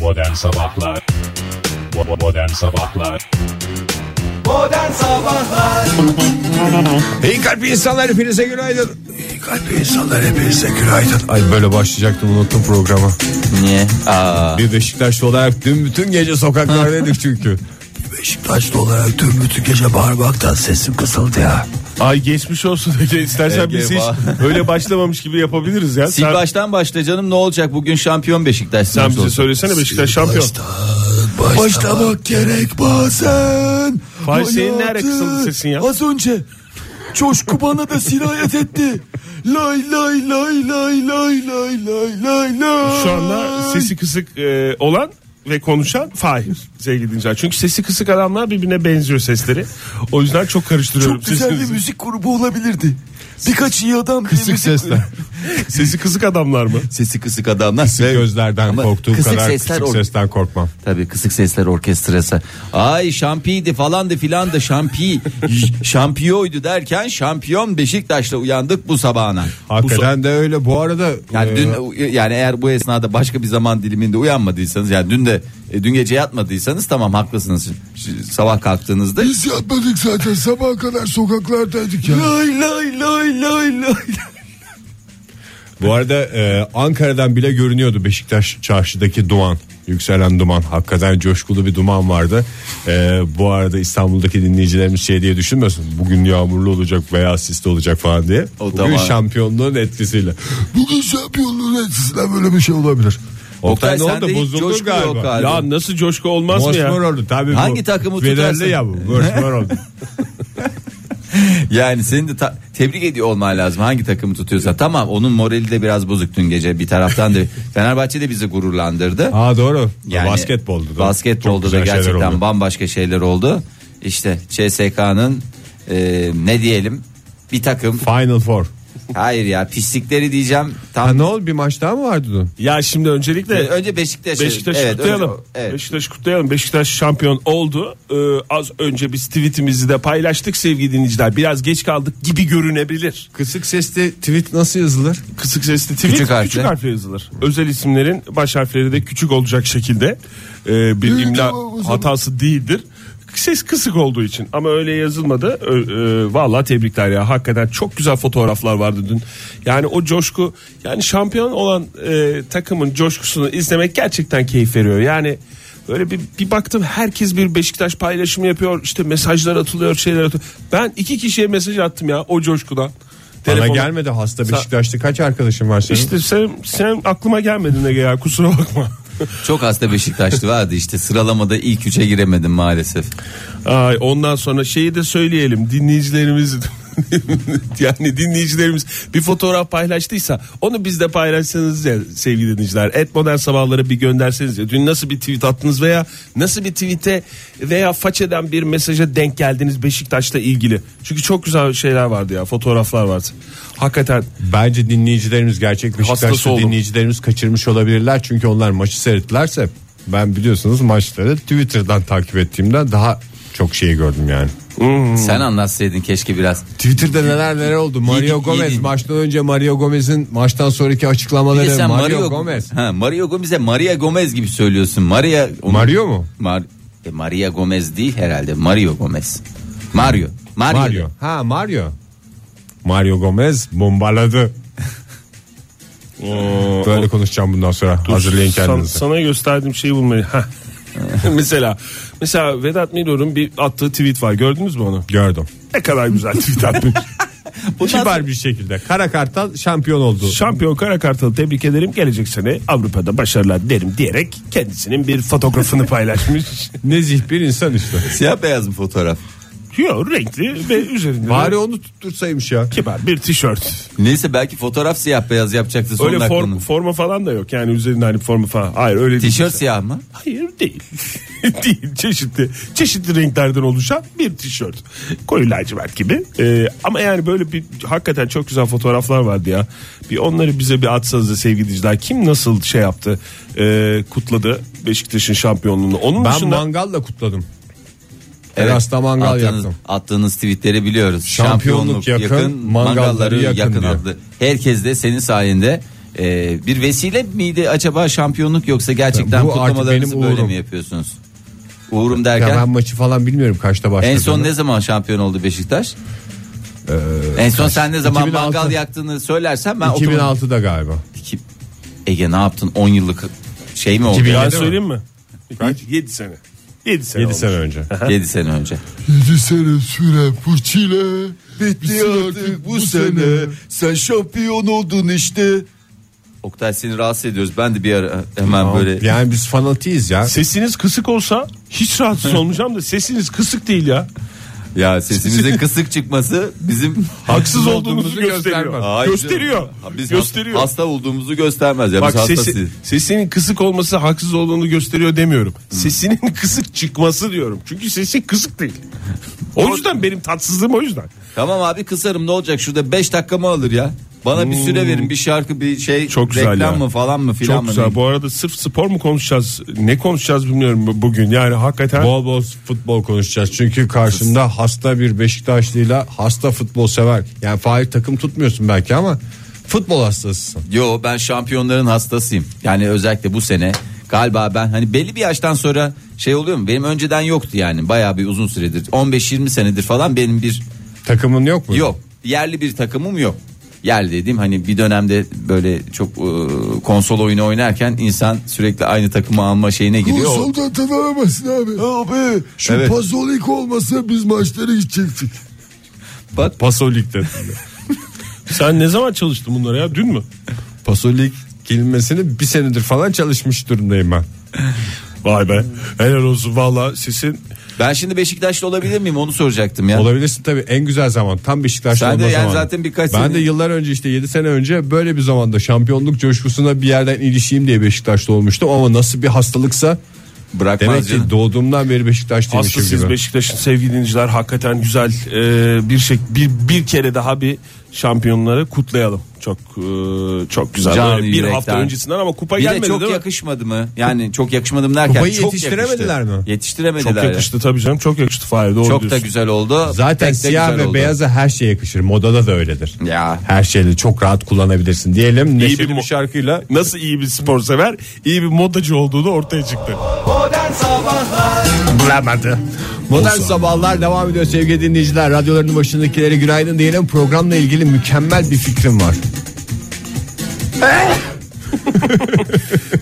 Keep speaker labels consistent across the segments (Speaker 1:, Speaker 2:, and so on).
Speaker 1: Modern Sabahlar Bo- Modern Sabahlar
Speaker 2: İyi kalp insanlar hepinize günaydın. İyi kalp insanlar hepinize günaydın. Ay böyle başlayacaktım unuttum programı.
Speaker 3: Niye? Aa,
Speaker 2: Bir Beşiktaşlı olarak dün bütün gece sokaklardaydık çünkü.
Speaker 4: Beşiktaşlı olarak tüm bütün gece bağırmaktan sesim kısıldı ya.
Speaker 5: Ay geçmiş olsun Ege. İstersen
Speaker 3: Ege
Speaker 5: biz hiç
Speaker 3: va-
Speaker 5: öyle başlamamış gibi yapabiliriz ya.
Speaker 3: sil
Speaker 5: Sen,
Speaker 3: baştan başla canım ne olacak bugün şampiyon Beşiktaş.
Speaker 5: sen
Speaker 3: sonuç
Speaker 5: bize
Speaker 3: olsun.
Speaker 5: söylesene Beşiktaş şampiyon.
Speaker 4: Başlamak gerek bazen.
Speaker 5: Fahir, senin nereye
Speaker 4: Hayatın
Speaker 5: kısıldı sesin ya?
Speaker 4: Az önce coşku bana da sirayet etti. Lay lay lay lay lay lay lay lay lay.
Speaker 5: Şu anda sesi kısık e, olan ve konuşan Fahir sevgili dinleyiciler. Çünkü sesi kısık adamlar birbirine benziyor sesleri. O yüzden çok karıştırıyorum
Speaker 4: çok güzel bir
Speaker 5: sesinizi.
Speaker 4: müzik grubu olabilirdi. Birkaç iyi adam diye
Speaker 2: Kısık
Speaker 4: müzik-
Speaker 2: sesler.
Speaker 5: Sesi kısık adamlar mı?
Speaker 3: Sesi kısık adamlar. Ve-
Speaker 2: Gözlerden
Speaker 3: Ama
Speaker 2: korktuğum
Speaker 3: kısık
Speaker 2: kadar
Speaker 3: sesler
Speaker 2: kısık
Speaker 3: or-
Speaker 2: sesten korkmam.
Speaker 3: Tabii kısık sesler orkestrası. Ay şampiydi falandı filandı şampi şampiyoydu derken şampiyon Beşiktaş'la uyandık bu sabahına.
Speaker 2: Hakikaten de öyle. Bu arada
Speaker 3: Yani
Speaker 2: e,
Speaker 3: dün yani eğer bu esnada başka bir zaman diliminde uyanmadıysanız yani dün de e, dün gece yatmadıysanız tamam haklısınız. Ş- Sabah kalktığınızda
Speaker 4: Biz yapmadık zaten sabaha kadar sokaklardaydık ya. Lay lay lay lay lay.
Speaker 2: bu arada e, Ankara'dan bile görünüyordu Beşiktaş çarşıdaki duman. Yükselen duman. Hakikaten coşkulu bir duman vardı. E, bu arada İstanbul'daki dinleyicilerimiz şey diye düşünmesin. Bugün yağmurlu olacak veya sisli olacak falan diye.
Speaker 3: O
Speaker 2: Bugün
Speaker 3: tamam.
Speaker 2: şampiyonluğun etkisiyle.
Speaker 4: Bugün şampiyonluğun etkisinden böyle bir şey olabilir.
Speaker 2: Oktay, ne
Speaker 3: Oktay,
Speaker 2: oldu?
Speaker 3: sende hiç
Speaker 2: Bozuldun
Speaker 3: coşku
Speaker 2: galiba.
Speaker 3: yok abi.
Speaker 5: Ya nasıl coşku olmaz mı
Speaker 2: Mosmor
Speaker 5: ya?
Speaker 2: oldu tabii.
Speaker 3: Hangi
Speaker 2: bu.
Speaker 3: takımı tutarsın?
Speaker 2: Fenerli ya bu. Mosmor oldu.
Speaker 3: Yani seni de ta- tebrik ediyor olman lazım hangi takımı tutuyorsa. Tamam onun morali de biraz bozuk dün gece bir taraftan da Fenerbahçe de bizi gururlandırdı.
Speaker 2: Aa doğru.
Speaker 3: Yani
Speaker 2: basketboldu. doğru. Çok
Speaker 3: Basketbolda da
Speaker 2: güzel şeyler
Speaker 3: gerçekten
Speaker 2: oldu.
Speaker 3: bambaşka şeyler oldu. İşte CSK'nın e, ne diyelim bir takım
Speaker 2: Final Four.
Speaker 3: hayır ya pislikleri diyeceğim
Speaker 2: Ha,
Speaker 3: tam
Speaker 2: ne oldu bir maç daha mı vardı dün?
Speaker 5: Ya şimdi öncelikle
Speaker 3: önce Beşiktaş
Speaker 5: Beşiktaş'ı
Speaker 3: evet, önce-
Speaker 5: kutlayalım.
Speaker 3: evet.
Speaker 5: Beşiktaş'ı kutlayalım. Beşiktaş şampiyon oldu. Ee, az önce biz tweetimizi de paylaştık sevgili dinleyiciler. Biraz geç kaldık gibi görünebilir.
Speaker 2: Kısık sesli tweet nasıl yazılır?
Speaker 5: Kısık sesli tweet
Speaker 3: Küçük
Speaker 5: küçük,
Speaker 3: harfle.
Speaker 5: harfle yazılır. Özel isimlerin baş harfleri de küçük olacak şekilde e, bir
Speaker 4: İyi,
Speaker 5: imla
Speaker 4: tamam o zaman.
Speaker 5: hatası değildir. Ses kısık olduğu için ama öyle yazılmadı. Ö- e, vallahi tebrikler ya. Hakikaten çok güzel fotoğraflar vardı dün. Yani o coşku yani şampiyon olan e, takımın coşkusunu izlemek gerçekten keyif veriyor. Yani böyle bir, bir baktım herkes bir Beşiktaş paylaşımı yapıyor. İşte mesajlar atılıyor, şeyler atılıyor. Ben iki kişiye mesaj attım ya o coşkudan.
Speaker 2: Bana
Speaker 5: Telefona-
Speaker 2: gelmedi hasta Beşiktaş'ta kaç arkadaşın var senin?
Speaker 5: işte sen, sen aklıma gelmedin Ege ya kusura bakma.
Speaker 3: çok hasta Beşiktaşlı vardı işte sıralamada ilk üçe giremedim maalesef.
Speaker 5: Ay, ondan sonra şeyi de söyleyelim dinleyicilerimiz yani dinleyicilerimiz bir fotoğraf paylaştıysa onu biz de paylaşsanız ya sevgili dinleyiciler. Et modern sabahları bir gönderseniz ya. Dün nasıl bir tweet attınız veya nasıl bir tweete veya façeden bir mesaja denk geldiniz Beşiktaş'la ilgili. Çünkü çok güzel şeyler vardı ya fotoğraflar vardı. Hakikaten
Speaker 2: Bence dinleyicilerimiz gerçek
Speaker 5: Hastası
Speaker 2: Beşiktaşlı
Speaker 5: oldum.
Speaker 2: dinleyicilerimiz kaçırmış olabilirler. Çünkü onlar maçı seyrettilerse ben biliyorsunuz maçları Twitter'dan takip ettiğimden daha çok şeyi gördüm yani. Hmm.
Speaker 3: Sen anlatsaydın keşke biraz.
Speaker 2: Twitter'da neler neler oldu. Mario
Speaker 3: Yedi-
Speaker 2: Gomez
Speaker 3: yedi.
Speaker 2: maçtan önce Mario Gomez'in maçtan sonraki
Speaker 3: Bir de
Speaker 2: açıklamaları
Speaker 3: E sen
Speaker 2: Mario,
Speaker 3: Mario
Speaker 2: Gomez.
Speaker 3: Ha, Mario Gomez'e Maria Gomez gibi söylüyorsun. Maria onu-
Speaker 2: Mario mu?
Speaker 3: Mar e, Maria Gomez değil herhalde. Mario Gomez. Mario. Mario.
Speaker 2: Mario. Ha Mario. Mario Gomez bombaladı. Böyle konuşacağım bundan sonra.
Speaker 5: Dur,
Speaker 2: Hazırlayın
Speaker 5: san-
Speaker 2: kendinizi.
Speaker 5: sana gösterdiğim şeyi bulmayı. Heh. mesela mesela Vedat Milor'un bir attığı tweet var. Gördünüz mü onu?
Speaker 2: Gördüm.
Speaker 5: Ne kadar güzel tweet atmış.
Speaker 2: Kibar bir şekilde. Kara Kartal şampiyon oldu.
Speaker 5: Şampiyon Karakartal'ı tebrik ederim. Gelecek sene Avrupa'da başarılar dilerim diyerek kendisinin bir fotoğrafını paylaşmış.
Speaker 2: Nezih bir insan işte.
Speaker 3: Siyah beyaz mı fotoğraf?
Speaker 5: Yo renkli ve üzerinde
Speaker 2: Bari
Speaker 5: de
Speaker 2: onu tuttursaymış ya.
Speaker 5: kibar bir tişört.
Speaker 3: Neyse belki fotoğraf siyah beyaz yapacaktı son
Speaker 5: Öyle
Speaker 3: dakikanın.
Speaker 5: form, forma falan da yok. Yani üzerinde hani forma falan. Hayır öyle değil.
Speaker 3: Tişört siyah mı?
Speaker 5: Hayır değil. değil. Çeşitli çeşitli renklerden oluşan bir tişört. Koyu lacivert gibi. Ee, ama yani böyle bir hakikaten çok güzel fotoğraflar vardı ya. Bir onları bize bir atsanız da sevgili dinleyiciler. Kim nasıl şey yaptı? e, kutladı Beşiktaş'ın şampiyonluğunu. Onun
Speaker 2: Ben
Speaker 5: dışında
Speaker 2: mangalla kutladım. Terasta mangal
Speaker 3: attığınız,
Speaker 2: yaktım.
Speaker 3: Attığınız tweetleri biliyoruz.
Speaker 2: Şampiyonluk yakın, mangalları yakın diyor.
Speaker 3: adlı. Herkes de senin sayende e, bir vesile miydi acaba şampiyonluk yoksa gerçekten
Speaker 2: Bu artık
Speaker 3: kutlamalarınızı
Speaker 2: benim
Speaker 3: böyle
Speaker 2: uğurum.
Speaker 3: mi yapıyorsunuz? Uğurum derken
Speaker 2: Ya ben maçı falan bilmiyorum kaçta başladı.
Speaker 3: en son ne zaman şampiyon oldu Beşiktaş? en son sen ne zaman
Speaker 2: 2006.
Speaker 3: mangal yaktığını söylersen ben otomatik-
Speaker 2: 2006'da galiba.
Speaker 3: İki- Ege ne yaptın 10 yıllık şey mi oldu?
Speaker 2: 2000
Speaker 5: Ben
Speaker 2: Yedi mi?
Speaker 5: söyleyeyim mi? 7 sene. 7 sene.
Speaker 2: 7
Speaker 5: olmuş.
Speaker 2: sene önce.
Speaker 3: 7 sene önce.
Speaker 4: Bitti artık bu
Speaker 3: Ee,
Speaker 4: sene. Sen şampiyon oldun işte.
Speaker 3: Oktay seni rahatsız ediyoruz. Ben de bir ara hemen böyle
Speaker 2: Yani biz fanatiyiz ya.
Speaker 5: Sesiniz kısık olsa hiç rahatsız olmayacağım da sesiniz kısık değil ya.
Speaker 3: ya sesimizin kısık çıkması bizim
Speaker 5: Haksız olduğunuzu
Speaker 2: olduğumuzu
Speaker 5: gösteriyor.
Speaker 2: göstermez.
Speaker 3: Hayır canım.
Speaker 5: gösteriyor.
Speaker 3: Ha, Biz
Speaker 5: gösteriyor.
Speaker 3: gösteriyor. Hasta olduğumuzu göstermez. Ya
Speaker 5: Bak
Speaker 3: biz hastasıyız.
Speaker 5: sesi, sesinin kısık olması haksız olduğunu gösteriyor demiyorum. Sesinin kısık çıkması diyorum. Çünkü sesi kısık değil. O yüzden benim tatsızlığım o yüzden.
Speaker 3: Tamam abi kısarım ne olacak şurada 5 dakika mı alır ya? Bana bir süre verin bir şarkı bir şey
Speaker 5: Çok güzel
Speaker 3: reklam
Speaker 5: ya.
Speaker 3: mı falan mı filan
Speaker 5: Çok
Speaker 3: mı?
Speaker 5: güzel. Bu arada sırf spor mu konuşacağız? Ne konuşacağız bilmiyorum bu- bugün. Yani hakikaten
Speaker 2: Bol bol futbol konuşacağız. Çünkü karşında hasta bir Beşiktaşlıyla hasta futbol sever. Yani Fahir takım tutmuyorsun belki ama futbol hastasısın.
Speaker 3: Yo ben şampiyonların hastasıyım. Yani özellikle bu sene galiba ben hani belli bir yaştan sonra şey oluyor mu? Benim önceden yoktu yani bayağı bir uzun süredir 15-20 senedir falan benim bir
Speaker 2: Takımın yok mu?
Speaker 3: Yok. Yerli bir takımım yok. Yerli dediğim hani bir dönemde böyle çok e, konsol oyunu oynarken insan sürekli aynı takımı alma şeyine giriyor. O-
Speaker 4: Soldan tanımamasın abi. Abi şu
Speaker 3: Evet.
Speaker 4: pazolik olmasa biz maçlara gidecektik.
Speaker 3: Bak
Speaker 2: Pasolik'te.
Speaker 5: sen ne zaman çalıştın bunlara ya? Dün mü?
Speaker 2: Pasolik kelimesini bir senedir falan çalışmış durumdayım ben.
Speaker 5: Vay be. Helal olsun valla sesin.
Speaker 3: ben şimdi Beşiktaşlı olabilir miyim onu soracaktım ya.
Speaker 2: Olabilirsin tabii en güzel zaman tam Beşiktaşlı
Speaker 3: Sen de
Speaker 2: olma
Speaker 3: yani
Speaker 2: zamanı.
Speaker 3: zaten birkaç
Speaker 2: ben
Speaker 3: sene-
Speaker 2: de yıllar önce işte 7 sene önce böyle bir zamanda şampiyonluk coşkusuna bir yerden ilişeyim diye Beşiktaşlı olmuştum ama nasıl bir hastalıksa
Speaker 3: Bırakmaz
Speaker 2: demek
Speaker 3: canım.
Speaker 2: ki doğduğumdan beri Beşiktaşlıymışım
Speaker 5: Hastasıyız
Speaker 2: gibi.
Speaker 5: Beşiktaş'ın sevgili dinleyiciler. Hakikaten güzel e, bir şey bir, bir kere daha bir şampiyonları kutlayalım. Çok e, çok güzel.
Speaker 3: Canı
Speaker 5: Böyle bir
Speaker 3: yürekten.
Speaker 5: hafta öncesinden ama kupa
Speaker 3: bir de
Speaker 5: gelmedi
Speaker 3: çok
Speaker 5: değil mi?
Speaker 3: yakışmadı mı? Yani çok yakışmadı mı derken
Speaker 2: Kupayı
Speaker 3: çok
Speaker 2: yetiştiremediler
Speaker 3: yakıştı.
Speaker 2: mi?
Speaker 3: Yetiştiremediler.
Speaker 5: Çok
Speaker 3: ya.
Speaker 5: yakıştı tabii canım. Çok yakıştı Fahir. Doğru
Speaker 3: Çok da
Speaker 5: diyorsun.
Speaker 3: güzel oldu.
Speaker 2: Zaten
Speaker 3: Pek de
Speaker 2: siyah
Speaker 3: güzel
Speaker 2: ve
Speaker 3: oldu.
Speaker 2: beyaza her şey yakışır. Modada da öyledir.
Speaker 3: Ya.
Speaker 2: Her şeyle çok rahat kullanabilirsin diyelim.
Speaker 5: İyi
Speaker 2: Neşeli
Speaker 5: bir
Speaker 2: bir,
Speaker 5: mo-
Speaker 2: şarkıyla
Speaker 5: Nasıl iyi bir spor sever, iyi bir modacı olduğu da ortaya çıktı.
Speaker 2: bulamadı. Modern sabahlar devam ediyor sevgili dinleyiciler. Radyoların başındakilere günaydın diyelim. Programla ilgili mükemmel bir fikrim var.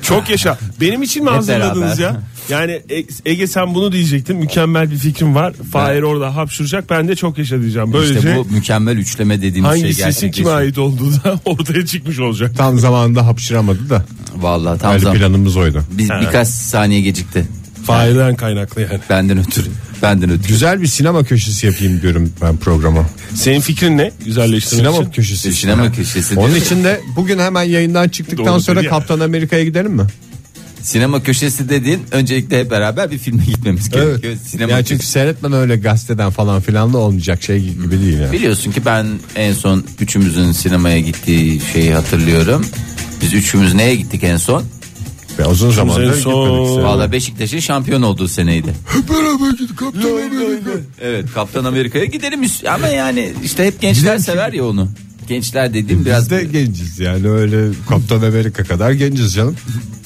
Speaker 5: Çok yaşa. Benim için mi
Speaker 3: Hep
Speaker 5: hazırladınız
Speaker 3: beraber.
Speaker 5: ya? Yani E- Ege sen bunu diyecektin. Mükemmel bir fikrim var. Fahir orada hapşuracak. Ben de çok yaşa diyeceğim. Böylece
Speaker 3: İşte bu şey mükemmel üçleme dediğimiz
Speaker 5: hangi
Speaker 3: şey
Speaker 5: sesin
Speaker 3: gerçekleşti.
Speaker 5: kime ait olduğu da ortaya çıkmış olacak.
Speaker 2: Tam zamanında hapşıramadı da.
Speaker 3: Vallahi tam
Speaker 2: Öyle
Speaker 3: zaman.
Speaker 2: planımız oydu.
Speaker 3: Biz birkaç saniye gecikti.
Speaker 5: Fahir'den kaynaklı yani.
Speaker 3: Benden ötürü. Benden ötürü.
Speaker 2: Güzel bir sinema köşesi yapayım diyorum ben programa.
Speaker 5: Senin fikrin ne? Güzelleştirmek
Speaker 2: Sinema
Speaker 5: için.
Speaker 2: köşesi.
Speaker 3: Sinema köşesi.
Speaker 2: Onun
Speaker 3: diyor.
Speaker 2: için de bugün hemen yayından çıktıktan
Speaker 5: Doğru
Speaker 2: sonra
Speaker 5: dedi ya.
Speaker 2: Kaptan Amerika'ya gidelim mi?
Speaker 3: Sinema köşesi dediğin öncelikle hep beraber bir filme gitmemiz gerekiyor. Sinema
Speaker 2: Ya çünkü
Speaker 3: köşesi.
Speaker 2: seyretmen öyle gazeteden falan filan da olmayacak şey gibi değil yani.
Speaker 3: Biliyorsun ki ben en son üçümüzün sinemaya gittiği şeyi hatırlıyorum. Biz üçümüz neye gittik en son?
Speaker 2: Ve uzun zamandır
Speaker 5: en son-
Speaker 2: gitmedik.
Speaker 3: Valla Beşiktaş'ın şampiyon olduğu seneydi.
Speaker 4: Hep beraber gidip kaptan Amerika.
Speaker 3: Evet Kaptan Amerika'ya gidelim üst- ama yani işte hep gençler sever ya onu. Gençler dediğim
Speaker 2: Biz
Speaker 3: biraz
Speaker 2: de genciz yani öyle Kaptan Amerika kadar genciz canım.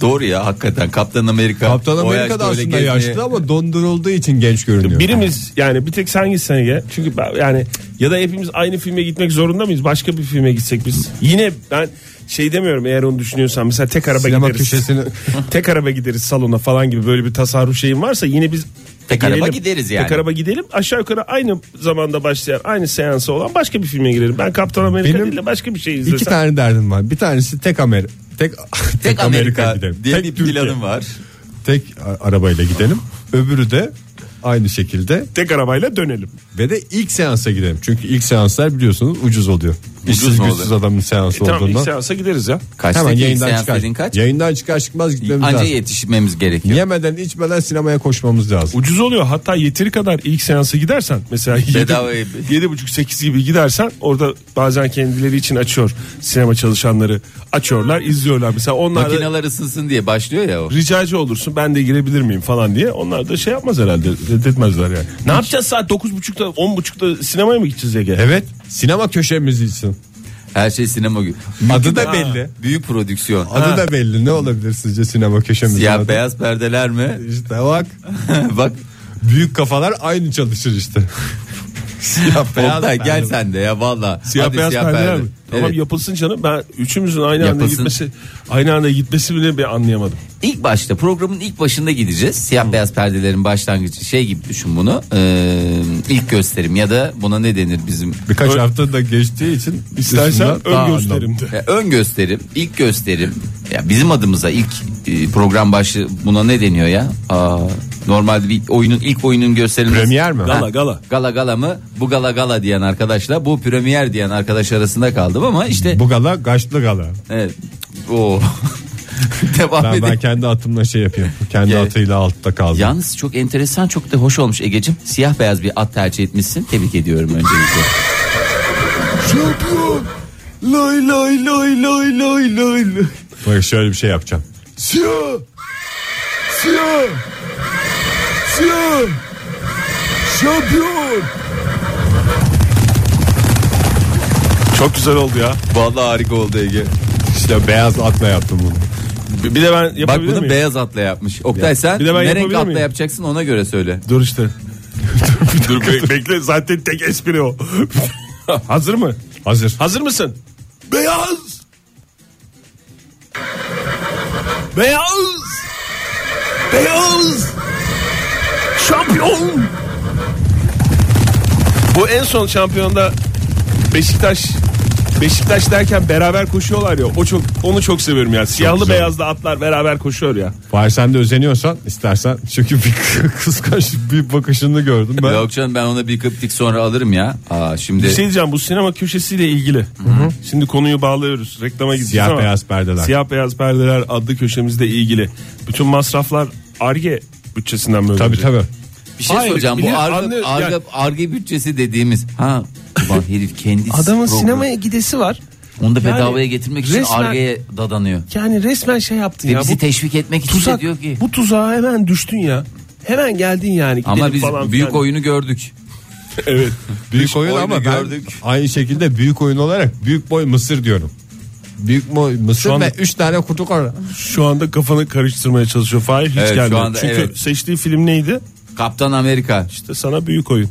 Speaker 3: doğru ya hakikaten Kaptan Amerika.
Speaker 2: Kaptan
Speaker 3: o
Speaker 2: Amerika
Speaker 3: yaşta
Speaker 2: da
Speaker 3: öyle
Speaker 2: aslında
Speaker 3: gezmeye-
Speaker 2: yaşlı ama dondurulduğu için genç görünüyor.
Speaker 5: Birimiz yani bir tek sen gitsen Ege. Çünkü ben, yani ya da hepimiz aynı filme gitmek zorunda mıyız? Başka bir filme gitsek biz. Yine ben şey demiyorum eğer onu düşünüyorsan mesela tek araba
Speaker 2: Sinema
Speaker 5: gideriz.
Speaker 2: köşesini-
Speaker 5: tek araba gideriz salona falan gibi böyle bir tasarruf şeyin varsa yine biz
Speaker 3: Tek araba gideriz yani.
Speaker 5: Tek araba gidelim. Aşağı yukarı aynı zamanda başlayan, aynı seansı olan başka bir filme girelim. Ben Kaptan Amerika
Speaker 2: Benim
Speaker 5: değil de başka bir şey izlesem.
Speaker 2: İki tane derdim var. Bir tanesi tek Amerika. Tek,
Speaker 3: Tek Amerika
Speaker 2: gidelim.
Speaker 3: diye
Speaker 2: Tek
Speaker 3: bir
Speaker 2: Türkiye.
Speaker 3: planım var.
Speaker 2: Tek a- arabayla gidelim. Öbürü de aynı şekilde
Speaker 5: Tek arabayla dönelim.
Speaker 2: ve de ilk seansa gidelim. Çünkü ilk seanslar biliyorsunuz ucuz oluyor. İşsiz
Speaker 3: mu
Speaker 2: güçsüz adamın seansı
Speaker 5: E, Tamam ilk
Speaker 2: olduğundan.
Speaker 5: seansa gideriz ya.
Speaker 3: Kaçtaki
Speaker 2: Hemen
Speaker 3: ilk
Speaker 2: yayından
Speaker 3: seans
Speaker 2: çıkar.
Speaker 3: dediğin kaç?
Speaker 2: Yayından çıkar çıkmaz gitmemiz
Speaker 3: Anca
Speaker 2: lazım.
Speaker 3: yetişmemiz gerekiyor.
Speaker 2: Yemeden içmeden sinemaya koşmamız lazım.
Speaker 5: Ucuz oluyor hatta yeteri kadar ilk seansa gidersen mesela
Speaker 3: Bedava
Speaker 5: 7,
Speaker 3: gibi.
Speaker 5: 7.30-8 gibi gidersen orada bazen kendileri için açıyor sinema çalışanları açıyorlar izliyorlar mesela onlar da
Speaker 3: Makineler ısınsın diye başlıyor ya o.
Speaker 5: ricacı olursun ben de girebilir miyim falan diye onlar da şey yapmaz herhalde reddetmezler yani. Ne yapacağız saat 9.30'da 10.30'da sinemaya mı gideceğiz Ege?
Speaker 2: Evet sinema köşemiz için.
Speaker 3: Her şey sinema gibi.
Speaker 2: Adı da belli.
Speaker 3: Büyük prodüksiyon.
Speaker 2: Adı da belli. Ne olabilir sizce sinema köşemizin
Speaker 3: Siyah
Speaker 2: adı?
Speaker 3: beyaz perdeler mi?
Speaker 2: İşte bak.
Speaker 3: Bak.
Speaker 2: Büyük kafalar aynı çalışır işte.
Speaker 3: Siyah
Speaker 2: beyaz
Speaker 3: Oktay, gel
Speaker 2: perde.
Speaker 3: sen de ya valla.
Speaker 5: Siyah beyaz perdeler mi? Tamam
Speaker 3: Evet.
Speaker 5: yapılsın canım. Ben üçümüzün aynı anda
Speaker 3: Yapılsın.
Speaker 5: gitmesi aynı anda gitmesi bile bir anlayamadım.
Speaker 3: İlk başta programın ilk başında gideceğiz. Siyah beyaz perdelerin başlangıcı şey gibi düşün bunu. Ee, ilk gösterim ya da buna ne denir bizim
Speaker 2: Birkaç hafta da geçtiği için
Speaker 5: İstersen
Speaker 2: üstünden daha
Speaker 5: ön gösterimde.
Speaker 3: Ya ön gösterim, ilk gösterim. Ya bizim adımıza ilk e, program başı buna ne deniyor ya? Aa, normalde bir oyunun ilk oyunun gösterilmesi.
Speaker 2: Premier mi?
Speaker 5: Gala
Speaker 3: Ha,
Speaker 5: gala.
Speaker 3: Gala gala mı? Bu gala gala diyen arkadaşla bu premier diyen arkadaş arasında kaldım ama işte
Speaker 2: Bu gala gaçlı gala.
Speaker 3: evet. O devam
Speaker 2: Ben,
Speaker 3: edelim.
Speaker 2: ben kendi atımla şey yapıyorum. Kendi
Speaker 3: Ya-
Speaker 2: atıyla altta kaldım.
Speaker 3: Yalnız çok enteresan çok da hoş olmuş Egecim. Siyah beyaz bir at tercih etmişsin. Tebrik ediyorum öncelikle.
Speaker 4: Şampiyon. Lay lay lay lay lay lay lay.
Speaker 2: Bak şöyle bir şey yapacağım.
Speaker 4: Siyah. Siyah. Siyah. Şampiyon.
Speaker 5: Çok güzel oldu ya.
Speaker 3: Vallahi harika oldu Ege.
Speaker 2: İşte beyaz atla yaptım bunu.
Speaker 5: Bir, bir de ben
Speaker 3: Bak
Speaker 5: yapabilir
Speaker 3: bunu
Speaker 5: miyim?
Speaker 3: beyaz atla yapmış. Oktay sen
Speaker 5: Bir de ben
Speaker 3: ne renk
Speaker 5: yapabilir
Speaker 3: atla
Speaker 5: miyim?
Speaker 3: yapacaksın ona göre söyle.
Speaker 5: Dur işte. dur, dur, be- bekle zaten tek espri o. Hazır mı?
Speaker 2: Hazır.
Speaker 5: Hazır mısın?
Speaker 4: Beyaz.
Speaker 5: Beyaz. Beyaz. Şampiyon. Bu en son şampiyonda Beşiktaş Beşiktaş derken beraber koşuyorlar ya. O çok onu çok seviyorum ya. Siyahlı
Speaker 2: güzel.
Speaker 5: beyazlı atlar beraber koşuyor ya.
Speaker 2: Fahir sen de özeniyorsan istersen çünkü bir kıskanç bir bakışını gördüm ben.
Speaker 3: Yok canım ben ona bir kıptik sonra alırım ya. Aa şimdi
Speaker 5: Bir şey diyeceğim bu sinema köşesiyle ilgili. Şimdi konuyu bağlıyoruz. Reklama gideceğiz
Speaker 2: Siyah
Speaker 5: ama-
Speaker 2: beyaz perdeler.
Speaker 5: Siyah beyaz perdeler adlı köşemizle ilgili. Bütün masraflar ARGE bütçesinden mi
Speaker 2: Tabii
Speaker 5: ödenecek?
Speaker 2: tabii.
Speaker 3: bir şey
Speaker 5: Hayır,
Speaker 3: soracağım. Bu
Speaker 5: bilir-
Speaker 3: arga,
Speaker 5: anlıyor-
Speaker 3: arga,
Speaker 5: yani-
Speaker 3: arga bütçesi dediğimiz ha ulan herif kendi
Speaker 5: Adamın
Speaker 3: programı.
Speaker 5: sinemaya gidesi var.
Speaker 3: onu da
Speaker 5: Yani
Speaker 3: bedavaya getirmek için
Speaker 5: resmen-
Speaker 3: argaya dadanıyor.
Speaker 5: Yani resmen şey yaptın
Speaker 3: Ve
Speaker 5: ya.
Speaker 3: bizi
Speaker 5: Bu
Speaker 3: teşvik etmek için de
Speaker 5: tuzak,
Speaker 3: diyor ki.
Speaker 5: bu tuzağa hemen düştün ya. Hemen geldin yani. Gidelim
Speaker 3: Ama biz
Speaker 5: falan
Speaker 3: büyük
Speaker 5: filan.
Speaker 3: oyunu gördük.
Speaker 5: Evet.
Speaker 2: Büyük oyun
Speaker 3: oyunu
Speaker 2: ama
Speaker 3: gördük.
Speaker 2: ben aynı şekilde büyük oyun olarak büyük boy mısır diyorum. Büyük boy mısır
Speaker 5: Şu anda-
Speaker 2: ve 3 tane kutu var.
Speaker 5: Şu anda kafanı karıştırmaya çalışıyor. Fahir hiç
Speaker 3: Evet, şu
Speaker 5: gelmiyor.
Speaker 3: anda
Speaker 5: Çünkü
Speaker 3: evet.
Speaker 5: seçtiği film neydi?
Speaker 3: Kaptan Amerika.
Speaker 5: İşte sana büyük oyun.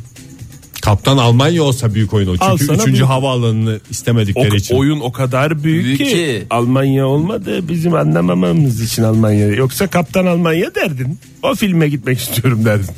Speaker 2: Kaptan Almanya olsa büyük oyun o.
Speaker 5: Al
Speaker 2: Çünkü
Speaker 5: sana
Speaker 2: 3.
Speaker 5: büyük-
Speaker 2: havaalanını
Speaker 5: O,
Speaker 2: istemedikleri için.
Speaker 5: oyun o kadar büyük,
Speaker 3: Büyük
Speaker 5: ki,
Speaker 3: ki.
Speaker 5: Almanya olmadı bizim anlamamamız için Almanya. Yoksa Kaptan Almanya derdin. O filme gitmek istiyorum derdin.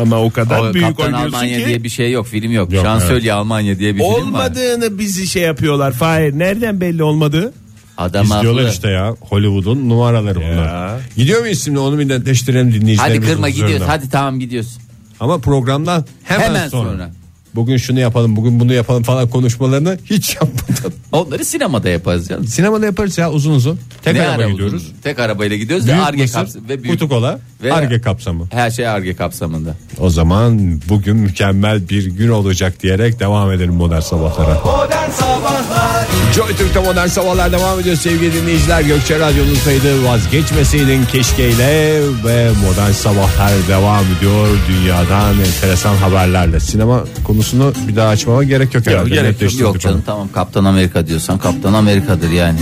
Speaker 5: Ama o kadar
Speaker 3: O
Speaker 5: büyük
Speaker 3: Kaptan
Speaker 5: oynuyorsun
Speaker 3: Almanya
Speaker 5: ki
Speaker 3: diye bir şey yok film yok.
Speaker 2: Yok,
Speaker 3: Şansölye Almanya diye bir film var.
Speaker 5: olmadığını bizi şey yapıyorlar. Fahir nereden belli olmadı?
Speaker 3: Adam
Speaker 2: İzliyorlar
Speaker 3: haklı.
Speaker 2: işte ya Hollywood'un numaraları bunlar. Gidiyor muyuz şimdi onu bir netleştirelim dinleyicilerimiz
Speaker 3: Hadi kırma
Speaker 2: huzuruna.
Speaker 3: gidiyoruz. Hadi tamam gidiyoruz.
Speaker 2: Ama programdan hemen,
Speaker 3: Hemen
Speaker 2: sonra.
Speaker 3: sonra.
Speaker 2: Bugün şunu yapalım bugün bunu yapalım falan konuşmalarını hiç yapmadan.
Speaker 3: Onları sinemada yaparız canım.
Speaker 2: Sinemada yaparız ya uzun uzun. Tek
Speaker 3: Ne
Speaker 2: araba
Speaker 3: ara
Speaker 2: gidiyoruz.
Speaker 3: uzun? Tek arabayla gidiyoruz ve
Speaker 2: Büyük
Speaker 3: arge
Speaker 2: mısır,
Speaker 3: kapsamında. Ve büyük-
Speaker 2: kutu kola,
Speaker 3: ve-
Speaker 2: arge kapsamı.
Speaker 3: Her şey arge kapsamında.
Speaker 2: O zaman bugün mükemmel bir gün olacak diyerek devam edelim modern sabahlara. Joy Türk'te modern sabahlar devam ediyor sevgili dinleyiciler. Gökçe Radyo'nuzdaydı vazgeçmeseydin keşkeyle ve modern sabahlar devam ediyor. Dünyadan enteresan haberlerle. Sinema konusunu bir daha açmama gerek yok herhalde.
Speaker 5: gerek yok.
Speaker 2: Netleştirdik onu.
Speaker 3: Yok canım tamam Kaptan Amerika diyorsan Kaptan Amerika'dır yani.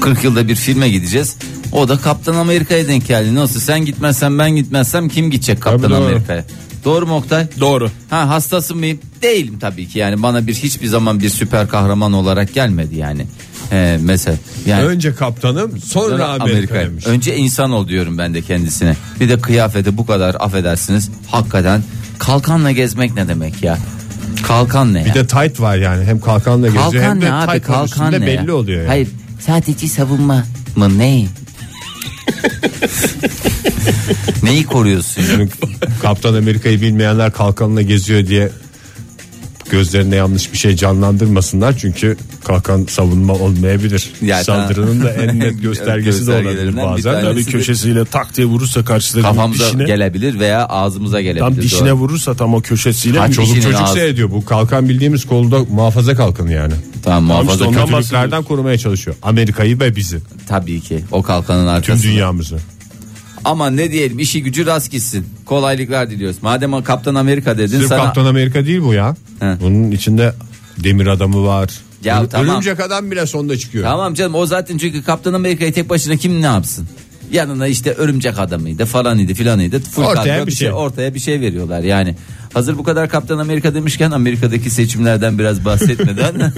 Speaker 3: 40 yılda bir filme gideceğiz. O da Kaptan Amerika'ya denk geldi. Nasıl sen gitmezsen ben gitmezsem kim gidecek Kaptan
Speaker 2: Tabii doğru.
Speaker 3: Amerika'ya? Doğru mu Oktay?
Speaker 5: Doğru.
Speaker 3: Ha hastası mıyım? Değilim tabii ki yani bana bir hiçbir zaman bir süper kahraman olarak gelmedi yani. Ee, mesela yani
Speaker 2: Önce kaptanım sonra Amerika'ymış.
Speaker 3: Önce insan ol diyorum ben de kendisine. Bir de kıyafeti bu kadar affedersiniz. Hakikaten kalkanla gezmek ne demek ya? Kalkan ne
Speaker 2: Bir
Speaker 3: ya?
Speaker 2: de tight var yani hem kalkanla geziyor
Speaker 3: Kalkan
Speaker 2: hem de
Speaker 3: ne abi?
Speaker 2: tight'ın
Speaker 3: Kalkan
Speaker 2: üstünde
Speaker 3: ne?
Speaker 2: belli
Speaker 3: ya?
Speaker 2: oluyor yani.
Speaker 3: Hayır, sadece savunma mı ne? Neyi koruyorsun? ya?
Speaker 2: Kaptan Amerika'yı bilmeyenler kalkanla geziyor diye gözlerine yanlış bir şey canlandırmasınlar çünkü kalkan savunma olmayabilir.
Speaker 3: Ya,
Speaker 2: Saldırının da en net göstergesi de olabilir
Speaker 3: Göstergelerinden bir
Speaker 2: bazen.
Speaker 3: tanesi.
Speaker 5: Tabii köşesiyle tak diye vurursa karşıdakinin
Speaker 3: Kafamıza
Speaker 5: dişine.
Speaker 3: gelebilir veya ağzımıza gelebilir.
Speaker 5: Tam dişine
Speaker 3: Doğru.
Speaker 5: vurursa tam o köşesiyle.
Speaker 3: Kaç
Speaker 5: Çoluk-
Speaker 2: Çoluk
Speaker 3: Dişinin
Speaker 2: çocuk
Speaker 3: ağzı.
Speaker 2: seyrediyor bu kalkan bildiğimiz kolda muhafaza kalkanı yani.
Speaker 3: Tamam muhafaza
Speaker 5: işte ondan
Speaker 3: kötü-
Speaker 5: bahsediyoruz.
Speaker 2: Kötülüklerden korumaya çalışıyor Amerika'yı ve bizi
Speaker 3: Tabii ki o kalkanın
Speaker 2: tüm
Speaker 3: arkasında.
Speaker 2: dünyamızı.
Speaker 3: Ama ne diyelim işi gücü rast gitsin. Kolaylıklar diliyoruz. Madem o Kaptan Amerika dedin
Speaker 2: Sırf
Speaker 3: sana
Speaker 2: Kaptan Amerika değil bu ya.
Speaker 3: He.
Speaker 2: Bunun içinde demir adamı var.
Speaker 3: Ya tamam.
Speaker 2: Örümcek adam bile sonda çıkıyor.
Speaker 3: Tamam canım o zaten çünkü Kaptan Amerika'yı tek başına kim ne yapsın? Yanına işte örümcek adamıydı falan idi filan idi. Full
Speaker 2: Ortaya
Speaker 3: kadro
Speaker 2: bir şey.
Speaker 3: Ortaya bir şey veriyorlar yani. Hazır bu kadar Kaptan Amerika demişken Amerika'daki seçimlerden biraz bahsetmeden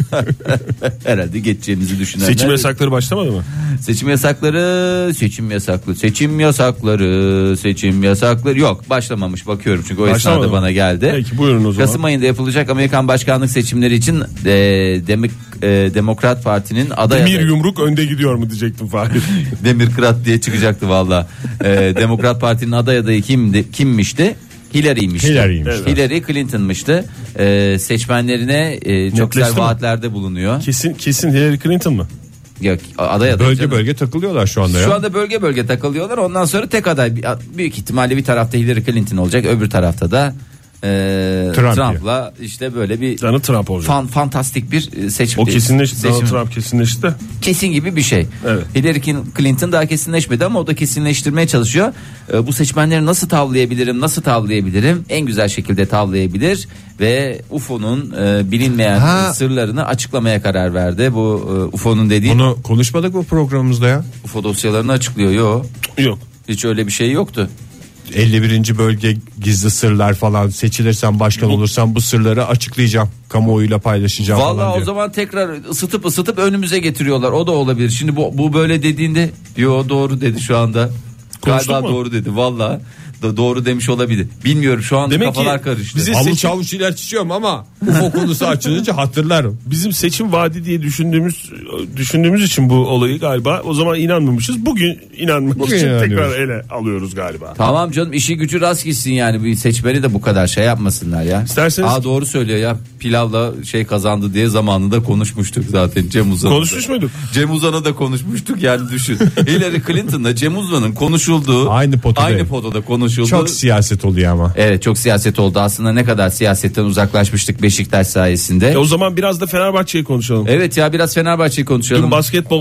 Speaker 3: herhalde geçeceğimizi düşünenler.
Speaker 5: Seçim yasakları başlamadı mı?
Speaker 3: Seçim yasakları, seçim yasaklı, seçim yasakları, seçim yasakları yok başlamamış bakıyorum çünkü o
Speaker 5: Başlamadı
Speaker 3: esnada
Speaker 5: mı?
Speaker 3: bana geldi.
Speaker 5: Peki, buyurun o zaman.
Speaker 3: Kasım ayında yapılacak Amerikan başkanlık seçimleri için e, Demik, e, Demokrat Parti'nin aday
Speaker 5: Bir
Speaker 3: adayı-
Speaker 5: yumruk önde gidiyor mu diyecektim Fahir.
Speaker 3: Demirkırat diye çıkacaktı valla. Ee, Demokrat Parti'nin aday adayı kimdi, kimmişti? Hillary'ymişti.
Speaker 2: Hillary'ymiş.
Speaker 3: Evet. Hillary Clinton'mıştı. Ee, seçmenlerine e, çok güzel
Speaker 5: Netleşti mi?
Speaker 3: vaatlerde bulunuyor.
Speaker 5: kesin kesin Hillary Clinton mı?
Speaker 3: Yok, aday aday.
Speaker 2: Bölge
Speaker 3: canım.
Speaker 2: bölge takılıyorlar şu anda ya.
Speaker 3: Şu anda bölge bölge takılıyorlar. Ondan sonra tek aday büyük ihtimalle bir tarafta Hillary Clinton olacak, öbür tarafta da e,
Speaker 2: Trump
Speaker 3: Trump'la işte böyle bir
Speaker 5: Donald Trump olacak.
Speaker 3: fan, fantastik bir e, seçim.
Speaker 5: o kesinleşti.
Speaker 3: seçim-
Speaker 5: Donald Trump kesinleşti de.
Speaker 3: kesin gibi bir şey.
Speaker 5: Evet.
Speaker 3: Hillary Clinton daha kesinleşmedi ama o da kesinleştirmeye çalışıyor. Ee, bu seçmenleri nasıl tavlayabilirim, nasıl tavlayabilirim? En güzel şekilde tavlayabilir ve UFO'nun e, bilinmeyen
Speaker 2: Ha.
Speaker 3: sırlarını açıklamaya karar verdi. Bu e, UFO'nun dediği
Speaker 2: Bunu konuşmadık mı programımızda ya?
Speaker 3: UFO dosyalarını açıklıyor. Yok.
Speaker 5: Yok.
Speaker 3: Hiç öyle bir şey yoktu.
Speaker 2: 51. bölge gizli sırlar falan seçilirsen başkan olursan bu sırları açıklayacağım. Kamuoyuyla paylaşacağım falan
Speaker 3: Vallahi o
Speaker 2: diyor.
Speaker 3: zaman tekrar ısıtıp ısıtıp önümüze getiriyorlar. O da olabilir. Şimdi bu, bu böyle dediğinde yo doğru dedi şu anda.
Speaker 5: Konuştuk
Speaker 3: Galiba
Speaker 5: mu?
Speaker 3: doğru dedi. Vallahi da doğru demiş olabilir. Bilmiyorum şu anda
Speaker 5: Demek ki
Speaker 3: kafalar karıştı.
Speaker 5: bizi-
Speaker 2: Havuç
Speaker 5: seçim-
Speaker 2: havuç ilaç içiyorum ama UFO konusu açılınca hatırlarım.
Speaker 5: Bizim seçim vaadi diye düşündüğümüz düşündüğümüz için bu olayı galiba o zaman inanmamışız. Bugün inanmak
Speaker 2: Bugün
Speaker 5: için tekrar
Speaker 2: inanıyoruz.
Speaker 5: ele alıyoruz galiba.
Speaker 3: Tamam canım işi gücü rast gitsin yani bir seçmeni de bu kadar şey yapmasınlar ya.
Speaker 5: İsterseniz-
Speaker 3: Aa doğru söylüyor ya pilavla şey kazandı diye zamanında konuşmuştuk zaten Cem Uzan.
Speaker 5: Konuşmuş muyduk?
Speaker 3: Cem Uzan'a da konuşmuştuk yani düşün. Hillary Clinton'la Cem Uzan'ın konuşulduğu
Speaker 2: Aynı potada.
Speaker 3: aynı potada konuşulduğu
Speaker 2: Çok siyaset oluyor ama.
Speaker 3: Evet çok siyaset oldu aslında ne kadar siyasetten uzaklaşmıştık Beşiktaş sayesinde.
Speaker 5: E o zaman biraz da Fenerbahçe'yi konuşalım.
Speaker 3: Evet ya biraz Fenerbahçe'yi konuşalım.
Speaker 5: Dün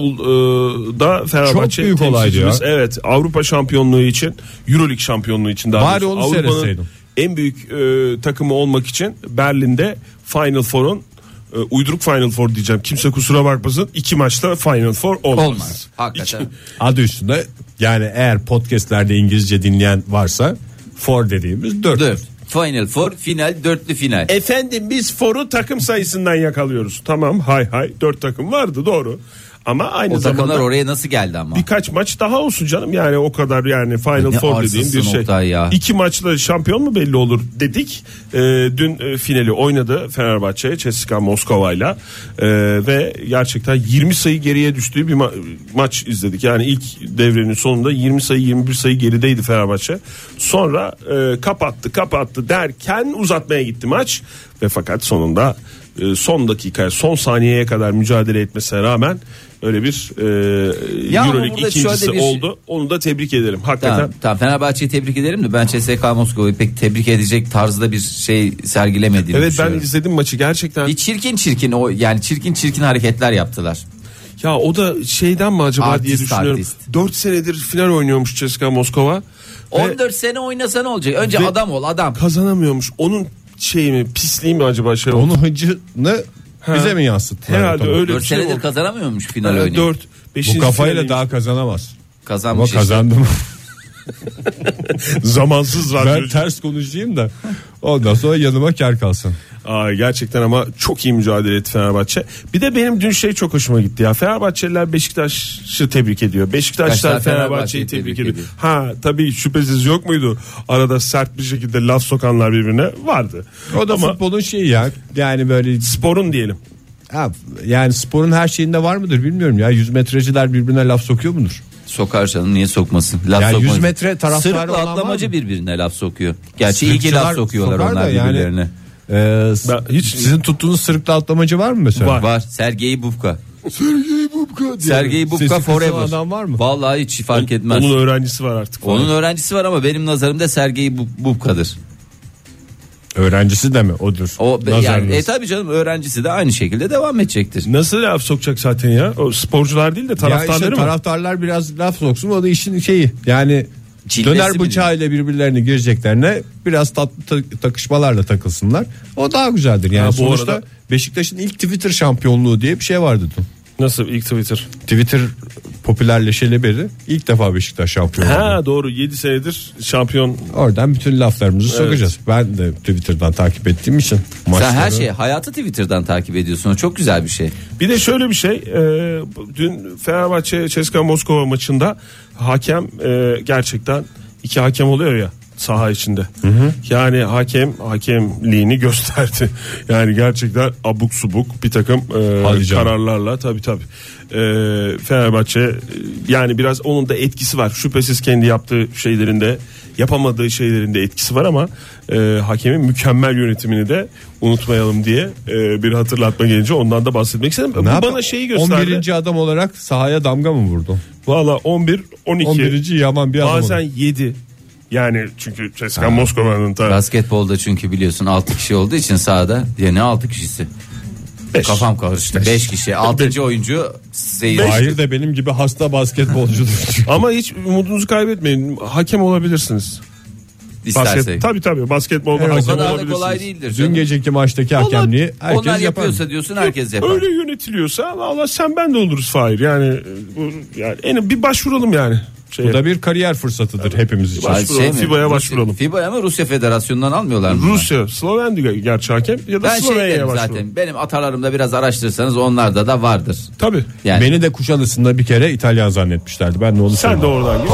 Speaker 5: basketbolda e, Fenerbahçe
Speaker 2: Çok büyük olaydı
Speaker 5: temsilcimiz, Evet Avrupa şampiyonluğu için Euroleague şampiyonluğu için daha
Speaker 2: Bari
Speaker 5: doğrusu,
Speaker 2: onu
Speaker 5: Avrupa'nın
Speaker 2: seyretseydin.
Speaker 5: en büyük e, takımı olmak için Berlin'de Final Four'un e, uyduruk Final Four diyeceğim. Kimse kusura bakmasın. iki maçta Final Four olmaz.
Speaker 3: Olmaz. Hakikaten.
Speaker 5: İki-
Speaker 2: Adı üstünde yani eğer podcastlerde İngilizce dinleyen varsa for dediğimiz dört.
Speaker 3: Dört. Final Four final dörtlü final.
Speaker 5: Efendim biz Four'u takım sayısından yakalıyoruz. Tamam hay hay dört takım vardı doğru. Ama aynı
Speaker 3: o takımlar
Speaker 5: zamanda
Speaker 3: oraya nasıl geldi ama?
Speaker 5: birkaç maç daha olsun canım yani o kadar yani Final
Speaker 3: Ne
Speaker 5: Four dediğim
Speaker 3: arsızsın
Speaker 5: bir şey.
Speaker 3: Oktay ya.
Speaker 5: İki maçla şampiyon mu belli olur dedik. Ee, dün e, finali oynadı Fenerbahçe CSKA Moskova'yla Ee, ve gerçekten 20 sayı geriye düştüğü bir ma- maç izledik. Yani ilk devrenin sonunda 20 sayı 21 sayı gerideydi Fenerbahçe. Sonra e, kapattı kapattı derken uzatmaya gitti maç ve fakat sonunda e, son dakikaya son saniyeye kadar mücadele etmesine rağmen öyle bir e,
Speaker 3: Ya ama
Speaker 5: Euroleague
Speaker 3: burada
Speaker 5: ikincisi
Speaker 3: şöyle bir-
Speaker 5: oldu. Onu da tebrik ederim. Hakikaten
Speaker 3: Tamam, tamam Fenerbahçe'yi tebrik ederim de ben CSK Moskova'yı pek tebrik edecek tarzda bir şey sergilemediğini
Speaker 5: Evet ben
Speaker 3: düşünüyorum.
Speaker 5: izledim maçı gerçekten.
Speaker 3: Bir çirkin çirkin o yani çirkin çirkin hareketler yaptılar.
Speaker 5: Ya o da şeyden mi acaba
Speaker 3: Artist,
Speaker 5: diye düşünüyorum.
Speaker 3: artist.
Speaker 5: 4 senedir final oynuyormuş CSKA Moskova. Ve
Speaker 3: 14 sene oynasa ne olacak? Önce
Speaker 5: Ve-
Speaker 3: adam ol adam.
Speaker 5: kazanamıyormuş. Onun şey mi pisliği mi acaba şey
Speaker 2: Onun hıncını bize mi yansıttılar?
Speaker 5: Herhalde
Speaker 2: Tamam.
Speaker 5: öyle şey
Speaker 3: 4
Speaker 5: bir şey
Speaker 3: senedir
Speaker 5: oldu.
Speaker 3: kazanamıyormuş final
Speaker 5: Yani
Speaker 3: oyunu.
Speaker 5: 4 5.
Speaker 2: Bu kafayla daha kazanamaz. Ama
Speaker 3: Kazanmış işte.
Speaker 2: kazandım.
Speaker 5: zamansız var.
Speaker 2: ben ters konuşayım da ondan sonra yanıma kar kalsın.
Speaker 5: Aa, gerçekten ama çok iyi mücadele etti Fenerbahçe. Bir de benim dün şey çok hoşuma gitti ya. Fenerbahçeliler Beşiktaş'ı tebrik ediyor. Beşiktaşlar
Speaker 3: Beşiktaşlar
Speaker 5: Fenerbahçe'yi
Speaker 3: Fenerbahçe'yi
Speaker 5: tebrik,
Speaker 3: tebrik
Speaker 5: ediyor.
Speaker 3: ediyor.
Speaker 5: Ha tabii şüphesiz yok muydu? Arada sert bir şekilde laf sokanlar birbirine vardı.
Speaker 2: O da
Speaker 5: ama
Speaker 2: futbolun şeyi ya. Yani böyle
Speaker 5: sporun diyelim.
Speaker 2: ha, yani sporun her şeyinde var mıdır bilmiyorum ya. Yüz metreciler birbirine laf sokuyor mudur?
Speaker 3: Sokar canım niye sokmasın? Laf
Speaker 2: Ya
Speaker 3: sokmaz.
Speaker 2: 100 metre taraftarı
Speaker 3: Sırtla
Speaker 2: olan var
Speaker 3: atlamacı
Speaker 2: mı?
Speaker 3: birbirine laf sokuyor. Gerçi iyi ki
Speaker 2: Sırıkçılar
Speaker 3: laf sokuyorlar
Speaker 2: sokar
Speaker 3: onlar
Speaker 2: da yani,
Speaker 3: birbirlerine.
Speaker 2: e, s-
Speaker 5: Ben hiç-
Speaker 2: sizin tuttuğunuz sırıkla atlamacı var mı mesela?
Speaker 5: Var.
Speaker 3: Var Sergey Bubka. Sergey
Speaker 2: Sesi
Speaker 3: Bubka
Speaker 2: kısılan
Speaker 3: forever.
Speaker 2: adam var mı?
Speaker 3: Vallahi hiç fark etmez.
Speaker 5: Onun öğrencisi var artık.
Speaker 3: Onun öğrencisi var ama benim nazarımda Sergey Bu- Bubka'dır.
Speaker 2: Öğrencisi de mi odur?
Speaker 3: O be- yani
Speaker 2: Nazarınız.
Speaker 3: e tabii canım öğrencisi de aynı şekilde devam edecektir.
Speaker 5: Nasıl laf sokacak zaten ya? O sporcular değil de
Speaker 2: Ya işte
Speaker 5: taraftarları mı?
Speaker 2: taraftarlar biraz laf soksun o da işin şeyi. Yani
Speaker 3: Çilesi mi
Speaker 2: döner
Speaker 3: diyeyim?
Speaker 2: bıçağıyla birbirlerine gireceklerine biraz tatlı ta- takışmalarla takılsınlar. O daha güzeldir. Yani
Speaker 5: Ha, bu
Speaker 2: sonuçta
Speaker 5: arada-
Speaker 2: Beşiktaş'ın ilk Twitter şampiyonluğu diye bir şey vardı dün.
Speaker 5: Nasıl ilk Twitter?
Speaker 2: Twitter popülerleşeli beri ilk defa Beşiktaş şampiyon oldu.
Speaker 5: Ha doğru 7 senedir şampiyon.
Speaker 2: Oradan bütün laflarımızı sokacağız. Ben de Twitter'dan takip ettiğim için maçları.
Speaker 3: Sen her şeyi hayatı Twitter'dan takip ediyorsun. O çok güzel bir şey.
Speaker 5: Bir de şöyle bir şey e, bu- dün Fenerbahçe Ceska Moskova maçında hakem e, gerçekten iki hakem oluyor ya saha içinde. Yani hakem hakemliğini gösterdi. Yani gerçekten abuk subuk bir takım e,
Speaker 2: Hadi canım.
Speaker 5: kararlarla tabi tabi. Fenerbahçe e, yani biraz onun da etkisi var. Şüphesiz kendi yaptığı şeylerinde yapamadığı şeylerinde etkisi var ama e, hakemin mükemmel yönetimini de unutmayalım diye e, bir hatırlatma gelince ondan da bahsetmek istedim. Bu
Speaker 2: Ne yapayım?
Speaker 5: bana şeyi gösterdi.
Speaker 2: 11. adam olarak sahaya damga mı vurdu?
Speaker 5: Valla 11 12
Speaker 2: 11. yaman bir adam.
Speaker 5: bazen
Speaker 2: oldu.
Speaker 5: 7 yani çünkü Ceska Moskova'nın da
Speaker 3: Basketbolda çünkü biliyorsun 6 kişi olduğu için sahada ya ne 6 kişisi? Kafam karıştı. 5 kişi. 6. oyuncu seyirci.
Speaker 2: Hayır da benim gibi hasta basketbolcudur.
Speaker 5: ama hiç umudunuzu kaybetmeyin. Hakem olabilirsiniz. Basket,
Speaker 3: istersek.
Speaker 5: tabii tabii basketbolda
Speaker 2: Evet,
Speaker 3: O
Speaker 5: hakem
Speaker 3: kadar da
Speaker 5: olabilirsiniz.
Speaker 3: kolay değildir.
Speaker 2: Dün
Speaker 3: canım.
Speaker 2: geceki maçtaki
Speaker 5: Onlar
Speaker 2: hakemliği herkes
Speaker 3: Onlar
Speaker 2: yapar.
Speaker 3: yapıyorsa diyorsun herkes yapar.
Speaker 5: Öyle yönetiliyorsa valla sen ben de oluruz Fahir. Yani e, bu yani en bir başvuralım yani. Şey,
Speaker 2: Bu da bir kariyer fırsatıdır hepimiz için.
Speaker 5: Baş-
Speaker 3: Ay,
Speaker 5: Başvuralım,
Speaker 3: mi?
Speaker 5: FIBA'ya
Speaker 3: Rusya-
Speaker 5: başvuralım.
Speaker 3: FIBA'ya mı Rusya Federasyonu'ndan almıyorlar mı?
Speaker 5: Rusya, Slovenya gerçi hakem ya da
Speaker 3: Ben şey
Speaker 5: Slovenya'ya
Speaker 3: derim
Speaker 5: başvuralım.
Speaker 3: zaten. Benim atalarımda biraz araştırırsanız onlarda da vardır.
Speaker 5: Tabii.
Speaker 3: Yani
Speaker 2: Beni de Kuşadası'nda bir kere İtalyan zannetmişlerdi. Ben de onu
Speaker 5: Sen de
Speaker 2: sanırım.
Speaker 5: oradan git.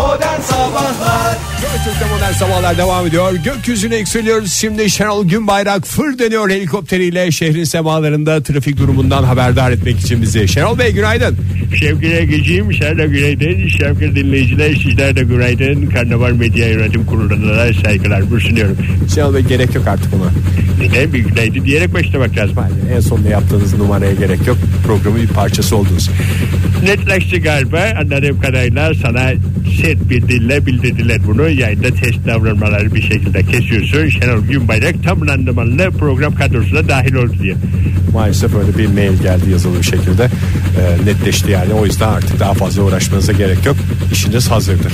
Speaker 2: Türk'te modern sabahlar devam ediyor. Gökyüzüne yükseliyoruz. Şimdi Şenol Günbayrak fır dönüyor helikopteriyle şehrin semalarında trafik durumundan haberdar etmek için bizi. Şenol Bey günaydın.
Speaker 6: Şevki Egeciğim sen de günaydın. Şevki dinleyiciler sizler de günaydın. Karnaval Medya Yönetim Kurulu'na da saygılarımı sunuyorum.
Speaker 2: Şenol Bey gerek yok artık buna.
Speaker 6: Neden bir günaydın diyerek başlamak lazım.
Speaker 2: Yani en sonunda yaptığınız numaraya gerek yok. Programın bir parçası oldunuz.
Speaker 6: Netlaştı galiba anladığım kadarıyla sana set bir dille bildirdiler bunu. Yayında test davranmaları bir şekilde kesiyorsun. Şenol Günbayrak tam randımanlı program kadrosuna dahil oldu diye.
Speaker 2: Maalesef öyle bir mail geldi yazılı bir şekilde. Ee, netleşti yani. O yüzden artık daha fazla uğraşmanıza gerek yok. İşiniz hazırdır.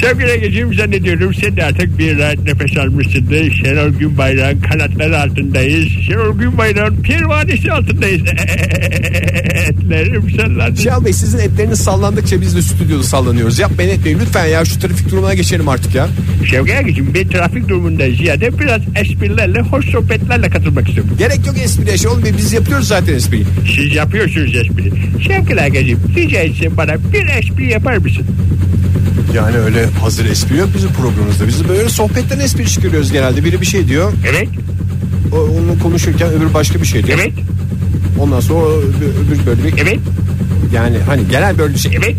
Speaker 6: Şevki Egeciğim zannediyorum sen de artık bir rahat nefes almışsındır. Şenol Günbayrak'ın kanatları altındayız. Şenol Günbayrak'ın pervanesi altındayız. Etlerim sallandı.
Speaker 2: Şenol Bey sizin etleriniz sallandıkça biz de stüdyoda sallanıyoruz. Yapmayın etmeyin lütfen ya şu trafik durumuna geçelim artık ya.
Speaker 6: Şevki Egeciğim ben trafik durumunda ziyade biraz esprilerle, hoş sohbetlerle katılmak istiyorum.
Speaker 2: Gerek yok espriye Şenol Bey biz yapıyoruz zaten espriyi.
Speaker 6: Siz yapıyorsunuz espri. Şevki Egeciğim rica etsem bana bir espri yapar mısın?
Speaker 2: Yani öyle hazır espri yok bizim programımızda. Biz böyle sohbetten espri çıkarıyoruz genelde. Biri bir şey diyor.
Speaker 6: Evet,
Speaker 2: o- Onunla konuşurken öbür başka bir şey diyor.
Speaker 6: evet,
Speaker 2: Ondan sonra o öbür, öbür böyle bir-
Speaker 6: evet,
Speaker 2: yani hani genel böyle bir şey.
Speaker 6: evet,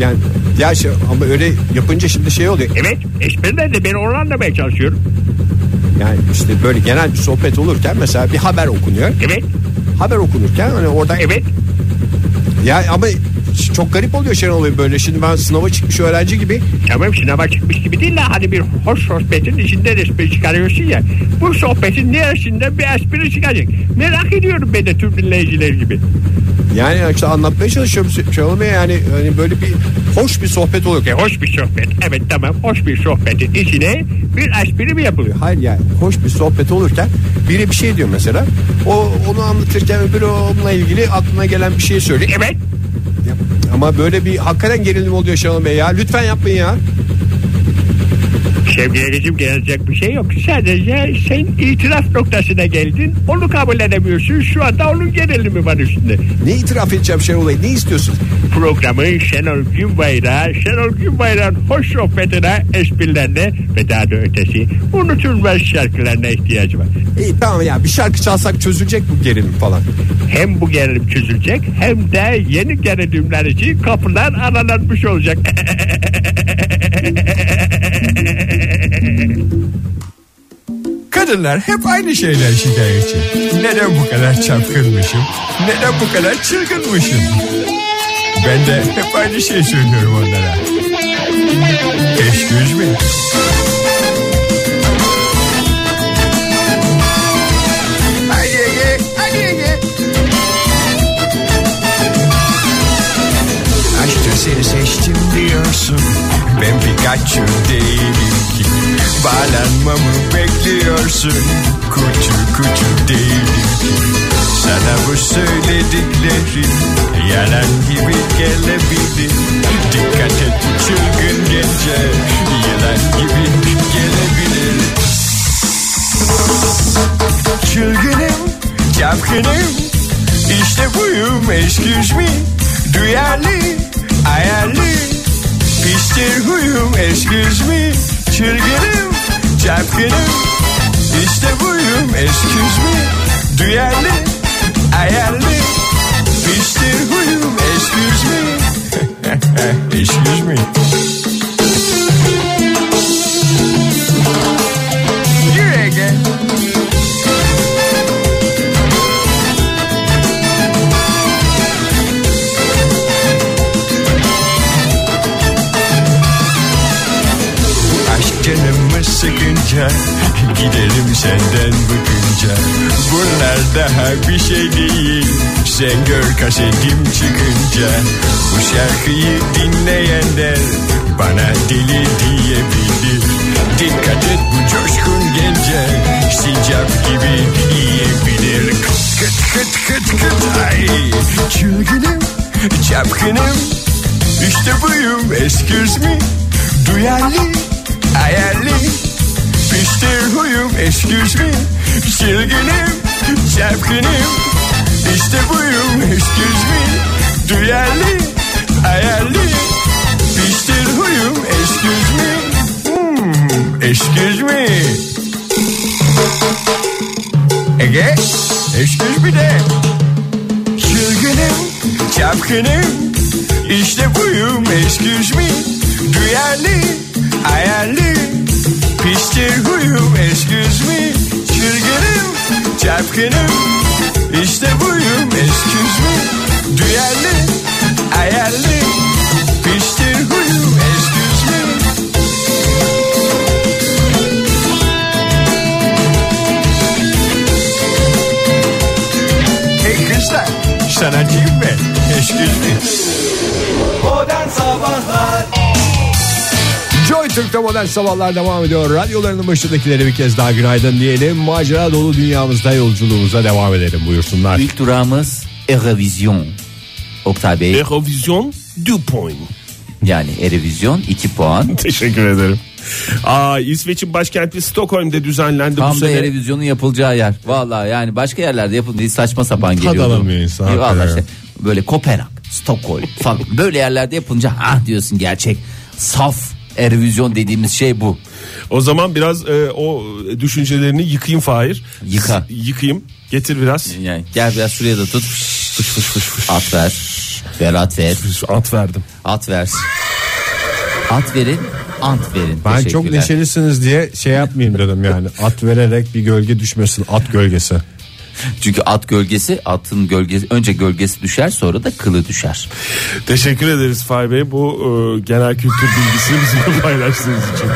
Speaker 2: Yani ya şey, ama öyle yapınca şimdi şey oluyor.
Speaker 6: evet. Espriler de ben onu anlamaya çalışıyorum.
Speaker 2: Yani işte böyle genel bir sohbet olurken mesela bir haber okunuyor.
Speaker 6: Evet,
Speaker 2: Haber okunurken hani orada
Speaker 6: evet.
Speaker 2: Ya ama çok garip oluyor Şenol Bey böyle. Şimdi ben sınava çıkmış öğrenci gibi
Speaker 6: Tamam sınava çıkmış gibi değil de hani bir hoş sohbetin içinde espri çıkarıyorsun ya. Bu sohbetin neresinde bir espri çıkacak. Merak ediyorum ben de tüm dinleyiciler gibi.
Speaker 2: yani işte anlatmaya çalışıyorum Şenol Bey yani hani böyle bir hoş bir sohbet oluyor.
Speaker 6: E, hoş bir sohbet. Evet tamam hoş bir sohbetin içine bir espri mi yapılıyor?
Speaker 2: Hayır yani hoş bir sohbet olurken biri bir şey diyor mesela. O onu anlatırken öbürü onunla ilgili aklına gelen bir şey söylüyor.
Speaker 6: Evet.
Speaker 2: Ama böyle bir hakikaten gerilim oluyor Şenol Bey ya. Lütfen yapmayın ya.
Speaker 6: Sevgilerim gelecek bir şey yok. Sadece sen itiraf noktasına geldin. Onu kabul edemiyorsun. Şu anda onun gerilimi var üstünde.
Speaker 2: Ne itiraf edeceğim Şenol Bey? Ne istiyorsun?
Speaker 6: programın Şenol Günbayrağı, Şenol Günbayrak'ın hoş sohbetine, esprilerine ve daha da ötesi unutulmaz şarkılarına ihtiyacı var.
Speaker 2: İyi tamam ya bir şarkı çalsak çözülecek bu gerilim falan.
Speaker 6: Hem bu gerilim çözülecek hem de yeni gerilimler için kapılar aralanmış olacak.
Speaker 2: Kadınlar hep aynı şeyler şikayetçi. Neden bu kadar çapkınmışım? Neden bu kadar çılgınmışım? Ben de hep aynı şeyi söylüyorum onlara. Excuse me. Aşkı seni seçtim diyorsun Ben birkaç
Speaker 7: kötü değilim ki Bağlanmamı bekliyorsun Kötü kötü değilim ki Sana bu söylediklerim Yalan gibi gelebilir Dikkat et bu çılgın gece Yalan gibi gelebilir Çılgınım, çapkınım İşte buyum, excuse me Duyarlı, ayarlı Piştir huyum, excuse me Çılgınım, çapkınım İşte buyum, excuse me Duyarlı, ayarlı Piştir huyum, excuse me Excuse me Here again Aşk canımı sıkınca Giderim senden bıkınca Bunlar daha bir şey değil Sen gör kasetim çıkınca Bu şarkıyı dinleyenler Bana deli diyebilir Dikkat et bu coşkun gence Sincap gibi yiyebilir Kıt kıt kıt kıt kıt Ay çılgınım Çapkınım işte buyum excuse me Duyarlı hayalli Piştir huyum excuse me Çılgınım çapkınım İşte buyum excuse me Duyarlı hayalli Piştir huyum excuse me hmm, Excuse me Ege excuse me de Çılgınım, çapkınım İşte buyum, excuse me Duyarlı, ayarlı Piştir huyum, excuse me Çılgınım, çapkınım İşte buyum, excuse me Duyarlı, ayarlı Piştir huyum, excuse me Hey kızlar, sanatçıyım ben Excuse me
Speaker 2: Joy Türk'te modern sabahlar devam ediyor. Radyolarının başındakilere bir kez daha günaydın diyelim. Macera dolu dünyamızda yolculuğumuza devam edelim buyursunlar.
Speaker 3: İlk durağımız Eurovision. Oktay Bey
Speaker 5: Eurovision du point.
Speaker 3: yani Eurovision 2 puan.
Speaker 5: Teşekkür ederim. Aa, İsveç'in başkenti Stockholm'de düzenlendi bu
Speaker 3: Tam da
Speaker 5: sene.
Speaker 3: Eurovision'un yapılacağı yer. Valla yani başka yerlerde yapıldığı saçma sapan geliyor.
Speaker 2: alamıyor insan,
Speaker 3: Ee, vallahi
Speaker 2: hakikaten.
Speaker 3: işte böyle Kopenhag, Stockholm falan böyle yerlerde yapılınca ah diyorsun gerçek. Saf Eurovision dediğimiz şey bu.
Speaker 5: O zaman biraz e, o düşüncelerini yıkayım Fahir.
Speaker 3: Yıka.
Speaker 5: S- yıkayım. Getir biraz.
Speaker 3: Yani gel biraz şuraya da tut. At ver. Ver at ver.
Speaker 5: At verdim.
Speaker 3: At ver. At verin. Ant verin.
Speaker 2: Ben çok
Speaker 3: Teşekkürler.
Speaker 2: neşelisiniz diye şey yapmayayım dedim yani. At vererek bir gölge düşmesin at gölgesi.
Speaker 3: Çünkü at gölgesi atın gölgesi önce gölgesi düşer sonra da kılı düşer.
Speaker 5: Teşekkür ederiz Fahir Bey bu e, genel kültür bilgisini bizimle paylaştığınız için.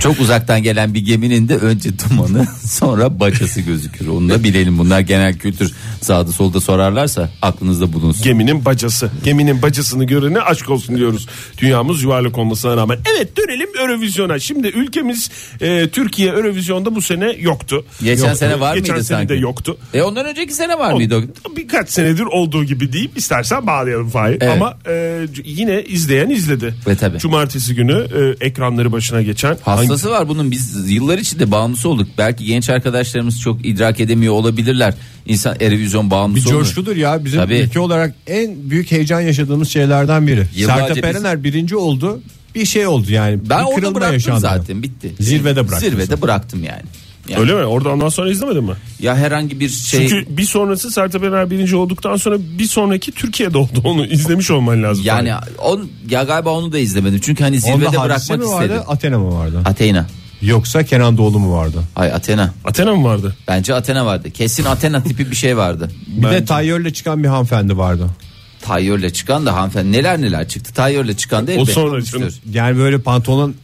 Speaker 3: Çok uzaktan gelen bir geminin de önce dumanı sonra bacası gözükür. Onu da bilelim bunlar genel kültür sağda solda sorarlarsa aklınızda bulunsun.
Speaker 5: Geminin bacası. Geminin bacasını görene aşk olsun diyoruz. Dünyamız yuvarlak olmasına rağmen. Evet dönelim Eurovision'a. Şimdi ülkemiz e, Türkiye Eurovision'da bu sene yoktu.
Speaker 3: Geçen
Speaker 5: Yoktu.
Speaker 3: sene var
Speaker 5: Geçen
Speaker 3: mıydı
Speaker 5: sene
Speaker 3: sanki?
Speaker 5: de yoktu.
Speaker 3: E ondan önceki sene var mıydı? o?
Speaker 5: Birkaç senedir olduğu gibi deyip istersen bağlayalım Fahir.
Speaker 3: Evet.
Speaker 5: Ama e, c- yine izleyen izledi.
Speaker 3: Ve tabii.
Speaker 5: Cumartesi günü e, ekranları başına geçen hangi-
Speaker 3: Hastası var bunun biz yıllar içinde bağımlısı olduk. Belki genç arkadaşlarımız çok idrak edemiyor olabilirler. İnsan Erevizyon
Speaker 2: Bir
Speaker 3: bağımlısı olur.
Speaker 2: coşkudur ya bizim
Speaker 3: Tabii.
Speaker 2: ülke olarak en büyük heyecan yaşadığımız şeylerden biri.
Speaker 3: Yıllarca
Speaker 2: Sertab
Speaker 3: biz-
Speaker 2: Erener birinci oldu bir şey oldu yani.
Speaker 3: Ben
Speaker 2: bir
Speaker 3: orada
Speaker 2: kırılma
Speaker 3: bıraktım
Speaker 2: yaşandı.
Speaker 3: zaten bitti.
Speaker 2: Zirvede bıraktın
Speaker 3: Zirvede bıraktım yani. Yani
Speaker 5: Öyle mi? Orada ondan sonra izlemedin mi?
Speaker 3: Ya herhangi bir şey
Speaker 5: Çünkü bir sonrası Sertab Erener birinci olduktan sonra bir sonraki Türkiye'de oldu. Onu izlemiş olman lazım.
Speaker 3: yani
Speaker 5: Fahir.
Speaker 3: on ya galiba onu da izlemedim. Çünkü hani
Speaker 2: Onda
Speaker 3: zirvede
Speaker 2: Hadise
Speaker 3: bırakmak
Speaker 2: mi vardı
Speaker 3: istedim.
Speaker 2: Athena mı vardı?
Speaker 3: Athena.
Speaker 2: Yoksa Kenan Doğulu mu vardı?
Speaker 3: Ay Athena.
Speaker 5: Athena mı vardı?
Speaker 3: Bence Athena vardı. Kesin Athena tipi bir şey vardı.
Speaker 2: Bir de Tayyör'le çıkan bir hanımefendi vardı.
Speaker 3: Tayyör'le çıkan da hanımefendi neler neler çıktı. Tayyör'le çıkan da
Speaker 5: O
Speaker 3: elbette
Speaker 5: sonra
Speaker 3: olmuştur.
Speaker 5: canım.
Speaker 2: Yani böyle pantolon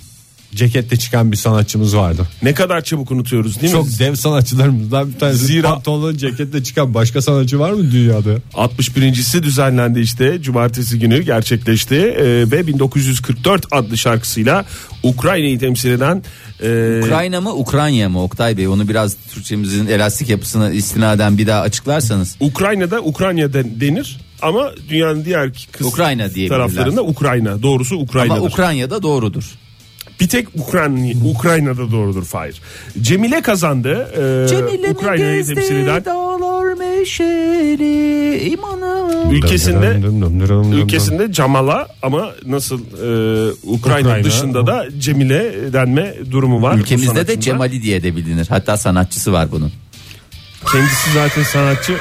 Speaker 2: ceketle çıkan bir sanatçımız vardı.
Speaker 5: Ne kadar çabuk unutuyoruz değil mi?
Speaker 2: Çok dev sanatçılarımızdan bir tanesi.
Speaker 5: Zira-
Speaker 2: Pantolon ceketle çıkan başka sanatçı var mı dünyada?
Speaker 5: 61.si düzenlendi işte cumartesi günü gerçekleşti Ee, ve 1944 adlı şarkısıyla Ukrayna'yı temsil eden e,
Speaker 3: Ukrayna mı Ukrayna mı Oktay Bey onu biraz Türkçemizin elastik yapısına istinaden bir daha açıklarsanız.
Speaker 5: Ukrayna'da Ukrayna den- denir ama dünyanın diğer kız
Speaker 3: Ukrayna diyebilirler.
Speaker 5: taraflarında Ukrayna doğrusu
Speaker 3: Ama
Speaker 5: Ukrayna'dır.
Speaker 3: Ukrayna'da doğrudur.
Speaker 5: bir tek Ukrayna Ukrayna'da doğrudur Fahir. Cemile kazandı. Ee, Ukrayna'yı temsil eden
Speaker 3: dağlar meşeli imanı.
Speaker 5: ülkesinde ülkesinde Camala ama nasıl e, Ukrayna,
Speaker 2: Ukrayna.
Speaker 5: dışında da Cemile denme durumu var. Bu
Speaker 3: Ülkemizde de
Speaker 5: sanatçında.
Speaker 3: Cemali diye de bilinir. Hatta sanatçısı var bunun.
Speaker 5: kendisi zaten sanatçı.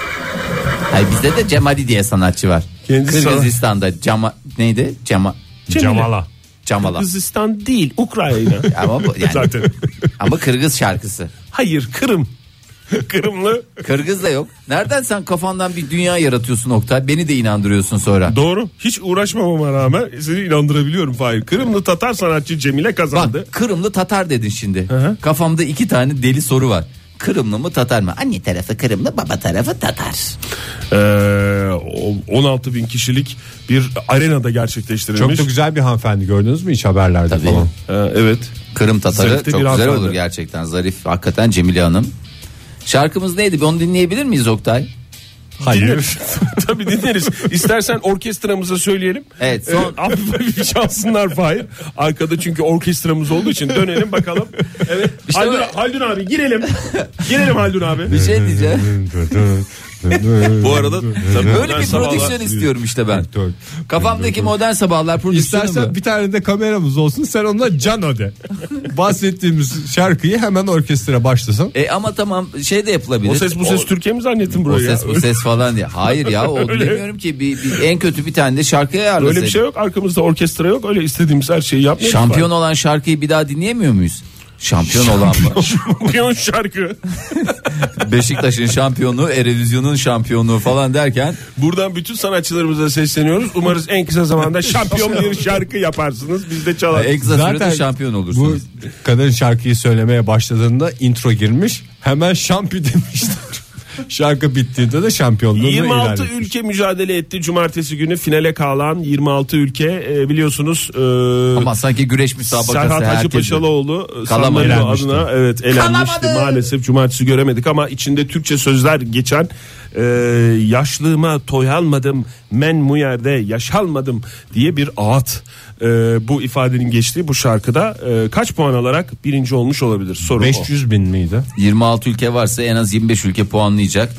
Speaker 3: Hayır bizde de Cemali diye sanatçı var.
Speaker 5: Kendisi
Speaker 3: Kırgızistan'da Cama neydi? Cema
Speaker 5: Cemile.
Speaker 3: Camala.
Speaker 5: Kızistan değil Ukrayna.
Speaker 3: Ama bu- yani-
Speaker 5: Zaten.
Speaker 3: Ama Kırgız şarkısı.
Speaker 5: Hayır Kırım. Kırımlı.
Speaker 3: Kırgız da yok. Nereden sen kafandan bir dünya yaratıyorsun Oktay? Beni de inandırıyorsun sonra.
Speaker 5: Doğru. Hiç uğraşmamama rağmen seni inandırabiliyorum Fahir. Kırımlı Tatar sanatçı Cemile kazandı.
Speaker 3: Bak Kırımlı Tatar dedin şimdi. Kafamda iki tane deli soru var. Kırımlı mı Tatar mı? Anne tarafı Kırımlı baba tarafı Tatar.
Speaker 5: Ee, o- 16 bin kişilik bir arenada gerçekleştirilmiş.
Speaker 2: Çok da güzel bir hanımefendi gördünüz mü hiç haberlerde
Speaker 3: Tabii.
Speaker 2: falan?
Speaker 5: Ee, evet.
Speaker 3: Kırım Tatarı
Speaker 5: Zarif de
Speaker 3: çok
Speaker 5: bir
Speaker 3: güzel
Speaker 5: hanımefendi.
Speaker 3: olur gerçekten. Zarif hakikaten Cemile Hanım. Şarkımız neydi? Bir onu dinleyebilir miyiz Oktay?
Speaker 5: Hayır. Tabii dinleriz. İstersen orkestramıza söyleyelim.
Speaker 3: Evet, son-
Speaker 5: Ee, Avrupa bir çalsınlar Fahir. Arkada çünkü orkestramız olduğu için dönelim bakalım. Evet.
Speaker 3: İşte
Speaker 5: Haldun,
Speaker 3: böyle-
Speaker 5: Haldun abi girelim. girelim Haldun abi.
Speaker 3: Bir şey diyeceğim.
Speaker 2: Bu
Speaker 3: Böyle bir prodüksiyon istiyorum işte ben. Kafamdaki modern sabahlar prodüksiyonu mu?
Speaker 2: İstersen bir tane de kameramız olsun sen onunla Cano de. Bahsettiğimiz şarkıyı hemen orkestra başlasın.
Speaker 3: E ama tamam şey de yapılabilir.
Speaker 5: O ses bu ses Türkiye mi zannettin
Speaker 3: O
Speaker 5: buraya?
Speaker 3: ses bu ses falan diye. Hayır ya o
Speaker 5: Öyle.
Speaker 3: bilmiyorum ki bir, bir- en kötü bir tane de şarkıya ayarlasaydık.
Speaker 5: Öyle bir şey yok. Arkamızda orkestra yok. Öyle istediğimiz her şeyi yapmıyoruz.
Speaker 3: Şampiyon olan şarkıyı bir daha dinleyemiyor muyuz? Şampiyon olan mı?
Speaker 5: Şampiyon şarkı.
Speaker 3: Beşiktaş'ın şampiyonu, Erevizyon'un şampiyonluğu falan derken
Speaker 5: Buradan bütün sanatçılarımıza sesleniyoruz. Umarız en kısa zamanda şampiyon bir şarkı yaparsınız. Biz de çalarız.
Speaker 3: en kısa sürede E, şampiyon
Speaker 2: Bu
Speaker 3: olursunuz.
Speaker 2: kadın şarkıyı söylemeye başladığında intro girmiş. Hemen şampi demişler. Şarkı bittiğinde de şampiyonluğunu ilan
Speaker 5: 26
Speaker 2: etmiş.
Speaker 5: ülke mücadele etti cumartesi günü finale kalan 26 ülke e, biliyorsunuz e,
Speaker 3: Ama sanki güreş müsabakası
Speaker 5: Serhat
Speaker 3: herkes-
Speaker 5: Hacıpaşalıoğlu e,
Speaker 3: Kalamadı.
Speaker 5: San Marino
Speaker 2: Elenmişti.
Speaker 5: adına evet elenmişti maalesef cumartesi göremedik ama içinde Türkçe sözler geçen e, yaşlığıma toyalmadım men bu yerde yaşalmadım diye bir ağıt E, bu ifadenin geçtiği bu şarkıda e, kaç puan alarak birinci olmuş olabilir soru o.
Speaker 2: 500 bin miydi?
Speaker 3: 26 ülke varsa en az 25 ülke puanlayacak.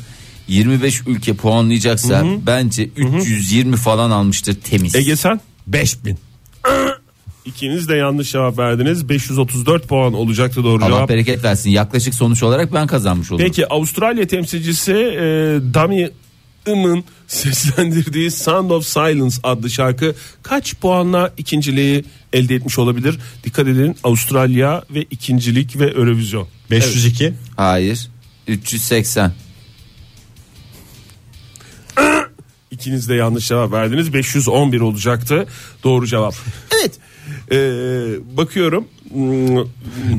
Speaker 3: 25 ülke puanlayacaksa bence 320 falan almıştır temiz.
Speaker 5: Ege sen?
Speaker 2: 5000.
Speaker 5: İkiniz de yanlış cevap verdiniz. 534 puan olacaktı doğru
Speaker 3: Allah
Speaker 5: cevap.
Speaker 3: bereket versin. Yaklaşık sonuç olarak ben kazanmış olurum.
Speaker 5: Peki Avustralya temsilcisi e, Dami Im'ın seslendirdiği Sound of Silence adlı şarkı kaç puanla ikinciliği elde etmiş olabilir? Dikkat edin Avustralya ve ikincilik ve Eurovision.
Speaker 2: 502.
Speaker 3: Hayır. 380.
Speaker 5: İkiniz de yanlış cevap verdiniz. 511 olacaktı doğru cevap. Evet. E, bakıyorum. Hmm,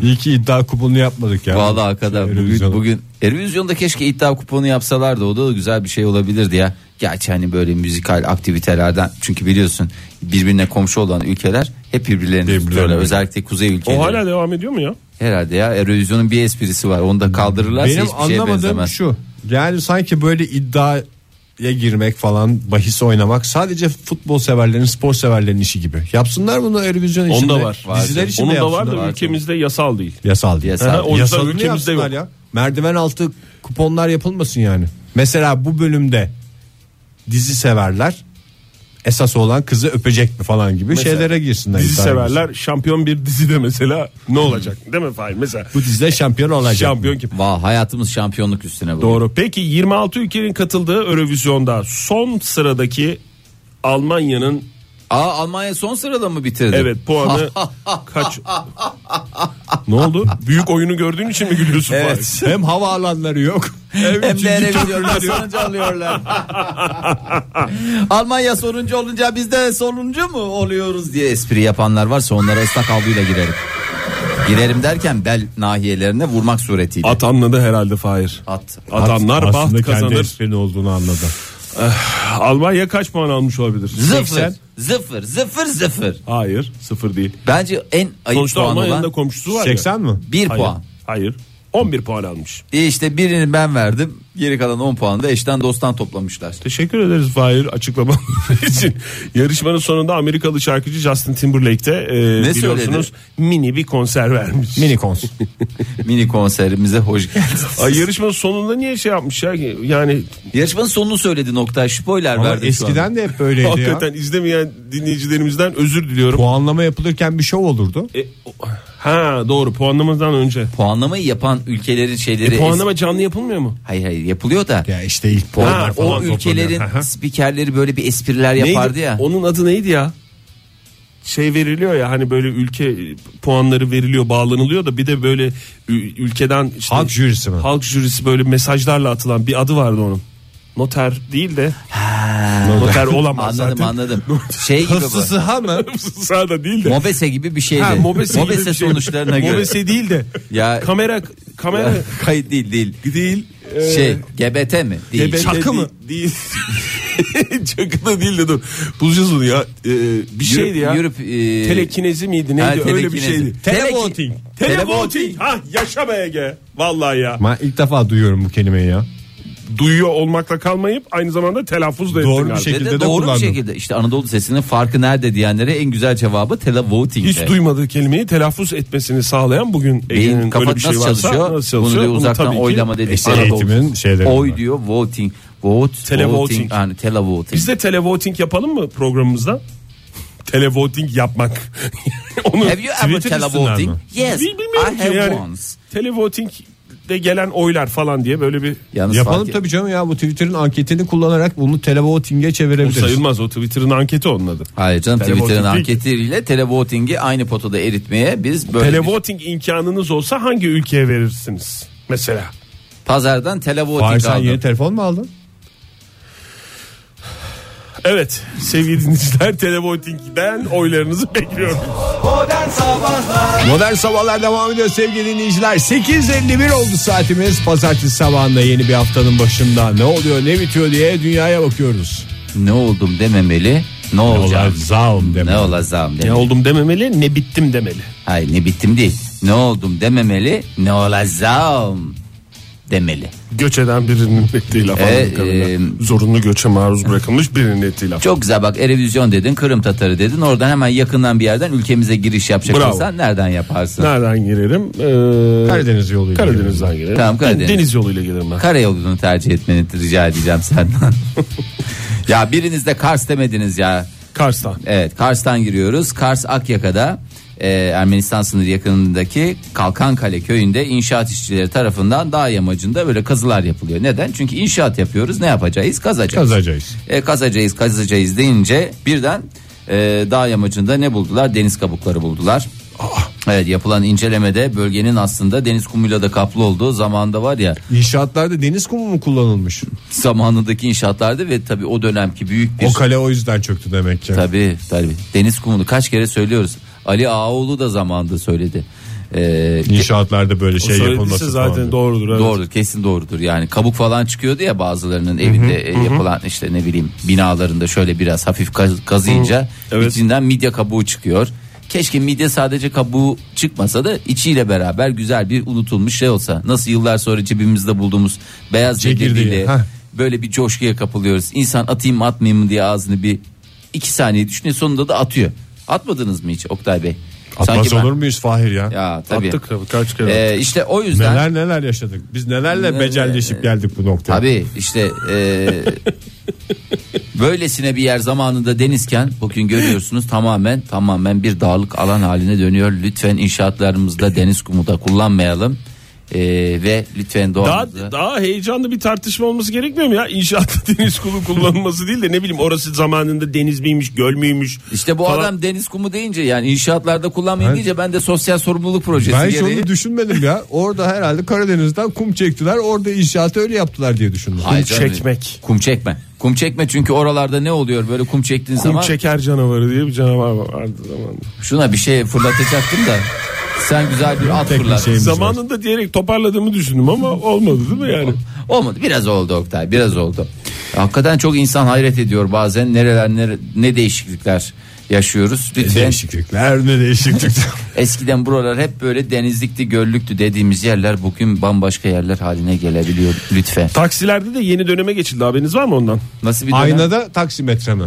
Speaker 2: İyi ki iddia kuponu yapmadık ya.
Speaker 3: Vallahi hakikaten bugün,
Speaker 2: Eurovision'a.
Speaker 3: bugün Eurovision'da keşke iddia kuponu yapsalardı o da güzel bir şey olabilirdi ya. Gerçi hani böyle müzikal aktivitelerden çünkü biliyorsun birbirine komşu olan ülkeler hep birbirlerini tutuyorlar. Özellikle kuzey ülkeleri.
Speaker 5: O hala devam ediyor mu ya?
Speaker 3: Herhalde ya Eurovision'un bir esprisi var onu da kaldırırlarsa
Speaker 2: Benim
Speaker 3: hiçbir şeye
Speaker 2: anlamadığım
Speaker 3: benzemez.
Speaker 2: şu. Yani sanki böyle iddiaya girmek falan bahis oynamak sadece futbol severlerin spor severlerin işi gibi. Yapsınlar bunu Eurovision için.
Speaker 5: Onda
Speaker 2: de,
Speaker 5: var.
Speaker 2: Diziler için
Speaker 5: Onun
Speaker 2: de
Speaker 5: da var da
Speaker 2: yapsınlar.
Speaker 5: ülkemizde yasal değil.
Speaker 2: Yasal değil.
Speaker 3: Yasal.
Speaker 5: Aha, o yüzden
Speaker 2: Yasalını
Speaker 5: ülkemizde
Speaker 2: yapsınlar
Speaker 5: yok.
Speaker 2: ya. Merdiven altı kuponlar yapılmasın yani. Mesela bu bölümde dizi severler esas olan kızı öpecek mi falan gibi şeylere girsinler.
Speaker 5: Dizi
Speaker 2: iddia girsinler.
Speaker 5: severler şampiyon bir dizide mesela ne olacak değil mi Fahir? Mesela
Speaker 2: Bu dizide şampiyon olacak.
Speaker 5: şampiyon kim?
Speaker 3: Vah hayatımız şampiyonluk üstüne bu.
Speaker 5: Doğru. Peki 26 ülkenin katıldığı Eurovision'da son sıradaki Almanya'nın
Speaker 3: Aa Almanya son sırada mı bitirdi?
Speaker 5: evet puanı kaç? ne oldu? Büyük oyunu gördüğün için mi gülüyorsun? Fahir?
Speaker 2: Evet. Hem havaalanları yok.
Speaker 3: Hem de Eurovision'da sonuncu alıyorlar. Almanya sonuncu olunca biz de sonuncu mu oluyoruz diye espri yapanlar varsa onlara ıslak havluyla girelim. Girerim derken bel nahiyelerine vurmak suretiyle.
Speaker 5: At anladı herhalde Fahir.
Speaker 3: At.
Speaker 5: Adamlar
Speaker 2: Aslında
Speaker 5: baht
Speaker 2: kendi
Speaker 5: kazanır. Eh,
Speaker 2: esprin olduğunu anladı.
Speaker 5: Almanya kaç puan almış olabilir?
Speaker 3: Zıfır. Zıfır. Zıfır zıfır.
Speaker 5: Hayır sıfır değil.
Speaker 3: Bence en ayıp
Speaker 5: Sonuçta
Speaker 3: puan
Speaker 5: Almanya'nın da
Speaker 3: olan
Speaker 5: komşusu var
Speaker 2: 80
Speaker 5: ya.
Speaker 2: mi?
Speaker 3: bir
Speaker 5: Hayır,
Speaker 3: puan.
Speaker 5: Hayır. 11 puan almış.
Speaker 3: E işte birini ben verdim. Geri kalan 10 puanı da eşten dosttan toplamışlar.
Speaker 5: Teşekkür ederiz Fahir açıklaman için. Yarışmanın sonunda Amerikalı şarkıcı Justin Timberlake'te e,
Speaker 3: Ne
Speaker 5: biliyorsunuz mini bir konser vermiş.
Speaker 2: Mini kons.
Speaker 3: Mini konserimize hoş geldiniz.
Speaker 5: Ay, yarışmanın sonunda niye şey yapmış ya? Yani
Speaker 3: Yarışmanın sonunu söyledi nokta. Spoiler
Speaker 2: Ama
Speaker 3: verdi şu an.
Speaker 2: eskiden de hep böyleydi ya.
Speaker 5: hakikaten izlemeyen dinleyicilerimizden özür diliyorum.
Speaker 2: Puanlama yapılırken bir şov olurdu.
Speaker 5: E, o- ha doğru puanlamadan önce.
Speaker 3: Puanlamayı yapan ülkelerin şeyleri...
Speaker 5: E, puanlama canlı yapılmıyor mu?
Speaker 3: Hayır hayır yapılıyor da.
Speaker 2: Ya işte ilk
Speaker 3: O,
Speaker 2: puanlar falan
Speaker 5: Ha,
Speaker 3: o
Speaker 5: toplanıyor.
Speaker 3: ülkelerin
Speaker 5: Aha.
Speaker 3: spikerleri böyle bir espriler yapardı
Speaker 5: Neydi?
Speaker 3: ya.
Speaker 5: Onun adı neydi ya? Şey veriliyor ya hani böyle ülke puanları veriliyor bağlanılıyor da bir de böyle ü- ülkeden işte
Speaker 2: Halk jürisi mi?
Speaker 5: halk jürisi böyle mesajlarla atılan bir adı vardı onun. Noter değil de noter olamaz
Speaker 3: Anladım
Speaker 5: zaten.
Speaker 3: anladım. Şey gibi bu.
Speaker 2: Hıfzı Sıha mı?
Speaker 5: Sırada değil de.
Speaker 3: Mobese gibi bir şeydi.
Speaker 5: Ha,
Speaker 3: mobese
Speaker 5: gibi bir şey.
Speaker 3: sonuçlarına göre.
Speaker 5: Mobese değil de.
Speaker 3: Ya-
Speaker 5: kamera kamera
Speaker 3: Ya, Kayıt değil değil.
Speaker 5: değil. e,
Speaker 3: Şey GBT mi? Değil.
Speaker 5: TBT
Speaker 3: Şak-
Speaker 5: değil- Değil. Çakı da değil de dur. Bulacağız onu ya. Ee, bir şeydi ya.
Speaker 3: Europe, e,
Speaker 5: Telekinezi miydi neydi
Speaker 3: Ha,
Speaker 5: öyle bir
Speaker 3: telekinezi.
Speaker 5: şeydi.
Speaker 3: Tele-
Speaker 5: Televoting. Televoting. Ha yaşa be Ege. Vallahi ya.
Speaker 2: Ben ilk defa duyuyorum bu kelimeyi ya.
Speaker 5: Duyuyor olmakla kalmayıp aynı zamanda telaffuz da ettin
Speaker 2: Doğru bir
Speaker 5: galiba.
Speaker 2: şey.
Speaker 3: Ve
Speaker 2: şekilde
Speaker 3: de
Speaker 2: de
Speaker 3: doğru bir
Speaker 2: kullandım.
Speaker 3: şekilde işte Anadolu sesinin farkı nerede diyenlere en güzel cevabı televoting'de.
Speaker 5: Hiç duymadığı kelimeyi telaffuz etmesini sağlayan bugün Ege'nin
Speaker 3: Beyin kafa
Speaker 5: böyle bir
Speaker 3: nasıl,
Speaker 5: şey varsa
Speaker 3: çalışıyor?
Speaker 5: nasıl çalışıyor?
Speaker 3: Bunu diyor uzaktan
Speaker 5: tabii ki-
Speaker 3: oylama dedik.
Speaker 2: eski eğitimin şeyleri
Speaker 3: Oy
Speaker 2: bunlar.
Speaker 3: diyor voting. Vote,
Speaker 5: Televoting.
Speaker 3: voting. Yani televoting.
Speaker 5: Biz de televoting yapalım mı programımızda? televoting yapmak. Onu
Speaker 3: Have you ever
Speaker 2: Twitter üstünden
Speaker 3: televoting?
Speaker 2: mi?
Speaker 3: Yes.
Speaker 5: Bil- bilmiyorum
Speaker 3: I
Speaker 5: ki
Speaker 3: have
Speaker 5: yani.
Speaker 3: once.
Speaker 5: Televoting de gelen oylar falan diye böyle bir
Speaker 3: Yalnız
Speaker 2: Yapalım
Speaker 3: fark-
Speaker 2: tabii canım ya bu Twitter'ın anketini kullanarak bunu televoting'e
Speaker 5: O
Speaker 2: çevirebiliriz.
Speaker 5: sayılmaz o Twitter'ın anketi onun adı.
Speaker 3: Hayır canım
Speaker 5: Televoting
Speaker 3: Twitter'ın
Speaker 5: değil.
Speaker 3: anketleriyle televoting'i aynı potada eritmeye biz böyle bir-
Speaker 5: Televoting imkanınız olsa hangi ülkeye verirsiniz? Mesela.
Speaker 3: pazardan
Speaker 2: Fahir
Speaker 3: televoting
Speaker 2: sen yeni
Speaker 3: aldım.
Speaker 2: telefon mu aldın?
Speaker 5: Evet sevgili dinleyiciler Televoting'den oylarınızı bekliyorum.
Speaker 2: Modern Sabahlar devam ediyor sevgili dinleyiciler. 8.51 oldu saatimiz. Pazartesi sabahında yeni bir haftanın başında ne oluyor ne bitiyor diye dünyaya bakıyoruz.
Speaker 3: Ne oldum dememeli. Ne olacağım?
Speaker 2: Zalim deme.
Speaker 3: Ne olacağım
Speaker 5: Ne
Speaker 3: dememeli.
Speaker 5: oldum dememeli ne bittim demeli.
Speaker 3: Hayır ne bittim değil. Ne oldum dememeli. Ne olacağım demeli.
Speaker 5: Göç eden birinin ettiği laf
Speaker 3: Ee,
Speaker 5: anladığım kadarıyla.
Speaker 3: e,
Speaker 5: Zorunlu göçe maruz bırakılmış birinin ettiği laf.
Speaker 3: Çok güzel bak Erevizyon dedin, Kırım Tatarı dedin. Oradan hemen yakından bir yerden ülkemize giriş yapacak
Speaker 5: Bravo.
Speaker 3: olsan nereden yaparsın?
Speaker 5: Nereden girerim? Ee,
Speaker 2: Karadeniz yoluyla
Speaker 5: Karadeniz'den girerim.
Speaker 3: Tamam, Karadeniz.
Speaker 5: Deniz yoluyla girerim ben.
Speaker 3: Karayolunu tercih etmeni rica edeceğim senden. ya biriniz de Kars demediniz ya.
Speaker 5: Kars'tan.
Speaker 3: Evet Kars'tan giriyoruz. Kars Akyaka'da e, Ermenistan sınırı yakınındaki Kalkankale köyünde inşaat işçileri tarafından dağ yamacında böyle kazılar yapılıyor. Neden? Çünkü inşaat yapıyoruz. Ne yapacağız? Kazacağız.
Speaker 2: Kazacağız.
Speaker 3: E, kazacağız kazacağız deyince birden e, dağ yamacında ne buldular? Deniz kabukları buldular. Evet yapılan incelemede bölgenin aslında deniz kumuyla da kaplı olduğu zamanda var ya
Speaker 2: İnşaatlarda deniz kumu mu kullanılmış?
Speaker 3: zamanındaki inşaatlarda ve tabii o dönemki büyük bir
Speaker 2: O kale o yüzden çöktü demek ki.
Speaker 3: Tabii tabii. Deniz kumunu kaç kere söylüyoruz. Ali Ağaoğlu da zamanında söyledi. Ee,
Speaker 2: İnşaatlarda böyle şey yapılması
Speaker 5: Söylediyse zaten
Speaker 2: zaten
Speaker 5: doğrudur. Evet.
Speaker 3: Doğrudur kesin doğrudur yani kabuk falan çıkıyordu ya bazılarının evinde e, yapılan işte ne bileyim binalarında şöyle biraz hafif kaz- kazıyınca
Speaker 5: Evet.
Speaker 3: içinden midye kabuğu çıkıyor. Keşke midye sadece kabuğu çıkmasa da içiyle beraber güzel bir unutulmuş şey olsa. Nasıl yıllar sonra cebimizde bulduğumuz beyaz
Speaker 2: Çekirdeği,
Speaker 3: cekirdeğiyle
Speaker 2: heh.
Speaker 3: böyle bir coşkuya kapılıyoruz. İnsan atayım mı atmayayım mı diye ağzını bir iki saniye düşünüyor sonunda da atıyor. Atmadınız mı hiç Oktay Bey?
Speaker 2: Atmaz
Speaker 3: ben-
Speaker 2: olur muyuz Fahir ya?
Speaker 3: Ya tabii.
Speaker 5: Attık tabii, kaç kere.
Speaker 3: Ee, işte o yüzden
Speaker 2: Neler neler yaşadık. Biz nelerle
Speaker 3: Neler-
Speaker 2: becerleşip geldik bu noktaya.
Speaker 3: Tabii işte e, böylesine bir yer zamanında denizken bugün görüyorsunuz tamamen tamamen bir dağlık alan haline dönüyor. Lütfen inşaatlarımızda deniz kumu da kullanmayalım E, ve lütfen
Speaker 5: Daha,
Speaker 3: doğamızı.
Speaker 5: daha heyecanlı bir tartışma olması gerekmiyor mu ya? İnşaatta deniz kumu kullanılması değil de ne bileyim orası zamanında deniz miymiş, göl müymüş?
Speaker 3: İşte bu
Speaker 5: falan.
Speaker 3: adam deniz kumu deyince yani inşaatlarda kullanmayın deyince ben de sosyal sorumluluk projesi
Speaker 2: Ben hiç
Speaker 3: gereği.
Speaker 2: onu düşünmedim ya. Orada herhalde Karadeniz'den kum çektiler. Orada inşaatı öyle yaptılar diye düşündüm.
Speaker 3: Hayır canım.
Speaker 5: çekmek.
Speaker 3: Kum çekme. Kum çekme çünkü oralarda ne oluyor böyle kum çektiğin
Speaker 5: Kum
Speaker 3: zaman
Speaker 5: çeker canavarı diye bir canavar vardı zamanında.
Speaker 3: şuna bir şey fırlatacaktım da Sen güzel bir at
Speaker 2: Tek bir
Speaker 3: fırlat.
Speaker 2: şeyimiz var.
Speaker 5: Zamanında diyerek toparladığımı düşündüm ama olmadı değil mi yani?
Speaker 3: Olmadı biraz oldu Oktay biraz oldu. Hakikaten çok insan hayret ediyor bazen nereler nere- ne değişiklikler yaşıyoruz. Lütfen
Speaker 2: Değişiklikler ne değişiklikler.
Speaker 3: eskiden buralar hep böyle denizlikti göllüktü dediğimiz yerler bugün bambaşka yerler haline gelebiliyor lütfen.
Speaker 5: Taksilerde de yeni döneme geçildi haberiniz var mı ondan?
Speaker 3: Nasıl bir dönem?
Speaker 2: Aynada taksimetre mi?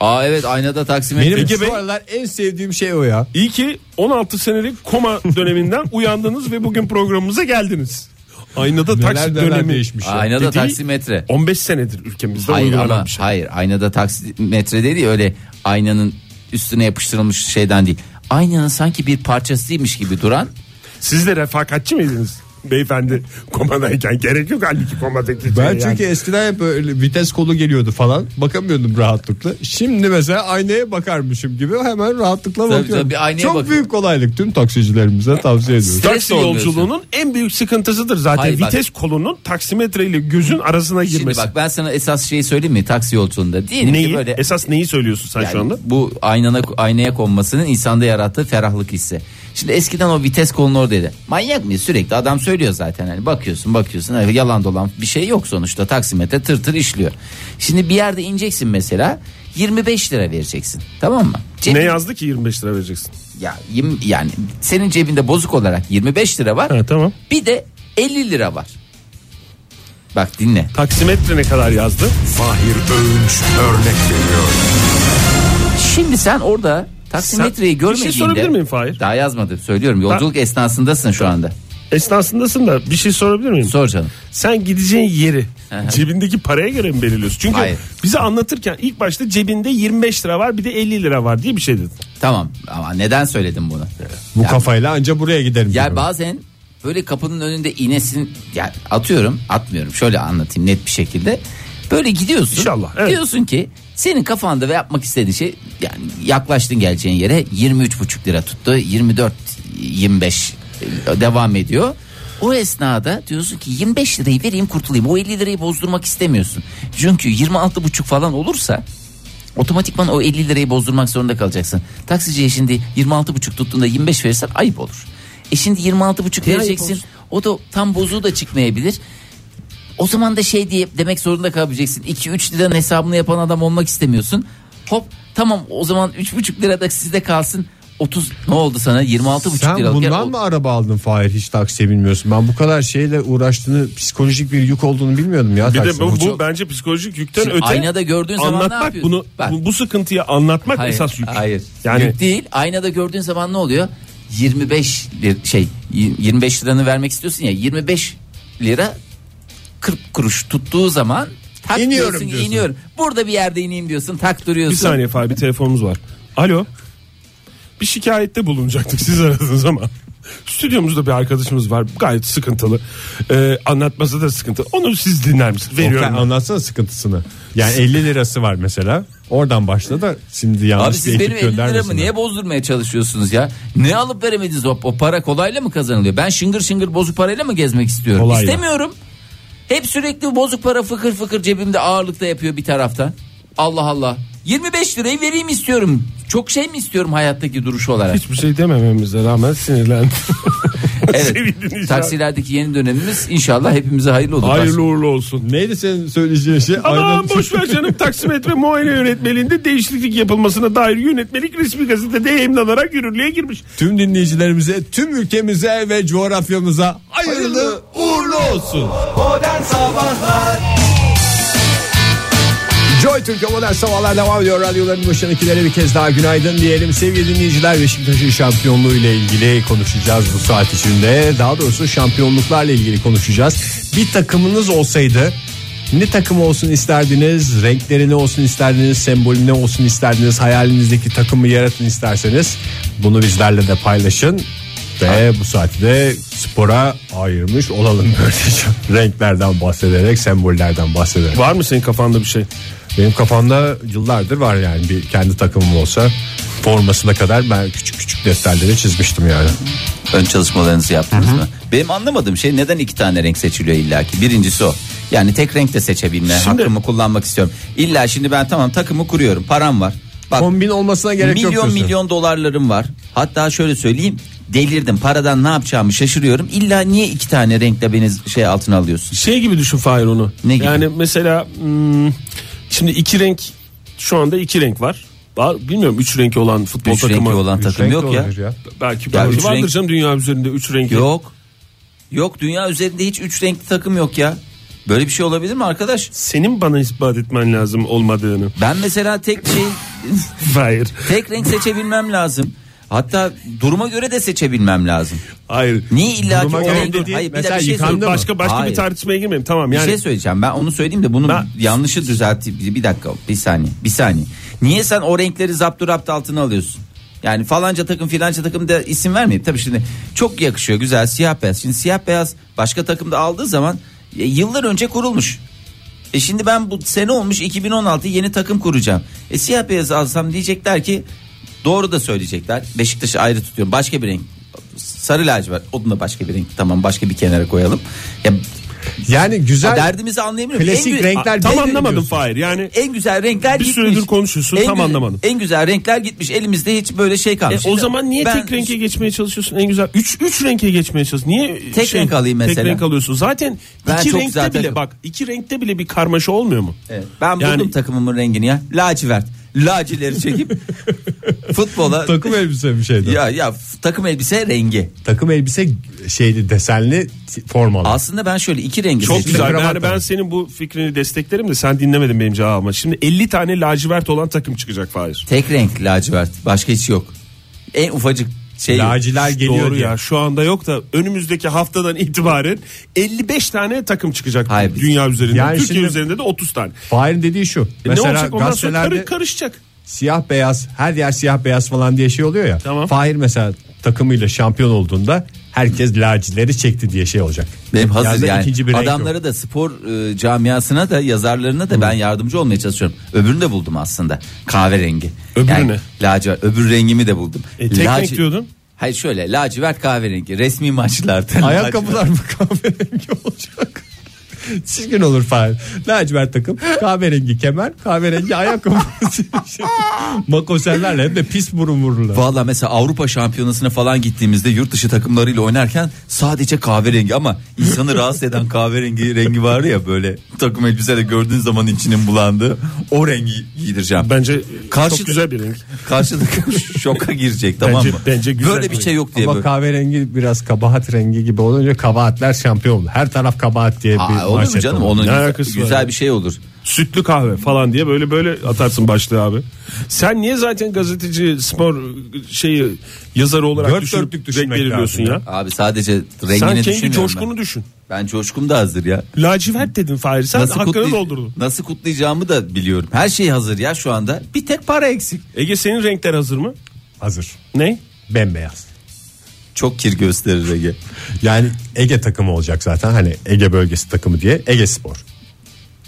Speaker 3: Aa evet aynada taksimetre.
Speaker 2: Benim
Speaker 5: Peki
Speaker 2: şu
Speaker 5: ben-
Speaker 2: aralar en sevdiğim şey o ya.
Speaker 5: İyi ki 16 senelik koma döneminden uyandınız ve bugün programımıza geldiniz. Aynada
Speaker 2: Neler
Speaker 5: taksit
Speaker 2: neler
Speaker 5: dönemi
Speaker 2: değişmiş ya.
Speaker 3: Aynada
Speaker 5: Dediği
Speaker 3: taksimetre.
Speaker 5: 15 senedir ülkemizde
Speaker 3: Hayır ama
Speaker 5: uygulanan bir şey.
Speaker 3: hayır aynada taksimetre dedi ya, öyle aynanın üstüne yapıştırılmış şeyden değil. Aynanın sanki bir parçasıymış gibi duran
Speaker 5: Siz de refakatçi miydiniz? Beyefendi komadayken gerek yok halbuki komadaki.
Speaker 2: Ben
Speaker 5: şey
Speaker 2: çünkü
Speaker 5: yani.
Speaker 2: eskiden hep öyle vites kolu geliyordu falan. Bakamıyordum rahatlıkla. Şimdi mesela aynaya bakarmışım gibi hemen rahatlıkla
Speaker 3: Tabii
Speaker 2: bakıyorum.
Speaker 3: tabii, aynaya
Speaker 2: Çok
Speaker 3: bakıyorum.
Speaker 2: büyük kolaylık. Tüm taksicilerimize tavsiye ediyoruz.
Speaker 3: Stres
Speaker 5: Taksi
Speaker 3: mi oluyorsun?
Speaker 5: yolculuğunun en büyük sıkıntısıdır zaten.
Speaker 3: Hayır, bak-
Speaker 5: Vites kolunun taksimetre ile gözün arasına
Speaker 3: Şimdi
Speaker 5: girmesi.
Speaker 3: bak ben sana esas şeyi söyleyeyim mi taksi yolculuğunda diyelim ki
Speaker 5: neyi?
Speaker 3: böyle
Speaker 5: Esas neyi söylüyorsun sen şu
Speaker 3: yani
Speaker 5: anda?
Speaker 3: bu aynana aynaya konmasının insanda yarattığı ferahlık hissi. Şimdi eskiden o vites kolunu oradaydı. Manyak mı sürekli adam söylüyor zaten hani bakıyorsun bakıyorsun hani yalan dolan bir şey yok sonuçta taksimetre tır tır işliyor. Şimdi bir yerde ineceksin mesela 25 lira vereceksin tamam mı? Cebin-
Speaker 5: Ne yazdı ki 25 lira vereceksin?
Speaker 3: ya, yirmi- yani senin cebinde bozuk olarak 25 lira var
Speaker 5: Ha, tamam.
Speaker 3: bir de 50 lira var. Bak dinle.
Speaker 5: Taksimetre ne kadar yazdı?
Speaker 7: Fahir Öğünç örnek veriyor.
Speaker 3: Şimdi sen orada taksimetreyi
Speaker 5: Sen-
Speaker 3: görmediğinde...
Speaker 5: Bir şey sorabilir miyim Fahir?
Speaker 3: Daha yazmadım söylüyorum. Yolculuk esnasındasın şu anda.
Speaker 5: Esnasındasın da bir şey sorabilir miyim?
Speaker 3: Sor canım.
Speaker 5: Sen gideceğin yeri cebindeki paraya göre mi belirliyorsun? Çünkü
Speaker 3: Hayır.
Speaker 5: bize anlatırken ilk başta cebinde 25 lira var bir de 50 lira var diye bir şey dedin.
Speaker 3: Tamam ama neden söyledim bunu?
Speaker 2: Bu kafayla anca buraya giderim.
Speaker 3: Ya
Speaker 2: diyorum.
Speaker 3: bazen böyle kapının önünde inesin yani atıyorum atmıyorum şöyle anlatayım net bir şekilde. Böyle gidiyorsun.
Speaker 5: İnşallah, evet.
Speaker 3: Diyorsun ki senin kafanda ve yapmak istediğin şey yani yaklaştın geleceğin yere 23,5 lira tuttu 24 25 e, devam ediyor. O esnada diyorsun ki 25 lirayı vereyim kurtulayım. O 50 lirayı bozdurmak istemiyorsun. Çünkü 26,5 falan olursa otomatikman o 50 lirayı bozdurmak zorunda kalacaksın. Taksiciye şimdi 26,5 tuttuğunda 25 verirsen ayıp olur. E şimdi 26,5 vereceksin. O da tam bozuğu da çıkmayabilir. O zaman da şey diye demek zorunda kalabileceksin. 2-3 liranın hesabını yapan adam olmak istemiyorsun. Hop tamam o zaman 3,5 lira da sizde kalsın. 30 ne oldu sana 26,5
Speaker 2: Sen
Speaker 3: liralık. yer-
Speaker 2: bundan mı araba aldın Fahir hiç taksiye binmiyorsun? Ben bu kadar şeyle uğraştığını psikolojik bir yük olduğunu bilmiyordum ya.
Speaker 5: Bir de
Speaker 2: taksinin.
Speaker 5: bu, bu
Speaker 3: çok-
Speaker 5: bence psikolojik yükten
Speaker 3: Şimdi
Speaker 5: öte
Speaker 3: aynada gördüğün zaman ne
Speaker 5: anlatmak
Speaker 3: yapıyorsun?
Speaker 5: bunu
Speaker 3: Bak.
Speaker 5: bu, bu sıkıntıyı anlatmak
Speaker 3: Hayır,
Speaker 5: esas yük.
Speaker 3: Hayır.
Speaker 5: Yani
Speaker 3: Yük değil. Aynada gördüğün zaman ne oluyor? 25 lir, şey y- 25 liranı vermek istiyorsun ya 25 lira 40 kuruş tuttuğu zaman tak
Speaker 2: İniyorum
Speaker 3: diyorsun,
Speaker 2: diyorsun.
Speaker 3: iniyorum. Burada bir yerde ineyim diyorsun tak duruyorsun.
Speaker 5: bir saniye Fahir bir telefonumuz var. Alo. Bir şikayette bulunacaktık siz aradınız ama. Stüdyomuzda bir arkadaşımız var gayet sıkıntılı. Ee, anlatması da sıkıntı. Onu siz dinler misiniz?
Speaker 2: Oktay,
Speaker 5: Veriyorum. ben.
Speaker 2: anlatsana sıkıntısını. Yani 50 lirası var mesela. Oradan başla da şimdi yanlış
Speaker 3: Abi siz
Speaker 2: bir
Speaker 3: benim
Speaker 2: ekip
Speaker 3: 50 liramı
Speaker 2: göndermesinler.
Speaker 3: niye bozdurmaya çalışıyorsunuz ya? Ne alıp veremediniz o, o para kolayla mı kazanılıyor? Ben şıngır şıngır bozuk parayla mı gezmek istiyorum?
Speaker 2: Kolayla.
Speaker 3: İstemiyorum. Hep sürekli bozuk para fıkır fıkır cebimde ağırlıkta yapıyor bir taraftan. Allah Allah. 25 lirayı vereyim istiyorum. Çok şey mi istiyorum hayattaki duruş olarak?
Speaker 5: Hiçbir şey demememize rağmen sinirlendim.
Speaker 3: Evet.
Speaker 5: Sevindin inşallah.
Speaker 3: Taksilerdeki yeni dönemimiz inşallah hepimize hayırlı olur.
Speaker 5: Hayırlı uğurlu olsun.
Speaker 2: Neydi senin söyleyeceğin şey?
Speaker 5: Aman
Speaker 2: Aynen-
Speaker 5: boş ver canım taksimetre muayene yönetmeliğinde değişiklik yapılmasına dair yönetmelik resmi gazetede yayımlanarak yürürlüğe girmiş.
Speaker 2: Tüm dinleyicilerimize, tüm ülkemize ve coğrafyamıza hayırlı uğurlu olsun.
Speaker 7: Modern Sabahlar
Speaker 2: Joy Türk'e modern sabahlar devam ediyor. Radyoların başındakilere bir kez daha günaydın diyelim. Sevgili dinleyiciler Beşiktaş'ın şampiyonluğu ile ilgili konuşacağız bu saat içinde. Daha doğrusu şampiyonluklarla ilgili konuşacağız. Bir takımınız olsaydı ne takım olsun isterdiniz, renkleri ne olsun isterdiniz, sembolü ne olsun isterdiniz, hayalinizdeki takımı yaratın isterseniz bunu bizlerle de paylaşın. Ve bu saati de spora ayırmış olalım böylece. Renklerden bahsederek, sembollerden bahsederek.
Speaker 5: Var mı senin kafanda bir şey?
Speaker 2: Benim kafamda yıllardır var yani bir kendi takımım olsa formasına kadar ben küçük küçük defterleri çizmiştim yani.
Speaker 3: Ön çalışmalarınızı yaptınız mı? Benim anlamadığım şey neden iki tane renk seçiliyor illaki? Birincisi o. Yani tek renk de seçebilme hakkımı kullanmak istiyorum. İlla şimdi ben tamam takımı kuruyorum. Param var. Bak
Speaker 2: Kombin olmasına gerek yok.
Speaker 3: milyon
Speaker 2: diyorsun.
Speaker 3: milyon dolarlarım var. Hatta şöyle söyleyeyim. delirdim. Paradan ne yapacağımı şaşırıyorum. İlla niye iki tane renkle beni şey altına alıyorsun?
Speaker 5: Şey gibi düşün Fahir onu.
Speaker 3: Ne gibi?
Speaker 5: Yani mesela hmm, şimdi iki renk şu anda iki renk var. Ba- Bilmiyorum üç renk olan futbol
Speaker 3: Üç
Speaker 5: takımı.
Speaker 3: renkli olan takım
Speaker 2: Renk
Speaker 3: yok ya.
Speaker 2: olabilir
Speaker 5: Belki
Speaker 3: Ya
Speaker 5: belki
Speaker 3: üç
Speaker 5: vardır
Speaker 3: renk-
Speaker 5: canım dünya üzerinde üç renk.
Speaker 3: Yok. Yok dünya üzerinde hiç üç renkli takım yok ya. Böyle bir şey olabilir mi arkadaş?
Speaker 5: Senin bana ispat etmen lazım olmadığını.
Speaker 3: Ben mesela tek şey
Speaker 5: Hayır.
Speaker 3: tek renk seçebilmem lazım. Hatta duruma göre de seçebilmem lazım.
Speaker 5: Hayır.
Speaker 3: Niye illa ki
Speaker 2: Duruma
Speaker 3: o
Speaker 2: göre
Speaker 3: renk-
Speaker 2: de değil.
Speaker 3: Hayır, bir de
Speaker 2: Mesela
Speaker 3: bir şey
Speaker 2: yıkandı
Speaker 3: söyleyeyim.
Speaker 2: mı?
Speaker 5: Başka başka
Speaker 3: Hayır.
Speaker 5: bir tartışmaya girmeyeyim tamam yani.
Speaker 3: Bir şey söyleyeceğim. Ben onu söyleyeyim de bunun
Speaker 5: Ben-
Speaker 3: yanlışı düzelteyim. Bir- Bir dakika. Bir saniye. Bir saniye. Niye sen o renkleri zapturapt altına alıyorsun? Yani falanca takım filanca takım da isim vermeyeyim. Tabii şimdi çok yakışıyor güzel siyah beyaz. Şimdi siyah beyaz başka takımda aldığı zaman e, yıllar önce kurulmuş. E şimdi ben bu sene olmuş 2016 yeni takım kuracağım. E siyah beyaz alsam diyecekler ki doğru da söyleyecekler. Beşiktaş'ı ayrı tutuyorum. Başka bir renk. Sarı lacivert. Onu da başka bir renk. Tamam başka bir kenara koyalım. Ya
Speaker 2: Yani güzel
Speaker 3: Ha, derdimizi anlayamıyorum.
Speaker 2: Klasik
Speaker 3: gü-
Speaker 2: renkler
Speaker 3: A-
Speaker 5: Tam
Speaker 2: Ne
Speaker 5: anlamadım
Speaker 2: diyorsun?
Speaker 5: Fahir yani.
Speaker 3: En güzel renkler
Speaker 5: Bir
Speaker 3: gitmiş.
Speaker 5: süredir konuşuyorsun, tam
Speaker 3: güzel-
Speaker 5: anlamadım.
Speaker 3: En güzel renkler gitmiş. Elimizde hiç böyle şey
Speaker 5: E,
Speaker 3: kalmış.
Speaker 5: o
Speaker 3: Şimdi
Speaker 5: zaman niye
Speaker 3: ben-
Speaker 5: tek renke geçmeye çalışıyorsun en güzel? Üç, üç renke geçmeye çalışıyorsun. Niye şey,
Speaker 3: Tek renk alayım
Speaker 5: Tek
Speaker 3: mesela.
Speaker 5: renk alıyorsun. Zaten
Speaker 3: Ben
Speaker 5: iki
Speaker 3: çok
Speaker 5: renkte
Speaker 3: zaten-
Speaker 5: bile bak iki renkte bile bir karmaşa olmuyor mu?
Speaker 3: Evet, ben buldum
Speaker 5: Yani-
Speaker 3: takımımın rengini ya. Lacivert. Lacileri çekip futbola
Speaker 2: takım elbise bir şeydi.
Speaker 3: ya ya f- takım elbise rengi.
Speaker 2: Takım elbise şeyli desenli t- formalı.
Speaker 3: Aslında ben şöyle iki rengi
Speaker 5: Çok
Speaker 3: seçtim.
Speaker 5: güzel.
Speaker 2: kravat
Speaker 5: Yani ben
Speaker 2: var.
Speaker 5: senin bu fikrini desteklerim de sen dinlemedin benim cevabımı. Şimdi 50 tane lacivert olan takım çıkacak Fahir.
Speaker 3: Tek renk lacivert. Başka hiç yok. En ufacık şey.
Speaker 2: Laciler geliyor
Speaker 5: Doğru
Speaker 2: diye.
Speaker 5: ya şu anda yok da önümüzdeki haftadan itibaren 55 tane takım çıkacak
Speaker 3: Hayır, biz-
Speaker 5: dünya üzerinde.
Speaker 2: Yani
Speaker 5: Türkiye
Speaker 2: şimdi-
Speaker 5: üzerinde de 30 tane.
Speaker 2: Fahir'in dediği şu.
Speaker 5: E
Speaker 2: mesela
Speaker 5: ne olacak ondan sonra
Speaker 2: gazetelerde
Speaker 5: karı- karışacak.
Speaker 2: siyah beyaz her yer siyah beyaz falan diye şey oluyor ya.
Speaker 5: Tamam.
Speaker 2: Fahir mesela takımıyla şampiyon olduğunda herkes lacileri çekti diye şey olacak.
Speaker 3: Benim hazır
Speaker 2: Yazda
Speaker 3: yani.
Speaker 2: ikinci bir renk yok.
Speaker 3: Adamlara da spor e, camiasına da yazarlarına da ben yardımcı olmaya çalışıyorum. Öbürünü de buldum aslında. Kahverengi.
Speaker 5: Öbürü
Speaker 3: yani,
Speaker 5: ne?
Speaker 3: lacivert. Öbür rengimi de buldum.
Speaker 5: E, tek renk diyordun.
Speaker 3: Hayır şöyle lacivert kahverengi resmi maçlarda.
Speaker 2: Ayakkabılar mı kahverengi olacak? Çirkin olur Fahir. Lacivert takım, kahverengi kemer, kahverengi ayakkabı. Makosellerle hem de pis burun vururlar.
Speaker 3: Valla mesela Avrupa şampiyonasına falan gittiğimizde yurt dışı takımlarıyla oynarken sadece kahverengi ama insanı rahatsız eden kahverengi rengi var ya böyle takım elbiseyle gördüğün zaman içinin bulandığı o rengi giydireceğim.
Speaker 5: Bence
Speaker 3: Karşı-
Speaker 5: çok güzel bir renk.
Speaker 3: Karşılık şoka girecek tamam
Speaker 5: Bence-
Speaker 3: mı?
Speaker 5: bence güzel
Speaker 3: Böyle bir
Speaker 5: bir-
Speaker 3: şey yok diye.
Speaker 2: Ama
Speaker 3: böyle.
Speaker 2: kahverengi biraz kabahat rengi gibi olunca kabahatler şampiyon olur. Her taraf kabahat diye bir
Speaker 3: Aa, olur mu
Speaker 2: manşet
Speaker 3: canım
Speaker 2: olur.
Speaker 3: onun
Speaker 5: Ne
Speaker 3: güzel,
Speaker 5: alakası var
Speaker 3: güzel
Speaker 5: ya?
Speaker 3: bir şey olur.
Speaker 5: Sütlü kahve falan diye böyle böyle atarsın başlığı abi. Sen niye zaten gazeteci spor şeyi yazarı olarak
Speaker 2: Dört
Speaker 5: düşünüp
Speaker 2: dörtlük
Speaker 5: renk
Speaker 2: düşünmek
Speaker 5: belirliyorsun
Speaker 2: lazım
Speaker 5: ya?
Speaker 3: Abi sadece rengini
Speaker 5: Sen kendi
Speaker 3: düşünmüyorum
Speaker 5: coşkunu düşün.
Speaker 3: ben. Ben coşkum da hazır ya.
Speaker 5: Lacivert dedin Fahir sen
Speaker 3: Nasıl,
Speaker 5: hakkını
Speaker 2: e-
Speaker 3: kutlay-
Speaker 5: doldurdun.
Speaker 3: nasıl kutlayacağımı da biliyorum. Her şey hazır ya şu anda. Bir tek para eksik.
Speaker 5: Ege senin renkler hazır mı?
Speaker 2: Hazır.
Speaker 5: Ne?
Speaker 2: Bembeyaz.
Speaker 3: Çok kir gösterir Ege.
Speaker 2: Yani Ege takımı olacak zaten. Hani Ege bölgesi takımı diye Ege Spor.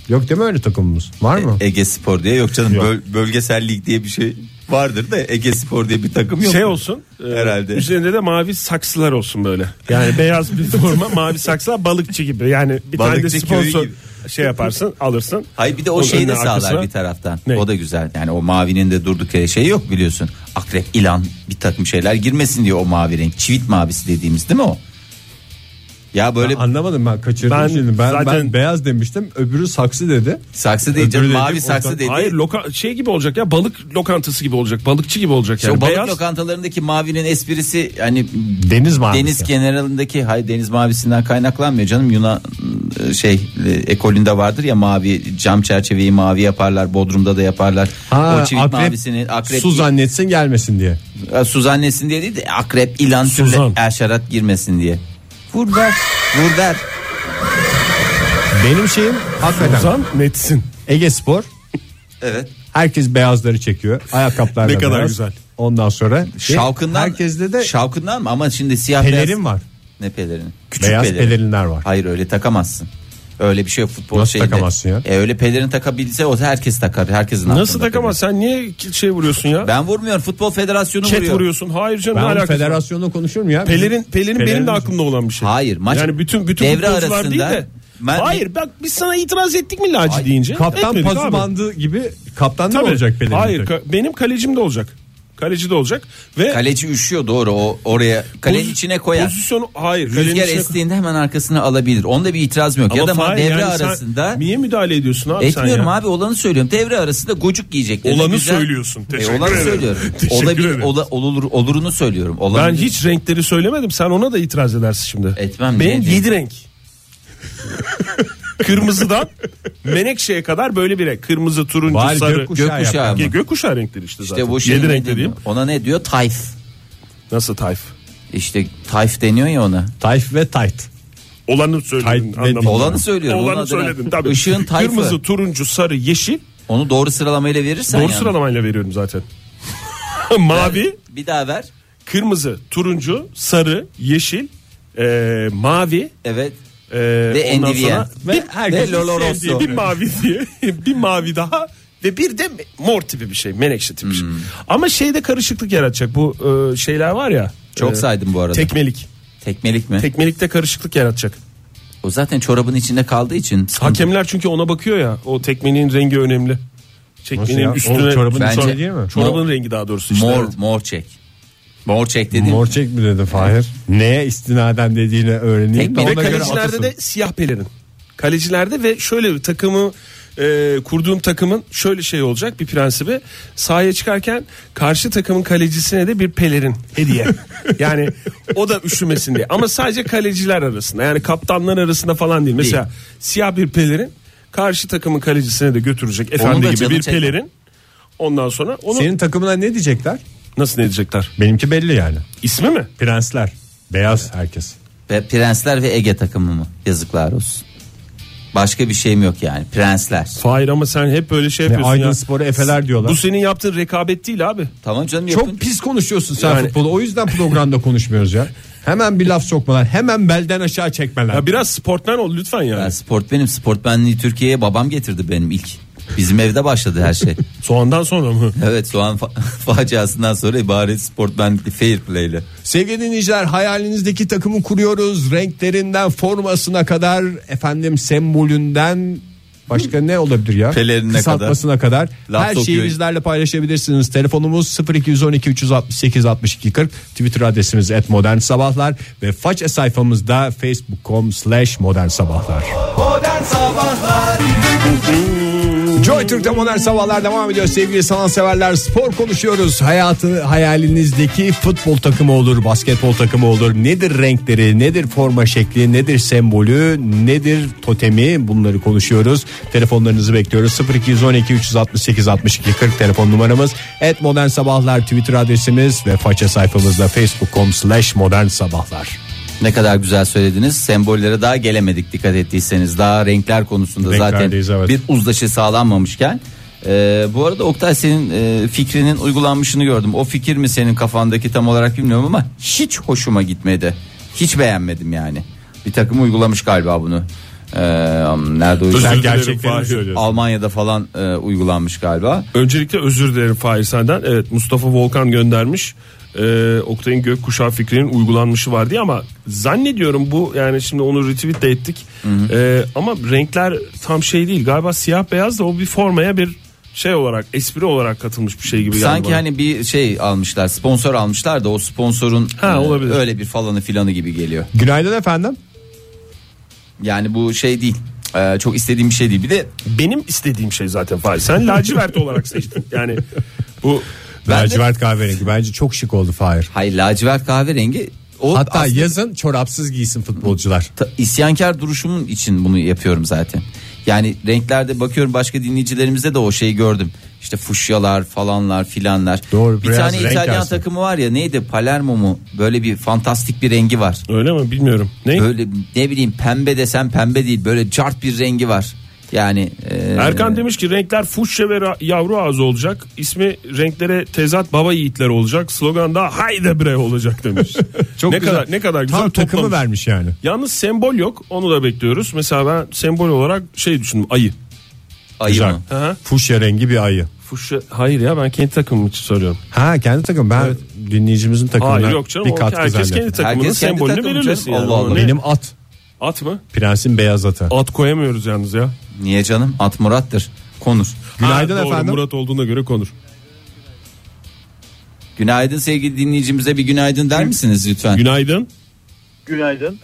Speaker 2: Yok değil mi öyle takımımız? Var
Speaker 5: E,
Speaker 2: mı?
Speaker 3: Ege Spor diye yok canım.
Speaker 2: Yok.
Speaker 3: Böl- bölgesel lig diye bir şey vardır da Ege Spor diye bir takım yok.
Speaker 5: Şey
Speaker 3: mu?
Speaker 5: olsun. e,
Speaker 3: Herhalde.
Speaker 5: Üzerinde de mavi saksılar olsun böyle. Yani beyaz bir forma mavi saksılar balıkçı gibi. Yani bir tane de
Speaker 3: Balıkçı köyü
Speaker 5: sponsor
Speaker 3: gibi.
Speaker 5: şey yaparsın alırsın.
Speaker 3: Hayır bir de o
Speaker 5: Onun
Speaker 3: şeyi de
Speaker 5: önüne,
Speaker 3: sağlar
Speaker 5: arkasına.
Speaker 3: bir taraftan.
Speaker 5: Ne?
Speaker 3: O da güzel. Yani o mavinin de durduk yere şey yok biliyorsun. Akrep, ilan bir takım şeyler girmesin diye o mavi renk. Çivit mavisi dediğimiz değil mi o? Ya böyle
Speaker 2: Anlamadım ben kaçırdım
Speaker 5: Ben
Speaker 2: şimdi. Ben, ben
Speaker 5: zaten-
Speaker 2: beyaz demiştim. Öbürü saksı dedi.
Speaker 3: saksı değil canım,
Speaker 2: Öbürü dedim,
Speaker 3: mavi
Speaker 2: o
Speaker 3: saksı
Speaker 2: zaman-
Speaker 3: dedi.
Speaker 5: Hayır loka- şey gibi olacak ya balık lokantası gibi olacak. Balıkçı gibi olacak
Speaker 3: İşte
Speaker 5: yani.
Speaker 3: o balık
Speaker 5: beyaz,
Speaker 3: lokantalarındaki mavinin esprisi hani
Speaker 2: Deniz mavisi.
Speaker 3: deniz kenarındaki hay deniz mavisinden kaynaklanmıyor canım Yunan e, şey e, ekolünde vardır ya mavi cam çerçeveyi mavi yaparlar Bodrum'da da yaparlar.
Speaker 2: Ha,
Speaker 3: o çivit
Speaker 2: akrep,
Speaker 3: mavisini akrep
Speaker 2: su zannetsin gelmesin diye.
Speaker 3: Ya, Suzannesin diye değil de akrep, ilan, türle,
Speaker 5: Suzan.
Speaker 3: erşarat girmesin diye. Vur ver, vur ver.
Speaker 2: Benim şeyim hakikaten
Speaker 5: Ozan netsin.
Speaker 2: Ege Spor.
Speaker 3: Evet.
Speaker 2: Herkes beyazları çekiyor. Ayakkabılar
Speaker 5: Ne kadar güzel.
Speaker 2: Ondan sonra
Speaker 3: Şavkından,
Speaker 2: E, herkeste de
Speaker 3: şavkından mı? Ama şimdi siyah beyaz-
Speaker 2: pelerin var.
Speaker 3: Ne pelerini? Küçük
Speaker 2: Beyaz
Speaker 3: pelerin.
Speaker 2: pelerinler var.
Speaker 3: Hayır öyle takamazsın. Öyle bir şey yok futbol
Speaker 2: Nasıl
Speaker 3: şeyinde.
Speaker 2: takamazsın ya?
Speaker 3: E, öyle pelerin takabilse o herkes takar. Herkesin
Speaker 5: Nasıl
Speaker 3: aklında
Speaker 5: takamaz? Sen niye ki- şey vuruyorsun ya?
Speaker 3: pelerin. Ben vurmuyorum. Futbol federasyonu
Speaker 5: Ket
Speaker 3: vuruyor.
Speaker 5: vuruyorsun. Hayır canım ne
Speaker 2: Ben onu
Speaker 5: alakası var?
Speaker 2: federasyonla konuşurum ya.
Speaker 5: Pelerin, pelerin benim de
Speaker 2: Pelerin-
Speaker 5: aklımda olan bir şey.
Speaker 3: Hayır, maç-
Speaker 5: yani bütün bütün
Speaker 3: devre
Speaker 5: futbolcular
Speaker 3: arasında-
Speaker 5: değil de.
Speaker 3: Ben-
Speaker 5: Hayır bak biz sana itiraz ettik mi Laci deyince?
Speaker 2: kaptan
Speaker 5: Etmedik
Speaker 2: pazu
Speaker 5: abi.
Speaker 2: bandı gibi kaptan da
Speaker 5: Tabii.
Speaker 2: olacak pelerin.
Speaker 5: Hayır
Speaker 2: takım.
Speaker 5: ka- benim kalecim de olacak. Kaleci de olacak ve
Speaker 3: Kaleci üşüyor doğru o oraya kalenin
Speaker 5: pozi-
Speaker 3: içine koyar.
Speaker 5: Pozisyonu hayır. kalenin
Speaker 3: Rüzgar
Speaker 5: içine-
Speaker 3: estiğinde hemen arkasını alabilir. Onda bir itirazım yok.
Speaker 5: Ama
Speaker 3: ya da
Speaker 5: Fahir,
Speaker 3: devre
Speaker 5: yani sen
Speaker 3: arasında
Speaker 5: Niye müdahale ediyorsun abi
Speaker 3: etmiyorum
Speaker 5: sen ya?
Speaker 3: abi olanı söylüyorum. Devre arasında gocuk giyecekler.
Speaker 5: Olanı
Speaker 3: Güzel-
Speaker 5: söylüyorsun.
Speaker 3: E,
Speaker 5: Teşekkür
Speaker 3: olanı
Speaker 5: ederim.
Speaker 3: söylüyorum.
Speaker 5: Teşekkür
Speaker 3: Olabilir,
Speaker 5: ederim.
Speaker 3: ola, olur, olurunu söylüyorum. Olanı
Speaker 5: Ben hiç renkleri söylemedim. Sen ona da itiraz edersin şimdi.
Speaker 3: Etmem,
Speaker 5: Benim
Speaker 3: niye?
Speaker 5: 7 renk. Kırmızıdan menekşeye kadar böyle bir renk. Kırmızı, turuncu,
Speaker 2: Var
Speaker 5: sarı.
Speaker 2: gökkuşağı
Speaker 3: Gökkuşağı
Speaker 2: yapar.
Speaker 3: mı?
Speaker 5: Ge- Gökkuşağı renkleri işte zaten.
Speaker 3: şey İşte bu şey
Speaker 5: şey Yedi
Speaker 3: ne
Speaker 5: renk
Speaker 3: deniyor?
Speaker 5: dediğim.
Speaker 3: Ona ne diyor? Tayf.
Speaker 5: Nasıl tayf?
Speaker 3: İşte tayf deniyor ya ona.
Speaker 2: Tayf ve tight.
Speaker 5: Olanı söyledin
Speaker 2: Tayf ne
Speaker 5: anlamında.
Speaker 3: Olanı söylüyorum, onun
Speaker 5: Olanı
Speaker 3: adına.
Speaker 5: söyledin tabii.
Speaker 3: Işığın tayfı.
Speaker 5: Kırmızı, turuncu, sarı, yeşil.
Speaker 3: Onu doğru sıralamayla verirsen
Speaker 5: Doğru
Speaker 3: yani.
Speaker 5: sıralamayla veriyorum zaten. Mavi,
Speaker 3: Bir daha ver.
Speaker 5: kırmızı, turuncu, sarı, yeşil, e, mavi.
Speaker 3: Evet.
Speaker 5: e,
Speaker 3: Ve
Speaker 5: ondan
Speaker 3: endivyen.
Speaker 5: sonra
Speaker 3: Ve herkesin sevdiği
Speaker 5: bir mavi diye bir mavi daha ve bir de mor tipi bir şey menekşe tipi bir şey.
Speaker 3: Hmm.
Speaker 5: Ama şeyde karışıklık yaratacak bu e, şeyler var ya.
Speaker 3: Çok
Speaker 2: Ee,
Speaker 5: e,
Speaker 3: saydım bu arada.
Speaker 5: Tekmelik.
Speaker 3: Tekmelik mi?
Speaker 5: Tekmelikte karışıklık yaratacak.
Speaker 3: O zaten çorabın içinde kaldığı için. sıkıntı
Speaker 5: Hakemler çünkü ona bakıyor ya o tekmenin rengi önemli.
Speaker 2: Nasıl ya?
Speaker 5: Tekmenin
Speaker 2: O
Speaker 5: üstüne
Speaker 2: çorabın
Speaker 3: Bence-
Speaker 2: içi değil mi?
Speaker 5: çorabın
Speaker 3: Mor-
Speaker 5: rengi daha doğrusu işte.
Speaker 3: Mor
Speaker 5: evet.
Speaker 3: mor çek. Mor çek dediğim.
Speaker 2: Mor çek mi dedi Fahir? Neye istinaden dediğini öğreneyim de
Speaker 3: Tekmelik.
Speaker 5: Ve
Speaker 2: ona göre
Speaker 5: kalecilerde
Speaker 2: atasın.
Speaker 5: de siyah pelerin. Kalecilerde ve şöyle bir takımı e, kurduğum takımın şöyle şey olacak bir prensibi. Sahaya çıkarken karşı takımın kalecisine de bir pelerin hediye. yani o da üşümesin diye. Ama sadece kaleciler arasında yani kaptanlar arasında falan değil. Mesela siyah bir pelerin karşı takımın kalecisine de götürecek efendi gibi
Speaker 3: canı
Speaker 5: bir
Speaker 3: çekme.
Speaker 5: pelerin. Ondan sonra onu
Speaker 2: Senin takımına ne diyecekler?
Speaker 5: nasıl ne diyecekler?
Speaker 2: Benimki belli yani.
Speaker 5: İsmi mi?
Speaker 2: Prensler. Beyaz herkes.
Speaker 3: Ve Prensler ve Ege takımı mı? Yazıklar olsun. Başka bir şeyim yok yani. Prensler.
Speaker 5: Fahir ama sen hep böyle şey
Speaker 2: Ve
Speaker 5: yapıyorsun
Speaker 2: Aydın
Speaker 5: ya.
Speaker 2: Spor'a efeler diyorlar.
Speaker 5: Bu senin yaptığın rekabet değil abi.
Speaker 3: Tamam canım yapın.
Speaker 2: Çok pis konuşuyorsun sen
Speaker 5: Yani-
Speaker 2: futbolu. O yüzden programda konuşmuyoruz ya. Hemen bir laf sokmalar. Hemen belden aşağı çekmeler.
Speaker 5: Ya biraz sportmen ol lütfen yani.
Speaker 3: Ben sportmenim. Sportmenliği Türkiye'ye babam getirdi benim ilk. Bizim evde başladı her şey.
Speaker 5: Soğandan sonra mı?
Speaker 3: evet soğan fa- faciasından sonra bari sportmenlikli fair play'le.
Speaker 2: Sevgili dinleyiciler hayalinizdeki takımı kuruyoruz. Renklerinden formasına kadar efendim sembolünden başka ne olabilir ya?
Speaker 3: Pelerinine
Speaker 2: Kısaltmasına kadar.
Speaker 3: Laf
Speaker 2: Her şeyi
Speaker 3: sokuyor.
Speaker 2: bizlerle paylaşabilirsiniz. Telefonumuz 0212 368 62 40. Twitter adresimiz @modernsabahlar sabahlar ve faça sayfamızda facebook.com slash modern sabahlar. Joy Türk'te modern sabahlar devam ediyor sevgili sanatseverler. Spor konuşuyoruz. Hayatı hayalinizdeki futbol takımı olur, basketbol takımı olur. Nedir renkleri, nedir forma şekli, nedir sembolü, nedir totemi bunları konuşuyoruz. Telefonlarınızı bekliyoruz. 0212 368 62 40 telefon numaramız. Et modern sabahlar Twitter adresimiz ve faça sayfamızda facebook.com slash modern sabahlar.
Speaker 3: Ne kadar güzel söylediniz. Sembollere daha gelemedik dikkat ettiyseniz. Daha renkler konusunda zaten
Speaker 2: Renklerdeyiz, evet.
Speaker 3: bir uzlaşı sağlanmamışken. Ee, bu arada Oktay senin e, fikrinin uygulanmışını gördüm. O fikir mi senin kafandaki tam olarak bilmiyorum ama hiç hoşuma gitmedi. Hiç beğenmedim yani. Bir takım uygulamış galiba bunu. Ee, nerede
Speaker 5: Özür
Speaker 3: uygulamış?
Speaker 5: dilerim
Speaker 2: gerçekleri
Speaker 5: Fahir.
Speaker 2: söylüyorsun.
Speaker 3: Almanya'da falan e, uygulanmış galiba.
Speaker 5: Öncelikle özür dilerim Fahir senden. Evet Mustafa Volkan göndermiş. Ee, Oktay'ın gökkuşağı fikrinin uygulanmışı var diye ama zannediyorum bu yani şimdi onu retweet de ettik. Ee, ama renkler tam şey değil. Galiba siyah beyaz da o bir formaya bir şey olarak espri olarak katılmış bir şey gibi geldi
Speaker 3: Sanki
Speaker 5: bana.
Speaker 3: hani bir şey almışlar sponsor almışlar da o sponsorun
Speaker 5: Ha,
Speaker 3: e,
Speaker 5: olabilir.
Speaker 3: öyle bir falanı filanı gibi geliyor.
Speaker 2: Günaydın efendim.
Speaker 3: Yani bu şey değil. Ee, çok istediğim bir şey değil. Bir de
Speaker 5: benim istediğim şey zaten Fahir. Sen lacivert olarak seçtin. Yani bu
Speaker 3: Ben de-
Speaker 2: Lacivert kahverengi bence çok şık oldu Fahir.
Speaker 3: hayır lacivert kahverengi o
Speaker 2: Hatta
Speaker 3: aslında
Speaker 2: yazın çorapsız giysin futbolcular.
Speaker 3: ta- isyankar duruşumun için bunu yapıyorum zaten. Yani renklerde bakıyorum başka dinleyicilerimizde de o şeyi gördüm. İşte fuşyalar falanlar filanlar.
Speaker 2: Doğru,
Speaker 3: bir
Speaker 2: biraz
Speaker 3: tane
Speaker 2: renk
Speaker 3: İtalyan
Speaker 2: aslında.
Speaker 3: takımı var ya neydi Palermo mu? Böyle bir fantastik bir rengi var.
Speaker 5: öyle mi bilmiyorum. Ne?
Speaker 3: Böyle ne bileyim pembe desem pembe değil böyle cart bir rengi var. Yani e,
Speaker 5: Erkan demiş ki renkler fuşya ve ra- yavru ağzı olacak. İsmi renklere tezat baba yiğitler olacak. Slogan da haydi bre olacak demiş. ne kadar ne kadar güzel
Speaker 2: Tam
Speaker 5: toplamış.
Speaker 2: takımı vermiş yani.
Speaker 5: Yalnız sembol yok. Onu da bekliyoruz. Mesela ben sembol olarak şey düşündüm ayı.
Speaker 3: ayı
Speaker 2: Güzel.
Speaker 3: mı?
Speaker 5: Hı hı.
Speaker 2: Fuşya rengi bir ayı.
Speaker 5: Fuşya hayır ya ben kendi takımım için soruyorum.
Speaker 2: Ha kendi takım. Ben dinleyicimizin takımına
Speaker 5: Hayır yok canım.
Speaker 2: bir
Speaker 5: o-
Speaker 2: katkı
Speaker 5: herkes kendi
Speaker 2: zannettim.
Speaker 5: takımının
Speaker 3: Herkes kendi
Speaker 5: sembolünü
Speaker 3: takımı
Speaker 5: belirlesin.
Speaker 3: canım.
Speaker 5: yani.
Speaker 3: Allah Allah.
Speaker 5: Ne-
Speaker 2: Benim at.
Speaker 5: At mı?
Speaker 2: Prensin beyaz atı.
Speaker 5: At koyamıyoruz yalnız ya.
Speaker 3: Niye canım? At Murat'tır. Konur.
Speaker 2: Günaydın
Speaker 5: Ha, doğru,
Speaker 2: efendim.
Speaker 5: Murat olduğuna göre konur.
Speaker 3: Günaydın sevgili dinleyicimize bir günaydın der misiniz lütfen?
Speaker 5: Günaydın.
Speaker 8: Günaydın.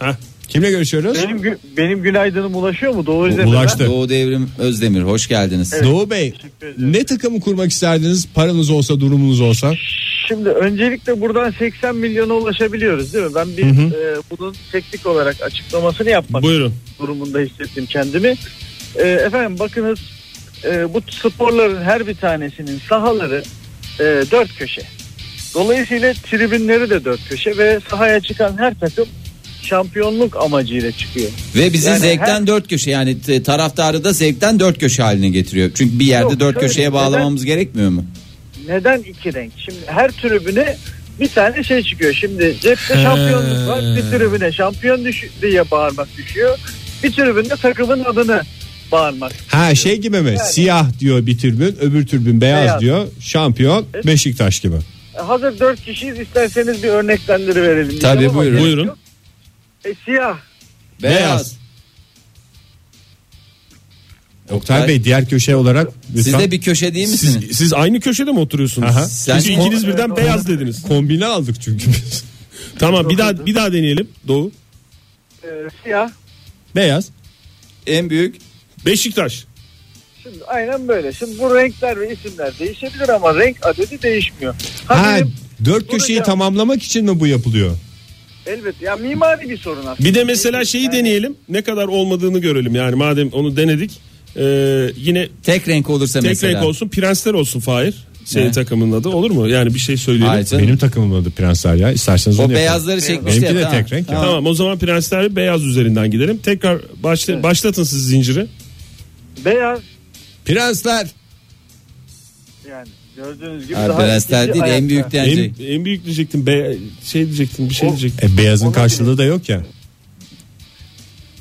Speaker 2: Kimle görüşüyoruz?
Speaker 8: Benim gü- benim günaydınım ulaşıyor mu? Doğru izledim.
Speaker 2: Ulaştı.
Speaker 3: Doğu Devrim Özdemir hoş geldiniz.
Speaker 2: Doğu Bey ne takımı kurmak isterdiniz paranız olsa durumunuz olsa?
Speaker 8: Şimdi öncelikle buradan 80 milyona ulaşabiliyoruz değil mi? Ben bir e, bunun teknik olarak açıklamasını yapmak
Speaker 5: Buyurun.
Speaker 8: durumunda hissettim kendimi. E, efendim bakınız e, bu sporların her bir tanesinin sahaları e, dört köşe. Dolayısıyla tribünleri de dört köşe ve sahaya çıkan her takım şampiyonluk amacıyla çıkıyor.
Speaker 3: Ve bizi
Speaker 8: Yani
Speaker 3: zevkten
Speaker 8: her-
Speaker 3: dört köşe yani t- taraftarı da zevkten dört köşe haline getiriyor. Çünkü bir yerde
Speaker 8: Yok,
Speaker 3: dört
Speaker 8: şöyle,
Speaker 3: köşeye bağlamamız gerekmiyor mu?
Speaker 8: Neden iki renk? Şimdi her tribüne bir tane şey çıkıyor. Şimdi cepte şampiyonluk var. Bir tribüne şampiyon düş diye bağırmak düşüyor. Bir tribünde takımın adını bağırmak.
Speaker 2: Ha şey gibi mi? Siyah diyor bir türbün, öbür türbün beyaz,
Speaker 8: Beyaz.
Speaker 2: diyor. Şampiyon Beşiktaş gibi.
Speaker 8: E, Hazır dört kişiyiz isterseniz bir örneklendiri verelim.
Speaker 3: Tabii,
Speaker 8: diyeceğim ama
Speaker 3: buyurun.
Speaker 8: gerek
Speaker 5: Buyurun.
Speaker 8: yok. E, siyah.
Speaker 3: Beyaz.
Speaker 2: Oktay Bey diğer köşe olarak
Speaker 3: Siz
Speaker 2: lütfen
Speaker 3: de bir köşe değil misiniz?
Speaker 5: Siz, siz aynı köşede mi oturuyorsunuz?
Speaker 2: Aha.
Speaker 5: Siz
Speaker 3: Sen-
Speaker 5: ikiniz birden beyaz dediniz.
Speaker 2: kombine aldık çünkü biz.
Speaker 5: Tamam bir daha bir daha deneyelim. Doğu.
Speaker 8: E, siyah.
Speaker 2: beyaz.
Speaker 3: En büyük
Speaker 5: Beşiktaş.
Speaker 8: Şimdi aynen böyle. Şimdi bu renkler ve isimler değişebilir ama renk adedi değişmiyor. Ha,
Speaker 2: Ha
Speaker 8: benim-
Speaker 2: dört köşeyi
Speaker 8: Bunu-
Speaker 2: tamamlamak için mi bu yapılıyor?
Speaker 8: elbet ya mimari bir sorun aslında.
Speaker 5: Bir de mesela şeyi deneyelim. Ne kadar olmadığını görelim. Yani madem onu denedik. e, yine
Speaker 3: tek renk olursa
Speaker 5: tek
Speaker 3: mesela.
Speaker 5: renk olsun. Prensler olsun Fahir. Senin
Speaker 3: Ne?
Speaker 5: takımının adı olur mu? Yani bir şey söyleyelim.
Speaker 3: Hayır canım.
Speaker 2: Benim takımımın adı Prensler ya. İsterseniz
Speaker 3: o
Speaker 2: onu yapalım.
Speaker 3: beyazları çekmişti
Speaker 2: Benimki
Speaker 3: ya.
Speaker 2: de
Speaker 3: tamam.
Speaker 2: tek renk ya.
Speaker 5: Tamam o zaman prensler beyaz üzerinden gidelim. Tekrar başla, başlatın siz zinciri.
Speaker 8: Beyaz
Speaker 2: Prensler.
Speaker 8: yani gördüğünüz gibi.
Speaker 3: Ha,
Speaker 8: daha
Speaker 3: Brensler
Speaker 8: ikinci
Speaker 3: değil en
Speaker 8: ayakta.
Speaker 3: büyük denecek.
Speaker 5: En, en büyük diyecektim. Be, şey diyecektim bir şey diyecektim.
Speaker 2: E, beyazın
Speaker 8: Onu
Speaker 2: karşılığı da yok ya.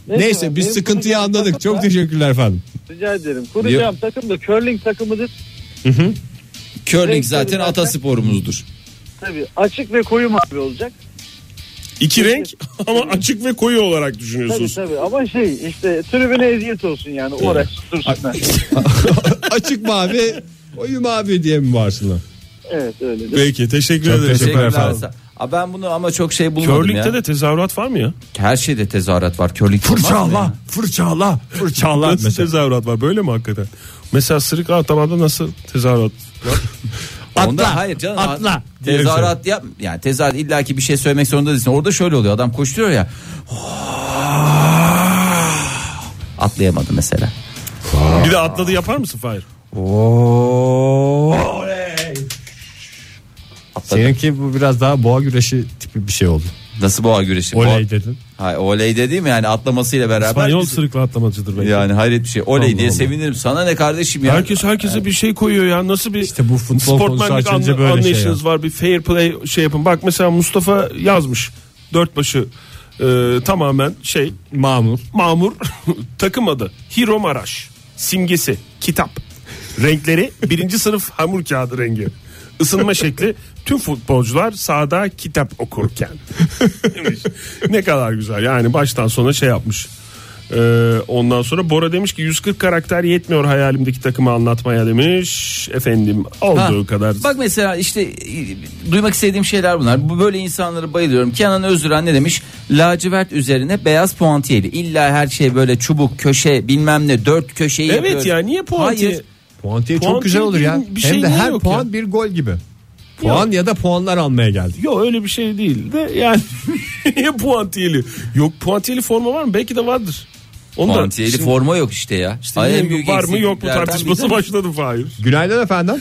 Speaker 2: Neyse biz
Speaker 8: benim
Speaker 2: sıkıntıyı
Speaker 8: kuracağım
Speaker 2: anladık.
Speaker 8: takım
Speaker 2: Çok
Speaker 8: da-
Speaker 2: teşekkürler efendim.
Speaker 8: Rica ederim. Kuracağım takım da curling takımıdır.
Speaker 3: Curling
Speaker 8: Renk
Speaker 3: zaten
Speaker 8: tabii
Speaker 3: atasporumuzdur.
Speaker 8: Tabii açık ve koyu mavi olacak.
Speaker 5: İki renk ama açık ve koyu olarak
Speaker 8: Tabii
Speaker 5: düşünüyorsunuz.
Speaker 8: tabii ama şey işte tribüne eziyet olsun yani uğraş dursunlar.
Speaker 2: Açık mavi, koyu mavi diye mi varsınlar?
Speaker 8: evet öyle. de.
Speaker 5: Peki teşekkür
Speaker 2: Çok
Speaker 5: ederim.
Speaker 2: teşekkür
Speaker 3: Teşekkürler.
Speaker 2: efendim.
Speaker 3: Sa- Aa, ben bunu ama çok şey bulmadım
Speaker 5: Körlükte
Speaker 3: ya.
Speaker 5: de tezahürat var mı ya?
Speaker 3: Her şeyde tezahürat var. Körlük olmaz mı ya?
Speaker 2: fırçala, fırçala.
Speaker 5: Nasıl tezahürat var böyle mi hakikaten? Mesela sırık atamada nasıl tezahürat?
Speaker 3: Onda hayır canım. Atla. Tezahürat yap. Yani tezahürat illaki bir şey söylemek zorunda değilsin. Orada şöyle oluyor. Adam koşturuyor ya.
Speaker 5: Ah.
Speaker 3: Atlayamadı mesela.
Speaker 5: Bir de atladı yapar mısın Fahir?
Speaker 2: Seninki bu biraz daha boğa güreşi tipi bir şey oldu.
Speaker 3: Nasıl boğa güreşi?
Speaker 2: Oley dedin.
Speaker 3: Boğa- Hayır, oley dediğim yani atlamasıyla beraber.
Speaker 5: İspanyol sırıkla atlamacıdır belki.
Speaker 3: Yani hayret bir şey. Oley
Speaker 5: Allah
Speaker 3: diye
Speaker 5: Allah.
Speaker 3: sevinirim. Sana ne kardeşim ya?
Speaker 5: Herkes herkese bir şey koyuyor ya. Nasıl bir
Speaker 2: İşte bu futbol konusu
Speaker 5: sportmenlik
Speaker 2: açılınca
Speaker 5: anla-
Speaker 2: böyle şey
Speaker 5: anlayışınız var. Bir fair play şey yapın. Bak mesela Mustafa yazmış. Dört başı e, tamamen şey
Speaker 2: Mamur.
Speaker 5: mamur takım adı Hiro Maraş. Simgesi kitap. Renkleri birinci sınıf hamur kağıdı rengi. Isınma şekli tüm futbolcular sahada kitap okurken. Demiş. ne kadar güzel yani baştan sona şey yapmış. Ee, ondan sonra Bora demiş ki 140 karakter yetmiyor hayalimdeki takımı anlatmaya demiş. Efendim
Speaker 3: Ha,
Speaker 5: olduğu kadar.
Speaker 3: Bak mesela işte e, duymak istediğim şeyler bunlar. Bu böyle insanlara bayılıyorum. Kenan Özüren ne demiş? Lacivert üzerine beyaz puantiyeli. İlla her şey böyle çubuk, köşe, bilmem ne, dört köşeyi
Speaker 5: Evet
Speaker 3: yapıyoruz.
Speaker 5: ya, niye puantiye-
Speaker 3: Hayır.
Speaker 2: Puantiye çok
Speaker 5: Puantiye
Speaker 2: güzel olur ya.
Speaker 5: bir- bir şey
Speaker 2: Hem de
Speaker 5: niye
Speaker 2: her
Speaker 5: yok
Speaker 2: puan
Speaker 5: ya?
Speaker 2: bir gol gibi. Puan ya da puanlar almaya geldik.
Speaker 5: Yok öyle bir şey değil de yani niye puantiyeli? Yok puantiyeli forma var mı? Belki de vardır. Onu da-
Speaker 3: Puantiyeli
Speaker 5: Şimdi-
Speaker 3: forma yok işte ya.
Speaker 5: İşte
Speaker 3: Ay, en
Speaker 5: yine
Speaker 3: büyük
Speaker 5: var mı yok mu
Speaker 3: eksikliklerden
Speaker 5: tartışması
Speaker 3: biri de-
Speaker 5: başladı Fahir.
Speaker 2: Günaydın efendim.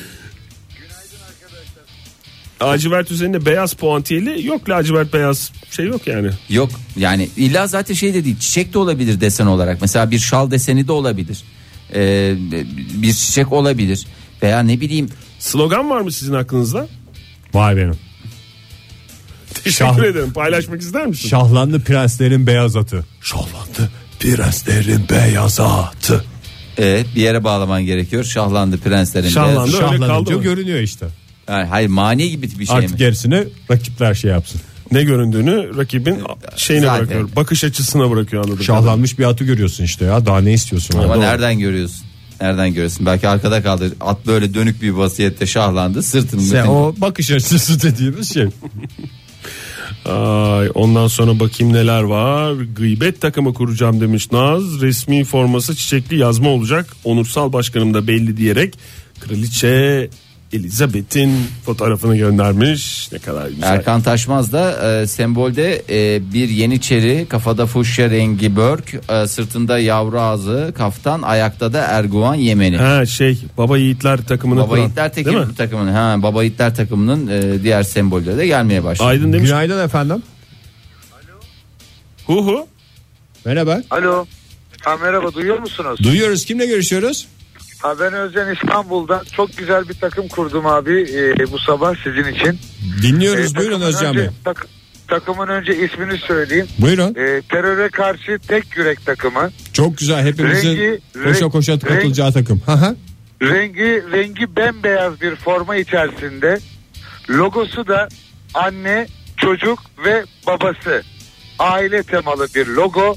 Speaker 5: Lacivert üzerinde beyaz puantiyeli yok lacivert beyaz şey yok yani.
Speaker 3: Yok yani illa zaten şey de değil çiçek de olabilir desen olarak. Mesela bir şal deseni de olabilir. Ee, bir çiçek olabilir. Veya ne bileyim
Speaker 5: Slogan var mı sizin aklınızda?
Speaker 2: Vay benim.
Speaker 5: Teşekkür ederim paylaşmak ister misin?
Speaker 2: Şahlandı prenslerin beyaz atı. Şahlandı prenslerin beyaz atı.
Speaker 3: e, bir yere bağlaman gerekiyor. Şahlandı prenslerin.
Speaker 5: Şahlandı.
Speaker 3: beyazı.
Speaker 5: öyle kaldı
Speaker 2: Şahlanınca
Speaker 5: mı?
Speaker 2: görünüyor işte.
Speaker 3: Yani hayır mani gibi bir şey
Speaker 2: Artık
Speaker 3: mi?
Speaker 2: gerisini rakipler şey yapsın.
Speaker 5: Ne göründüğünü rakibin şeyine
Speaker 3: Zaten.
Speaker 5: bırakıyor. Bakış açısına bırakıyor anladım.
Speaker 2: Şahlanmış bir atı görüyorsun işte ya. Daha ne istiyorsun?
Speaker 3: Ama
Speaker 2: orada?
Speaker 3: nereden görüyorsun? Nereden görürsün? Belki arkada kaldı. At böyle dönük bir vasiyette şahlandı. Sırtını
Speaker 7: Sen
Speaker 3: bütün-
Speaker 7: o bakış açısı dediğimiz şey.
Speaker 5: Ay, ondan sonra bakayım neler var. Gıybet takımı kuracağım demiş Naz. Resmi forması çiçekli yazma olacak. Onursal başkanım da belli diyerek kraliçe Elizabeth'in fotoğrafını göndermiş. Ne kadar güzel.
Speaker 3: Erkan Taşmaz da e, sembolde e, bir yeniçeri, kafada fuşya rengi börk, e, sırtında yavru ağzı, kaftan, ayakta da Erguvan Yemeni.
Speaker 5: Ha şey Baba Yiğitler takımını
Speaker 3: Baba
Speaker 5: kuran,
Speaker 3: Yiğitler
Speaker 5: değil mi?
Speaker 3: takımının, takımının, ha, Baba Yiğitler takımının e, diğer sembolleri de gelmeye başladı.
Speaker 5: Aydın demiş.
Speaker 7: Günaydın efendim.
Speaker 5: Hu hu.
Speaker 7: Merhaba.
Speaker 8: Alo. Ha, merhaba duyuyor musunuz?
Speaker 7: Duyuyoruz. Kimle görüşüyoruz?
Speaker 8: Ha, ben Özden İstanbul'dan çok güzel bir takım kurdum abi e, bu sabah sizin için. E,
Speaker 7: Dinliyoruz. Buyurun
Speaker 8: takımın
Speaker 7: Özcan
Speaker 8: önce-
Speaker 7: Bey.
Speaker 8: tak- takımın önce ismini söyleyeyim.
Speaker 7: Buyurun.
Speaker 8: E, teröre karşı tek yürek takımı.
Speaker 7: Çok güzel. Hepimizin
Speaker 8: Rengi-
Speaker 7: koşa
Speaker 8: renk-
Speaker 7: koşa katılacağı takım. Hı hı.
Speaker 8: Rengi rengi bembeyaz bir forma içerisinde. Logosu da anne, çocuk ve babası. Aile temalı bir logo.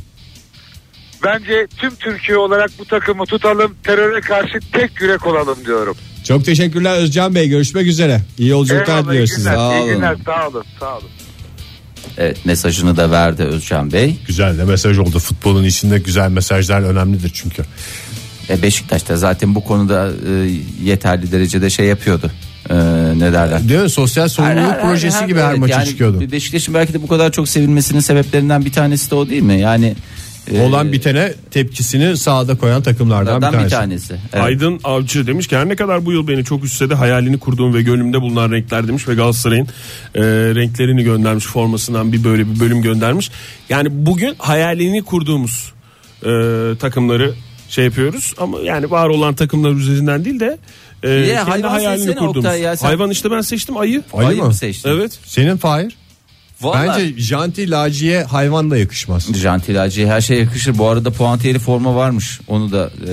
Speaker 8: Bence tüm Türkiye olarak bu takımı tutalım, teröre karşı tek yürek olalım diyorum.
Speaker 7: Çok teşekkürler Özcan Bey. Görüşmek üzere. İyi yolculuklar
Speaker 8: Eyvallah, iyi
Speaker 7: diliyoruz size.
Speaker 8: günler,
Speaker 3: Sağ
Speaker 8: iyi
Speaker 3: olun.
Speaker 8: günler, sağ olun, sağ olun.
Speaker 3: Evet, mesajını da verdi Özcan Bey.
Speaker 2: Güzel de mesaj oldu. Futbolun içinde güzel mesajlar önemlidir çünkü.
Speaker 3: E, Beşiktaş da zaten bu konuda e, yeterli derecede şey yapıyordu. E, ne derler?
Speaker 2: Değil mi? Sosyal sorumluluk projesi gibi her
Speaker 3: evet,
Speaker 2: maça
Speaker 3: yani
Speaker 2: çıkıyordu.
Speaker 3: Beşiktaş'ın belki de bu kadar çok sevilmesinin sebeplerinden bir tanesi de o değil mi? Yani e,
Speaker 2: Olan bitene tepkisini sahada koyan takımlardan bir
Speaker 3: Bunlardan bir
Speaker 2: tanesi.
Speaker 3: tanesi. Evet.
Speaker 5: Aydın Avcı demiş ki her ne kadar bu yıl beni çok üstse de hayalini kurduğum ve gönlümde bulunan renkler demiş ve Galatasaray'ın e, renklerini göndermiş formasından bir böyle bir bölüm göndermiş. Yani bugün hayalini kurduğumuz e, takımları şey yapıyoruz ama yani var olan takımlar üzerinden değil de e,
Speaker 3: Niye?
Speaker 5: kendi
Speaker 3: Hayvan
Speaker 5: hayalini
Speaker 3: seçsene
Speaker 5: kurduğumuz.
Speaker 3: Oktay ya, sen-
Speaker 5: Hayvan işte ben seçtim ayı.
Speaker 3: Ayı
Speaker 2: Ayı
Speaker 3: mı
Speaker 2: mı?
Speaker 3: seçtin?
Speaker 5: Evet.
Speaker 2: Senin Fahir?
Speaker 3: Vallahi-
Speaker 2: Bence janti laciye hayvan da yakışmaz.
Speaker 3: Jantil Hacı'ya her şeye yakışır. Bu arada puantiyeli forma varmış. Onu da e,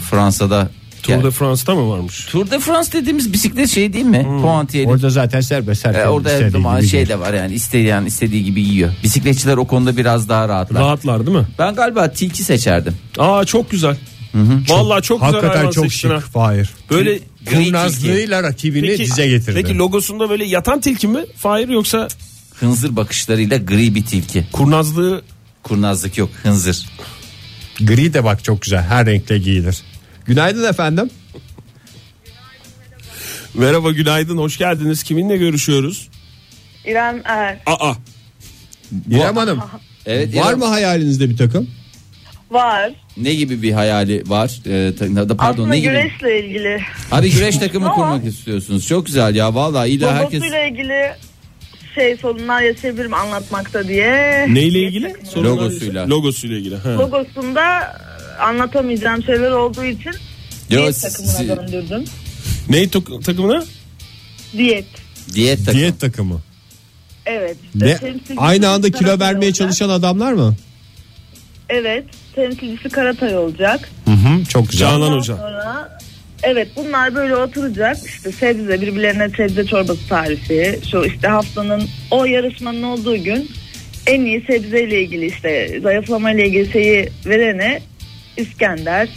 Speaker 3: Fransa'da.
Speaker 5: Tour de
Speaker 3: Yani,
Speaker 5: France'da mı varmış?
Speaker 3: Tour de France dediğimiz bisiklet şey değil mi?
Speaker 5: Hmm.
Speaker 3: Puantiyeli.
Speaker 7: Orada zaten serbest.
Speaker 3: E,
Speaker 7: herkes
Speaker 3: orada her
Speaker 7: istediği
Speaker 3: zaman
Speaker 7: gibi
Speaker 3: şey de var yani isteyen istediği gibi yiyor. Bisikletçiler o konuda biraz daha rahatlar.
Speaker 5: Rahatlar değil mi?
Speaker 3: Ben galiba tilki seçerdim.
Speaker 5: Aa çok güzel. Vallahi çok güzel
Speaker 2: Hakikaten
Speaker 5: hayvan
Speaker 2: çok
Speaker 5: seçtin
Speaker 2: şık
Speaker 5: ha.
Speaker 2: Fahir.
Speaker 5: Böyle
Speaker 2: Kurnazlığıyla rakibini dize getirdi.
Speaker 5: Peki logosunda böyle yatan tilki mi? Fahir yoksa
Speaker 3: Hınzır bakışlarıyla gri bir tilki.
Speaker 5: kurnazlığı
Speaker 3: Kurnazlık yok hınzır.
Speaker 2: Gri de bak çok güzel. Her renkle giyilir. Günaydın efendim.
Speaker 5: Merhaba günaydın hoş geldiniz. Kiminle görüşüyoruz?
Speaker 9: İrem Er
Speaker 5: Aa
Speaker 2: İrem Hanım.
Speaker 3: Evet,
Speaker 2: Var
Speaker 3: İrem,
Speaker 2: mı hayalinizde bir takım?
Speaker 9: var.
Speaker 3: Ne gibi bir hayali var? E, ta- da- pardon
Speaker 9: Aslında
Speaker 3: ne gibi?
Speaker 9: güreşle ilgili,
Speaker 3: Abi güreş takımı
Speaker 9: Aa.
Speaker 3: kurmak istiyorsunuz. Çok güzel ya vallahi iyi de herkes.
Speaker 9: logosuyla ilgili şey sorunlar yaşayabilirim anlatmakta diye.
Speaker 5: neyle ilgili? Sorunlar-
Speaker 3: Logosuyla.
Speaker 5: Logosuyla ilgili. ha.
Speaker 9: Logosunda e, anlatamayacağım şeyler olduğu için
Speaker 3: Yo,
Speaker 9: diyet
Speaker 3: siz-
Speaker 9: takımına
Speaker 3: siz-
Speaker 9: döndürdüm.
Speaker 5: Ney tok- takımına?
Speaker 9: Diyet.
Speaker 3: Diyet takımı.
Speaker 2: Diyet takımı.
Speaker 9: Evet.
Speaker 2: Ne?
Speaker 9: Temsilcisi
Speaker 2: Aynı anda kilo
Speaker 9: Karatay
Speaker 2: vermeye
Speaker 9: olacak.
Speaker 2: çalışan adamlar mı?
Speaker 9: Evet. Temsilcisi Karatay olacak.
Speaker 2: Hı, çok güzel.
Speaker 5: Canan
Speaker 9: Ondan
Speaker 5: Hoca.
Speaker 9: Sonra Evet bunlar böyle oturacak işte sebze birbirlerine sebze çorbası tarifi şu işte haftanın o yarışmanın olduğu gün en iyi sebzeyle ilgili işte zayıflama ile ilgili şeyi verene İskender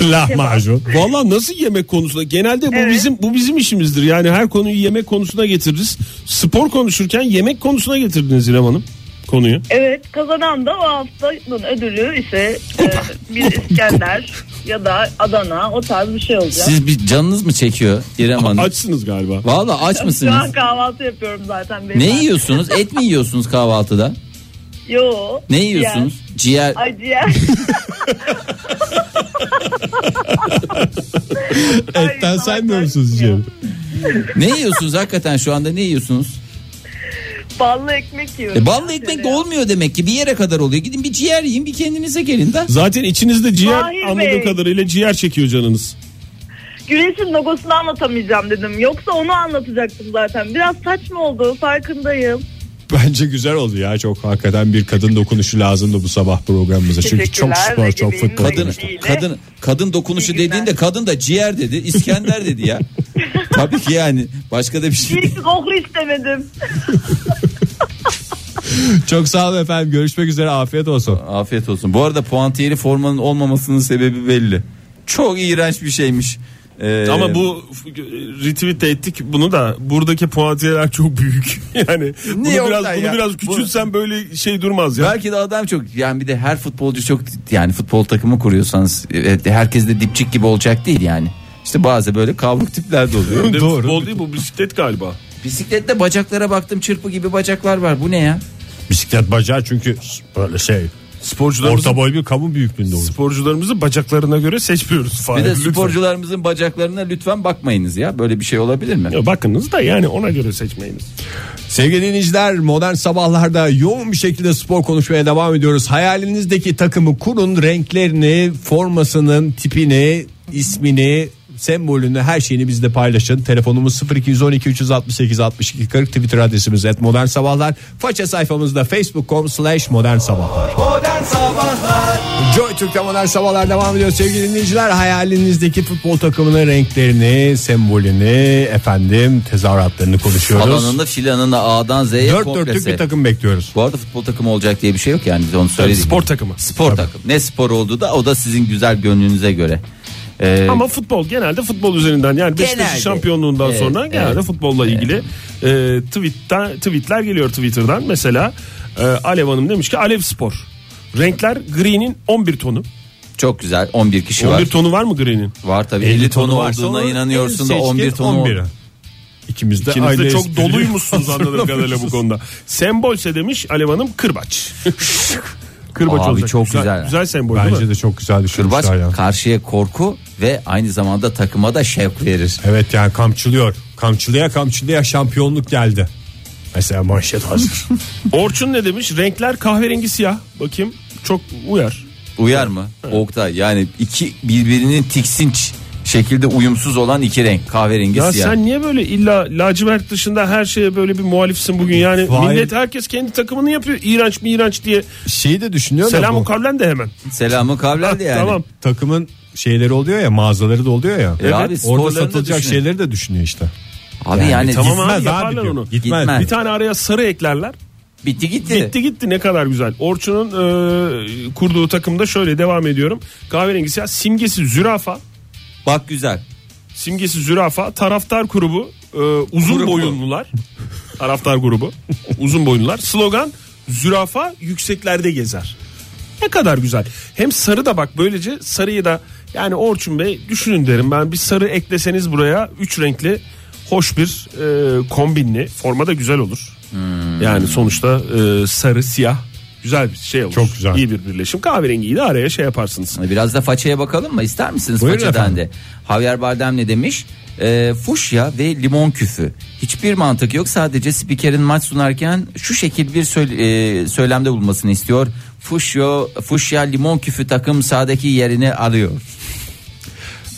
Speaker 2: Lahmacun.
Speaker 5: Valla nasıl yemek konusunda? Genelde bu
Speaker 9: Evet.
Speaker 5: bizim bu bizim işimizdir. Yani her konuyu yemek konusuna getiririz. Spor konuşurken yemek konusuna getirdiniz İrem Hanım konuyu.
Speaker 9: evet kazanan da o haftanın ödülü işte e, bir İskender ya da Adana o tarz bir şey olacak.
Speaker 3: Siz bir canınız mı çekiyor İrem Hanım?
Speaker 5: Açsınız galiba.
Speaker 3: Valla aç
Speaker 9: Şu an
Speaker 3: mısınız?
Speaker 9: kahvaltı yapıyorum zaten.
Speaker 3: Ne
Speaker 9: beyefendi.
Speaker 3: yiyorsunuz? Et mi yiyorsunuz kahvaltıda?
Speaker 9: Yo.
Speaker 3: Ne
Speaker 9: ciğer.
Speaker 3: yiyorsunuz? Ciğer.
Speaker 9: Ay ciğer. Ay,
Speaker 2: Etten
Speaker 9: salak
Speaker 2: saymıyor
Speaker 9: ben
Speaker 2: musunuz
Speaker 9: bilmiyorum.
Speaker 2: canım?
Speaker 3: Ne yiyorsunuz hakikaten şu anda ne yiyorsunuz?
Speaker 9: Ballı ekmek yiyorum.
Speaker 3: E, ballı ekmek de olmuyor demek ki bir yere kadar oluyor. Gidin bir ciğer yiyin bir kendinize gelin de.
Speaker 5: Zaten içinizde ciğer
Speaker 9: Fahir Bey.
Speaker 5: anladığım kadarıyla ciğer çekiyor canınız.
Speaker 9: Güneşin logosunu anlatamayacağım dedim. Yoksa onu anlatacaktım zaten. Biraz saçma oldu farkındayım.
Speaker 2: Bence güzel oldu ya çok hakikaten bir kadın dokunuşu lazımdı bu sabah programımıza. Çünkü çok
Speaker 9: Teşekkürler,
Speaker 2: spor
Speaker 9: Recep
Speaker 2: çok
Speaker 9: Bey'in
Speaker 2: futbol.
Speaker 3: Kadın
Speaker 9: Sevgiyle.
Speaker 3: kadın kadın dokunuşu
Speaker 9: İyi günler.
Speaker 3: dediğinde kadın da ciğer dedi, İskender dedi ya. Tabii ki yani başka da bir şey.
Speaker 9: Bir kokru istemedim.
Speaker 2: Çok sağ olun efendim görüşmek üzere afiyet olsun.
Speaker 3: Afiyet olsun. Bu arada puantiyeli formanın olmamasının sebebi belli. Çok iğrenç bir şeymiş. Ee,
Speaker 5: Ama bu f- retweet de ettik bunu da buradaki puantiyeler çok büyük. yani bunu
Speaker 3: Niye
Speaker 5: biraz
Speaker 3: oradan
Speaker 5: bunu
Speaker 3: ya?
Speaker 5: biraz küçülsen böyle şey durmaz ya.
Speaker 3: Belki de adam çok yani bir de her futbolcu çok yani futbol takımı kuruyorsanız evet, herkes de dipçik gibi olacak değil yani. İşte bazı böyle kavruk tipler de oluyor.
Speaker 5: Bir de
Speaker 2: Doğru.
Speaker 5: Futbol değil bu bisiklet galiba.
Speaker 3: Bisiklette bacaklara baktım çırpı gibi bacaklar var. Bu ne ya?
Speaker 2: Bisiklet bacağı çünkü böyle şey.
Speaker 5: Sporcularımızı,
Speaker 2: Orta boy bir kamu büyüklüğünde olur.
Speaker 5: sporcularımızı bacaklarına göre seçmiyoruz.
Speaker 3: Bir
Speaker 5: Fahir,
Speaker 3: de
Speaker 5: lütfen.
Speaker 3: sporcularımızın bacaklarına lütfen bakmayınız ya. Böyle bir şey olabilir mi?
Speaker 5: Ya Bakınız da yani ona göre seçmeyiniz.
Speaker 2: Sevgili dinleyiciler modern sabahlarda yoğun bir şekilde spor konuşmaya devam ediyoruz. Hayalinizdeki takımı kurun, renklerini, formasının tipini, ismini, sembolünü her şeyini bizle paylaşın. Telefonumuz 0212 368 62 40 Twitter adresimiz et modern sabahlar. Faça sayfamızda facebook.com slash modern sabahlar. Joy Türk'te modern sabahlar devam ediyor sevgili dinleyiciler. Hayalinizdeki futbol takımının renklerini, sembolünü, efendim tezahüratlarını konuşuyoruz.
Speaker 3: Alanında filanında A'dan Z'ye
Speaker 2: Dört dörtlük
Speaker 3: komplese.
Speaker 2: bir takım bekliyoruz.
Speaker 3: Bu arada futbol takımı olacak diye bir şey yok yani biz onu söyledik.
Speaker 5: spor takımı.
Speaker 3: Spor takım. Ne spor olduğu da o da sizin güzel gönlünüze göre. Ee,
Speaker 5: Ama futbol genelde futbol üzerinden yani Beşiktaş'ın
Speaker 3: Genelde.
Speaker 5: şampiyonluğundan
Speaker 3: Evet,
Speaker 5: sonra genelde
Speaker 3: evet.
Speaker 5: futbolla ilgili e, tweet'ten tweet'ler geliyor Twitter'dan. Mesela e, Alev Hanım demiş ki Alev Spor. Renkler gri'nin 11 tonu.
Speaker 3: çok güzel 11 kişi
Speaker 5: 11
Speaker 3: var.
Speaker 5: tonu var mı gri'nin?
Speaker 3: var tabii 50 tonu olduğuna inanıyorsun da 11 tonu. ol-
Speaker 2: İkimiz de
Speaker 5: İkiniz
Speaker 2: aile
Speaker 5: de çok
Speaker 2: espri-
Speaker 5: doluymuşsunuz anladığım kadarıyla bu konuda. Sembolse demiş Alev Hanım kırbaç. kırbaç
Speaker 3: Abi
Speaker 5: olacak.
Speaker 3: çok güzel.
Speaker 5: Güzel sembol değil mi?
Speaker 2: Bence de çok güzel düşünmüşler
Speaker 3: Kırbaç
Speaker 2: ya.
Speaker 3: karşıya korku ve aynı zamanda takıma da şevk verir.
Speaker 2: Evet yani kamçılıyor. Kamçılıya kamçılıya şampiyonluk geldi. Mesela manşet hazır.
Speaker 5: Orçun ne demiş? Renkler kahverengi siyah. Bakayım çok uyar.
Speaker 3: Uyar mı? Oktay yani iki birbirinin tiksinç şekilde uyumsuz olan iki renk kahverengi
Speaker 5: Ya
Speaker 3: siyah.
Speaker 5: sen niye böyle illa lacivert dışında her şeye böyle bir muhalifsin bugün yani
Speaker 2: Vay.
Speaker 5: millet herkes kendi takımını yapıyor iğrenç mi iğrenç diye.
Speaker 2: Şeyi de düşünüyor da
Speaker 5: Selam
Speaker 2: bu.
Speaker 5: Karlen de hemen.
Speaker 3: Selamı kavler de yani.
Speaker 5: Tamam.
Speaker 2: Takımın şeyleri oluyor ya mağazaları da oluyor ya.
Speaker 3: E abi, sporlarını
Speaker 2: orada
Speaker 3: da
Speaker 2: satılacak
Speaker 3: düşünün.
Speaker 2: şeyleri de düşünüyor işte.
Speaker 3: Abi yani,
Speaker 5: tamam
Speaker 3: git-
Speaker 5: abi,
Speaker 2: Gitmez abi
Speaker 5: yaparlar
Speaker 2: diyor.
Speaker 5: onu.
Speaker 2: Gitmez.
Speaker 3: Gitmez.
Speaker 5: Bir tane araya sarı eklerler.
Speaker 3: bitti gitti.
Speaker 5: Gitti gitti ne kadar güzel. Orçun'un e, kurduğu takımda şöyle devam ediyorum. Kahverengi siyah simgesi zürafa.
Speaker 3: Bak güzel.
Speaker 5: Simgesi zürafa. Taraftar grubu e, uzun
Speaker 3: Grubu.
Speaker 5: boyunlular. Taraftar grubu uzun boyunlular. Slogan zürafa yükseklerde gezer. Ne kadar güzel. Hem sarı da bak böylece sarıyı da yani Orçun Bey düşünün derim ben bir sarı ekleseniz buraya üç renkli hoş bir e, kombinli forma da güzel olur. Yani sonuçta e, sarı siyah güzel bir şey olur.
Speaker 2: Çok güzel.
Speaker 5: İyi bir birleşim. Kahverengiyi de araya şey yaparsınız.
Speaker 3: Hani Biraz da façaya bakalım mı? İster misiniz
Speaker 2: Buyurun
Speaker 3: façadan
Speaker 2: efendim.
Speaker 3: de? Javier Bardem ne demiş? Ee, fuşya ve limon küfü. Hiçbir mantık yok. Sadece spikerin maç sunarken şu şekil bir söyle- e, söylemde bulmasını istiyor. Fuşyo, fuşya limon küfü takım sahadaki yerini alıyor.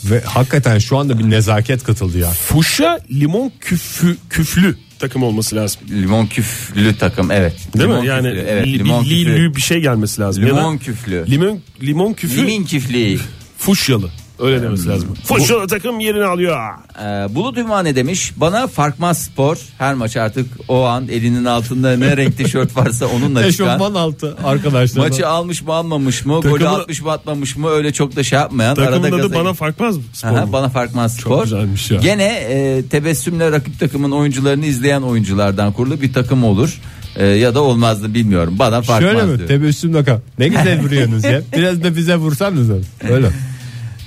Speaker 2: Ve hakikaten şu anda bir nezaket katıldı ya.
Speaker 5: Fuşya limon küfü, küflü takım olması lazım.
Speaker 3: Limon küflü takım evet.
Speaker 5: Değil
Speaker 3: limon
Speaker 5: mi? Yani
Speaker 3: küflü, evet,
Speaker 5: li-
Speaker 3: limon
Speaker 5: bir
Speaker 3: küflü.
Speaker 5: lilü bir şey gelmesi lazım. Ya da
Speaker 3: Limon küflü.
Speaker 5: Limon, limon küfü
Speaker 3: Limin küflü.
Speaker 5: fuşyalı. Öyle demesi lazım. Fuşyalı takım yerini alıyor.
Speaker 3: Ee, Bulut Ünvan ne demiş? Bana farkmaz spor. Her maç artık o an elinin altında ne renk tişört varsa onunla çıkan.
Speaker 2: Eşofman altı arkadaşlar.
Speaker 3: Maçı almış mı almamış mı? Golü
Speaker 5: Takımı-
Speaker 3: atmış mı atmamış mı? Öyle çok da şey yapmayan.
Speaker 5: Takımın adı
Speaker 3: gaza-
Speaker 5: bana farkmaz mı? Spor
Speaker 3: Aha,
Speaker 5: mu?
Speaker 3: bana farkmaz spor.
Speaker 5: güzelmiş ya.
Speaker 3: Gene e, tebessümle rakip takımın oyuncularını izleyen oyunculardan kurulu bir takım olur. E, ya da olmazdı bilmiyorum. Bana farkmaz
Speaker 2: Şöyle mi?
Speaker 3: diyor.
Speaker 2: Tebessümle kal. Ne güzel vuruyorsunuz ya. Biraz da bize vursanız. Öyle.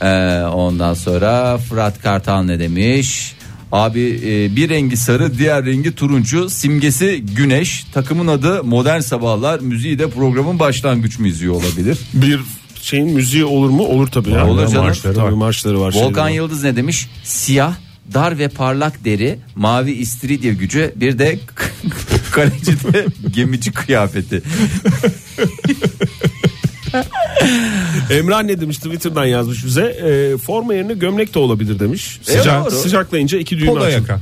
Speaker 3: E, ondan sonra Fırat Kartal ne demiş? Abi e, bir rengi sarı diğer rengi turuncu simgesi güneş takımın adı modern sabahlar müziği de programın başlangıç müziği olabilir.
Speaker 5: Bir şeyin müziği olur mu? Olur tabii. ya.
Speaker 3: Olur canım.
Speaker 5: Marşları var. Tabii marşları var.
Speaker 3: Volkan
Speaker 5: şeyleri var.
Speaker 3: Yıldız ne demiş? Siyah, dar ve parlak deri, mavi istiridye gücü, bir de kaleci ve gemici kıyafeti.
Speaker 5: Emrah ne demiş? Twitter'dan yazmış bize. E, forma yerine gömlek de olabilir demiş. Sıcak,
Speaker 3: doğru.
Speaker 5: sıcaklayınca iki düğme
Speaker 2: Polo
Speaker 5: açar.
Speaker 2: E, yaka.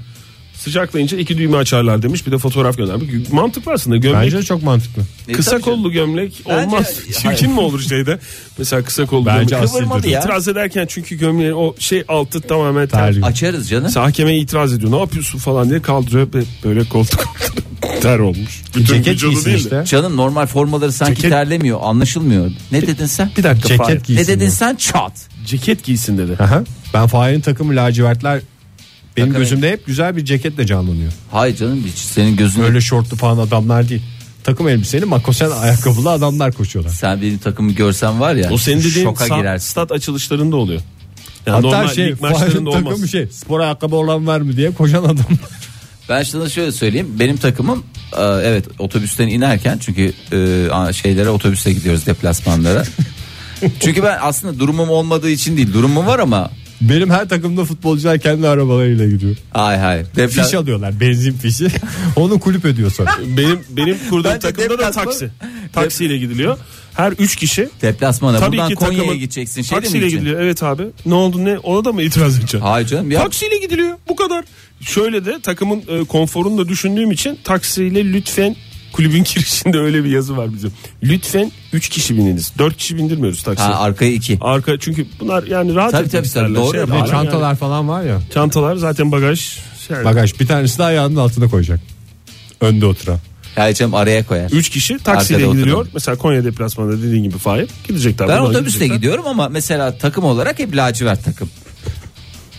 Speaker 5: Sıcaklayınca iki düğme açarlar demiş. Bir de fotoğraf göndermiş. Mantıklı aslında. Gömlek
Speaker 2: Bence çok mantıklı.
Speaker 3: E,
Speaker 5: Kısa
Speaker 3: tabii canım.
Speaker 5: kollu gömlek
Speaker 3: Bence-
Speaker 5: olmaz. Çirkin mi olur şeyde? Mesela kısa kollu
Speaker 2: Bence
Speaker 5: gömlek.
Speaker 2: asildir.
Speaker 3: Kıvırmadı ya.
Speaker 5: İtiraz ederken çünkü gömleğin o şey altı tamamen ter.
Speaker 2: Terlik.
Speaker 3: Açarız canım.
Speaker 5: Mesela hakeme itiraz ediyor. Ne yapıyorsun falan diye kaldırıyor ve böyle koltuk.
Speaker 2: ter olmuş.
Speaker 7: Bütün
Speaker 2: Ceket
Speaker 7: vücudu
Speaker 2: giysin
Speaker 7: değil de.
Speaker 2: işte.
Speaker 3: Canım normal formaları sanki
Speaker 5: Ceket-
Speaker 3: terlemiyor anlaşılmıyor. Ne dedin sen?
Speaker 5: Bir dakika
Speaker 2: Ceket
Speaker 5: Fahir.
Speaker 2: giy-
Speaker 3: Ne
Speaker 2: giysin
Speaker 3: dedin
Speaker 2: ya.
Speaker 3: sen? Çat.
Speaker 5: Ceket giysin dedi.
Speaker 2: Aha. Ben Fahir'in takımı lacivertler benim
Speaker 3: Takım-
Speaker 2: gözümde hep güzel bir ceketle canlanıyor.
Speaker 3: Hayır canım hiç senin gözünü
Speaker 2: Öyle şortlu falan adamlar değil. Takım elbiseli makosen ayakkabılı adamlar koşuyorlar.
Speaker 3: sen benim takımı görsen var ya
Speaker 5: O senin dediğin
Speaker 3: şoka
Speaker 5: sa-
Speaker 3: girersin.
Speaker 5: stat açılışlarında oluyor. Yani
Speaker 2: Hatta
Speaker 5: normal
Speaker 2: şey
Speaker 5: lig maçlarında
Speaker 2: Fahir'in
Speaker 5: olmaz.
Speaker 2: takımı şey spor ayakkabı olan var mı diye koşan adam.
Speaker 3: Ben sana şöyle söyleyeyim. Benim takımım e, evet otobüsten inerken çünkü e, a- şeylere otobüse gidiyoruz deplasmanlara. çünkü ben aslında durumum olmadığı için değil. Durumum var ama
Speaker 2: Benim her takımda futbolcular kendi arabalarıyla gidiyor.
Speaker 3: Hayır hayır.
Speaker 2: Fiş
Speaker 3: Deplas-
Speaker 2: alıyorlar benzin fişi. Onu kulüp ödüyor sonra.
Speaker 5: Benim benim kurduğum
Speaker 3: Bence
Speaker 5: takımda da
Speaker 3: deplasman-
Speaker 5: taksi. Taksiyle gidiliyor. Her 3 kişi
Speaker 3: deplasmana
Speaker 5: tabii
Speaker 3: buradan
Speaker 5: ki
Speaker 3: Konya'ya
Speaker 5: takımın
Speaker 3: gideceksin. Şey
Speaker 5: taksiyle
Speaker 3: demeyeceksin.
Speaker 5: gidiliyor. Evet abi. Ne oldu ne? Ona da mı itiraz edeceksin?
Speaker 3: Hayır canım ya.
Speaker 5: Taksiyle gidiliyor. Bu kadar. Şöyle de takımın e, konforunu da düşündüğüm için taksiyle lütfen kulübün girişinde öyle bir yazı var bizim. Lütfen 3 kişi bininiz. 4 kişi bindirmiyoruz taksiye.
Speaker 3: Ha, arkaya iki.
Speaker 5: Arka çünkü bunlar yani rahat
Speaker 3: Tabii,
Speaker 5: etmek
Speaker 3: tabii, tabii.
Speaker 5: isterler.
Speaker 3: Doğru ya.
Speaker 5: Şey,
Speaker 2: Ve
Speaker 5: yani-
Speaker 2: çantalar falan var ya.
Speaker 5: Çantalar zaten bagaj. Şey,
Speaker 2: Bagaj bir tanesi de ayağının altına koyacak. Önde oturan.
Speaker 3: Hayır canım araya koyar.
Speaker 5: 3 kişi taksiyle
Speaker 3: Arkada
Speaker 5: gidiliyor.
Speaker 3: oturun.
Speaker 5: Mesela Konya deplasmanında dediğin gibi Fahir gidecekler.
Speaker 3: Ben
Speaker 5: Buradan
Speaker 3: otobüsle
Speaker 5: gidecekler.
Speaker 3: gidiyorum ama mesela takım olarak hep lacivert takım.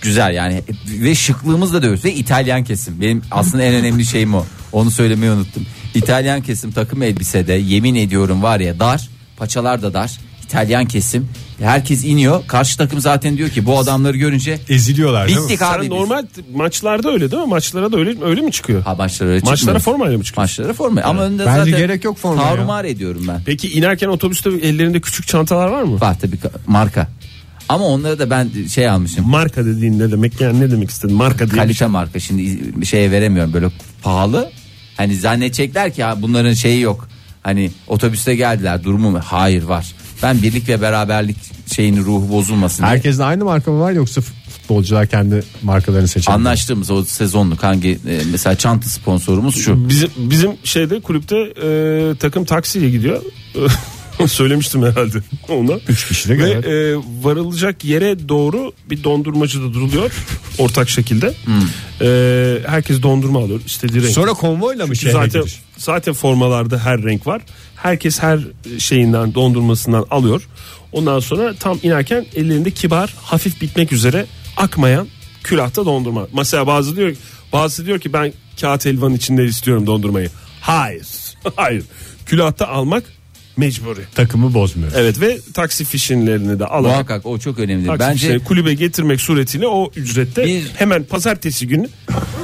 Speaker 3: Güzel yani ve şıklığımız da dövüş ve İtalyan kesim. Benim aslında en önemli şeyim o. Onu söylemeyi unuttum. İtalyan kesim takım elbisede yemin ediyorum var ya dar, paçalar da dar. İtalyan kesim. Herkes iniyor. Karşı takım zaten diyor ki bu adamları görünce
Speaker 2: Eziliyorlar değil mi?
Speaker 3: bittik abi.
Speaker 5: Sen
Speaker 3: biz.
Speaker 5: normal maçlarda öyle değil mi? Maçlara da öyle öyle mi çıkıyor?
Speaker 3: ha maçlara öyle
Speaker 5: Maçlara
Speaker 3: çıkmıyor.
Speaker 5: formayla mı çıkıyor?
Speaker 3: Maçlara forma. Ama önünde
Speaker 2: Bence
Speaker 3: zaten
Speaker 2: gerek yok formaya ya.
Speaker 3: Tarumar ediyorum ben.
Speaker 5: Peki inerken otobüste ellerinde küçük çantalar var mı?
Speaker 3: Var tabii ka- marka. Ama onları da ben şey almışım.
Speaker 5: Marka dediğin ne demek? Yani ne demek istedin? Marka diye bir şey.
Speaker 3: kalite
Speaker 2: şey-
Speaker 3: marka şimdi iz- şeye veremiyorum böyle pahalı. Hani zannedecekler ki "Ha, bunların şeyi yok. Hani otobüste geldiler durumu mu? Hayır var. Ben birlik ve beraberlik şeyin ruhu bozulmasın diye.
Speaker 2: Herkesin aynı marka mı var yoksa futbolcular kendi markalarını seçiyor?
Speaker 3: Anlaştığımız o sezonluk hangi e, mesela çanta sponsorumuz
Speaker 2: Hmm.
Speaker 3: şu.
Speaker 5: Bizim bizim şeyde kulüpte e, takım taksiyle gidiyor. Söylemiştim herhalde ona.
Speaker 2: Üç kişi de
Speaker 5: Ve
Speaker 2: gayet.
Speaker 5: e, varılacak yere doğru bir dondurmacı da duruluyor ortak şekilde. E, herkes dondurma alıyor istediği renk.
Speaker 2: Hmm. Sonra konvoyla mı şehre
Speaker 5: zaten
Speaker 2: giriş?
Speaker 5: zaten formalarda her renk var. Herkes her şeyinden dondurmasından alıyor. Ondan sonra tam inerken ellerinde kibar, hafif bitmek üzere akmayan külahta dondurma. Mesela bazı diyor bazı diyor ki ben kağıt elvanın içinde istiyorum dondurmayı. Hayır. Hayır. Külahta almak mecburi.
Speaker 2: Takımı bozmuyor.
Speaker 5: Evet ve taksi fişinlerini de alarak
Speaker 3: Muhakkak o çok önemli.
Speaker 5: taksi
Speaker 3: Bence
Speaker 5: fişini kulübe getirmek suretiyle o ücrette
Speaker 3: Bir-
Speaker 5: hemen pazartesi günü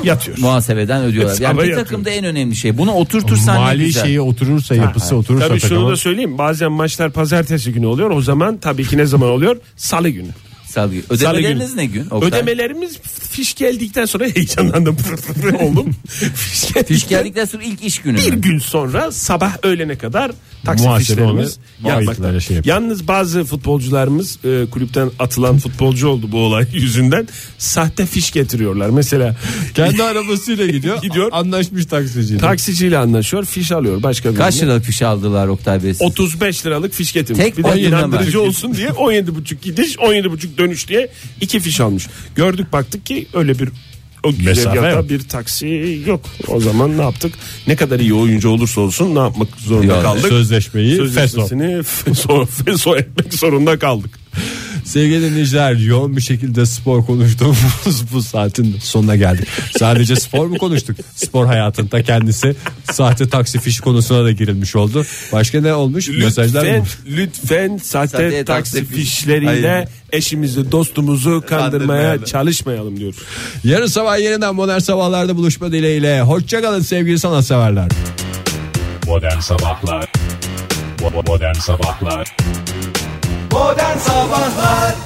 Speaker 5: yatıyor.
Speaker 3: muhasebeden ödüyorlar.
Speaker 5: Evet,
Speaker 3: Yani
Speaker 5: hava
Speaker 3: bir takımda en önemli şey. Bunu oturtursan ne
Speaker 2: Mali şey-
Speaker 3: güzel.
Speaker 2: şeyi oturursa yapısı oturursa
Speaker 5: Tabii şunu
Speaker 2: takımın-
Speaker 5: da söyleyeyim. Bazen maçlar pazartesi günü oluyor. O zaman tabii ki ne zaman oluyor? Salı günü.
Speaker 3: Salgı-
Speaker 5: Salı
Speaker 3: Ödemeleriniz
Speaker 5: günü.
Speaker 3: ne gün? Oktay?
Speaker 5: Ödemelerimiz fiş geldikten sonra heyecanlandım oğlum. Fiş geldikten,
Speaker 3: Fiş geldikten sonra ilk iş günü.
Speaker 5: bir
Speaker 3: mü?
Speaker 5: gün sonra sabah öğlene kadar taksi
Speaker 2: Muhasebe
Speaker 5: fişlerimiz
Speaker 2: ona-
Speaker 5: yanmakta.
Speaker 2: Muhasebeler şey yapıyor.
Speaker 5: Yalnız bazı futbolcularımız e, kulüpten atılan futbolcu oldu bu olay yüzünden. Sahte fiş getiriyorlar. Mesela
Speaker 2: Kendi arabasıyla gidiyor.
Speaker 5: Gidiyor.
Speaker 2: Anlaşmış taksiciyle.
Speaker 5: taksiciyle anlaşıyor fiş alıyor başka birine.
Speaker 3: Kaç liralık fiş aldılar Oktay Bey? siz?
Speaker 5: 35 liralık fiş getirmiş.
Speaker 3: Tek
Speaker 5: bir de
Speaker 3: oyunda
Speaker 5: inandırıcı
Speaker 3: mı?
Speaker 5: olsun diye 17,5 gidiş 17,5 dönüş diye iki fiş almış. Gördük baktık ki öyle bir o
Speaker 2: Mesafe
Speaker 5: güzergahta
Speaker 2: yok.
Speaker 5: bir taksi yok. O zaman ne yaptık? Ne kadar iyi oyuncu olursa olsun ne yapmak zorunda
Speaker 3: Yani
Speaker 5: kaldık?
Speaker 2: Sözleşmeyi feso.
Speaker 5: Sözleşmesini feso, feso etmek zorunda kaldık.
Speaker 2: Sevgili dinleyiciler yoğun bir şekilde spor konuştuğumuz bu saatin sonuna geldik. Sadece spor mu konuştuk? Spor hayatında kendisi sahte taksi fişi konusuna da girilmiş oldu. Başka ne olmuş? Mesajlar
Speaker 5: Lütfen,
Speaker 2: mı?
Speaker 5: lütfen sahte,
Speaker 3: Sahte
Speaker 5: taksi,
Speaker 3: taksi
Speaker 5: fişleriyle
Speaker 3: Hayır.
Speaker 5: eşimizi dostumuzu kandırmaya
Speaker 3: Kandırmayalım.
Speaker 5: çalışmayalım diyoruz.
Speaker 2: Yarın sabah yeniden modern sabahlarda buluşma dileğiyle. Hoşçakalın sevgili sanatseverler.
Speaker 1: Modern Sabahlar Bo- bo- Modern Sabahlar
Speaker 7: Modern Sabahlar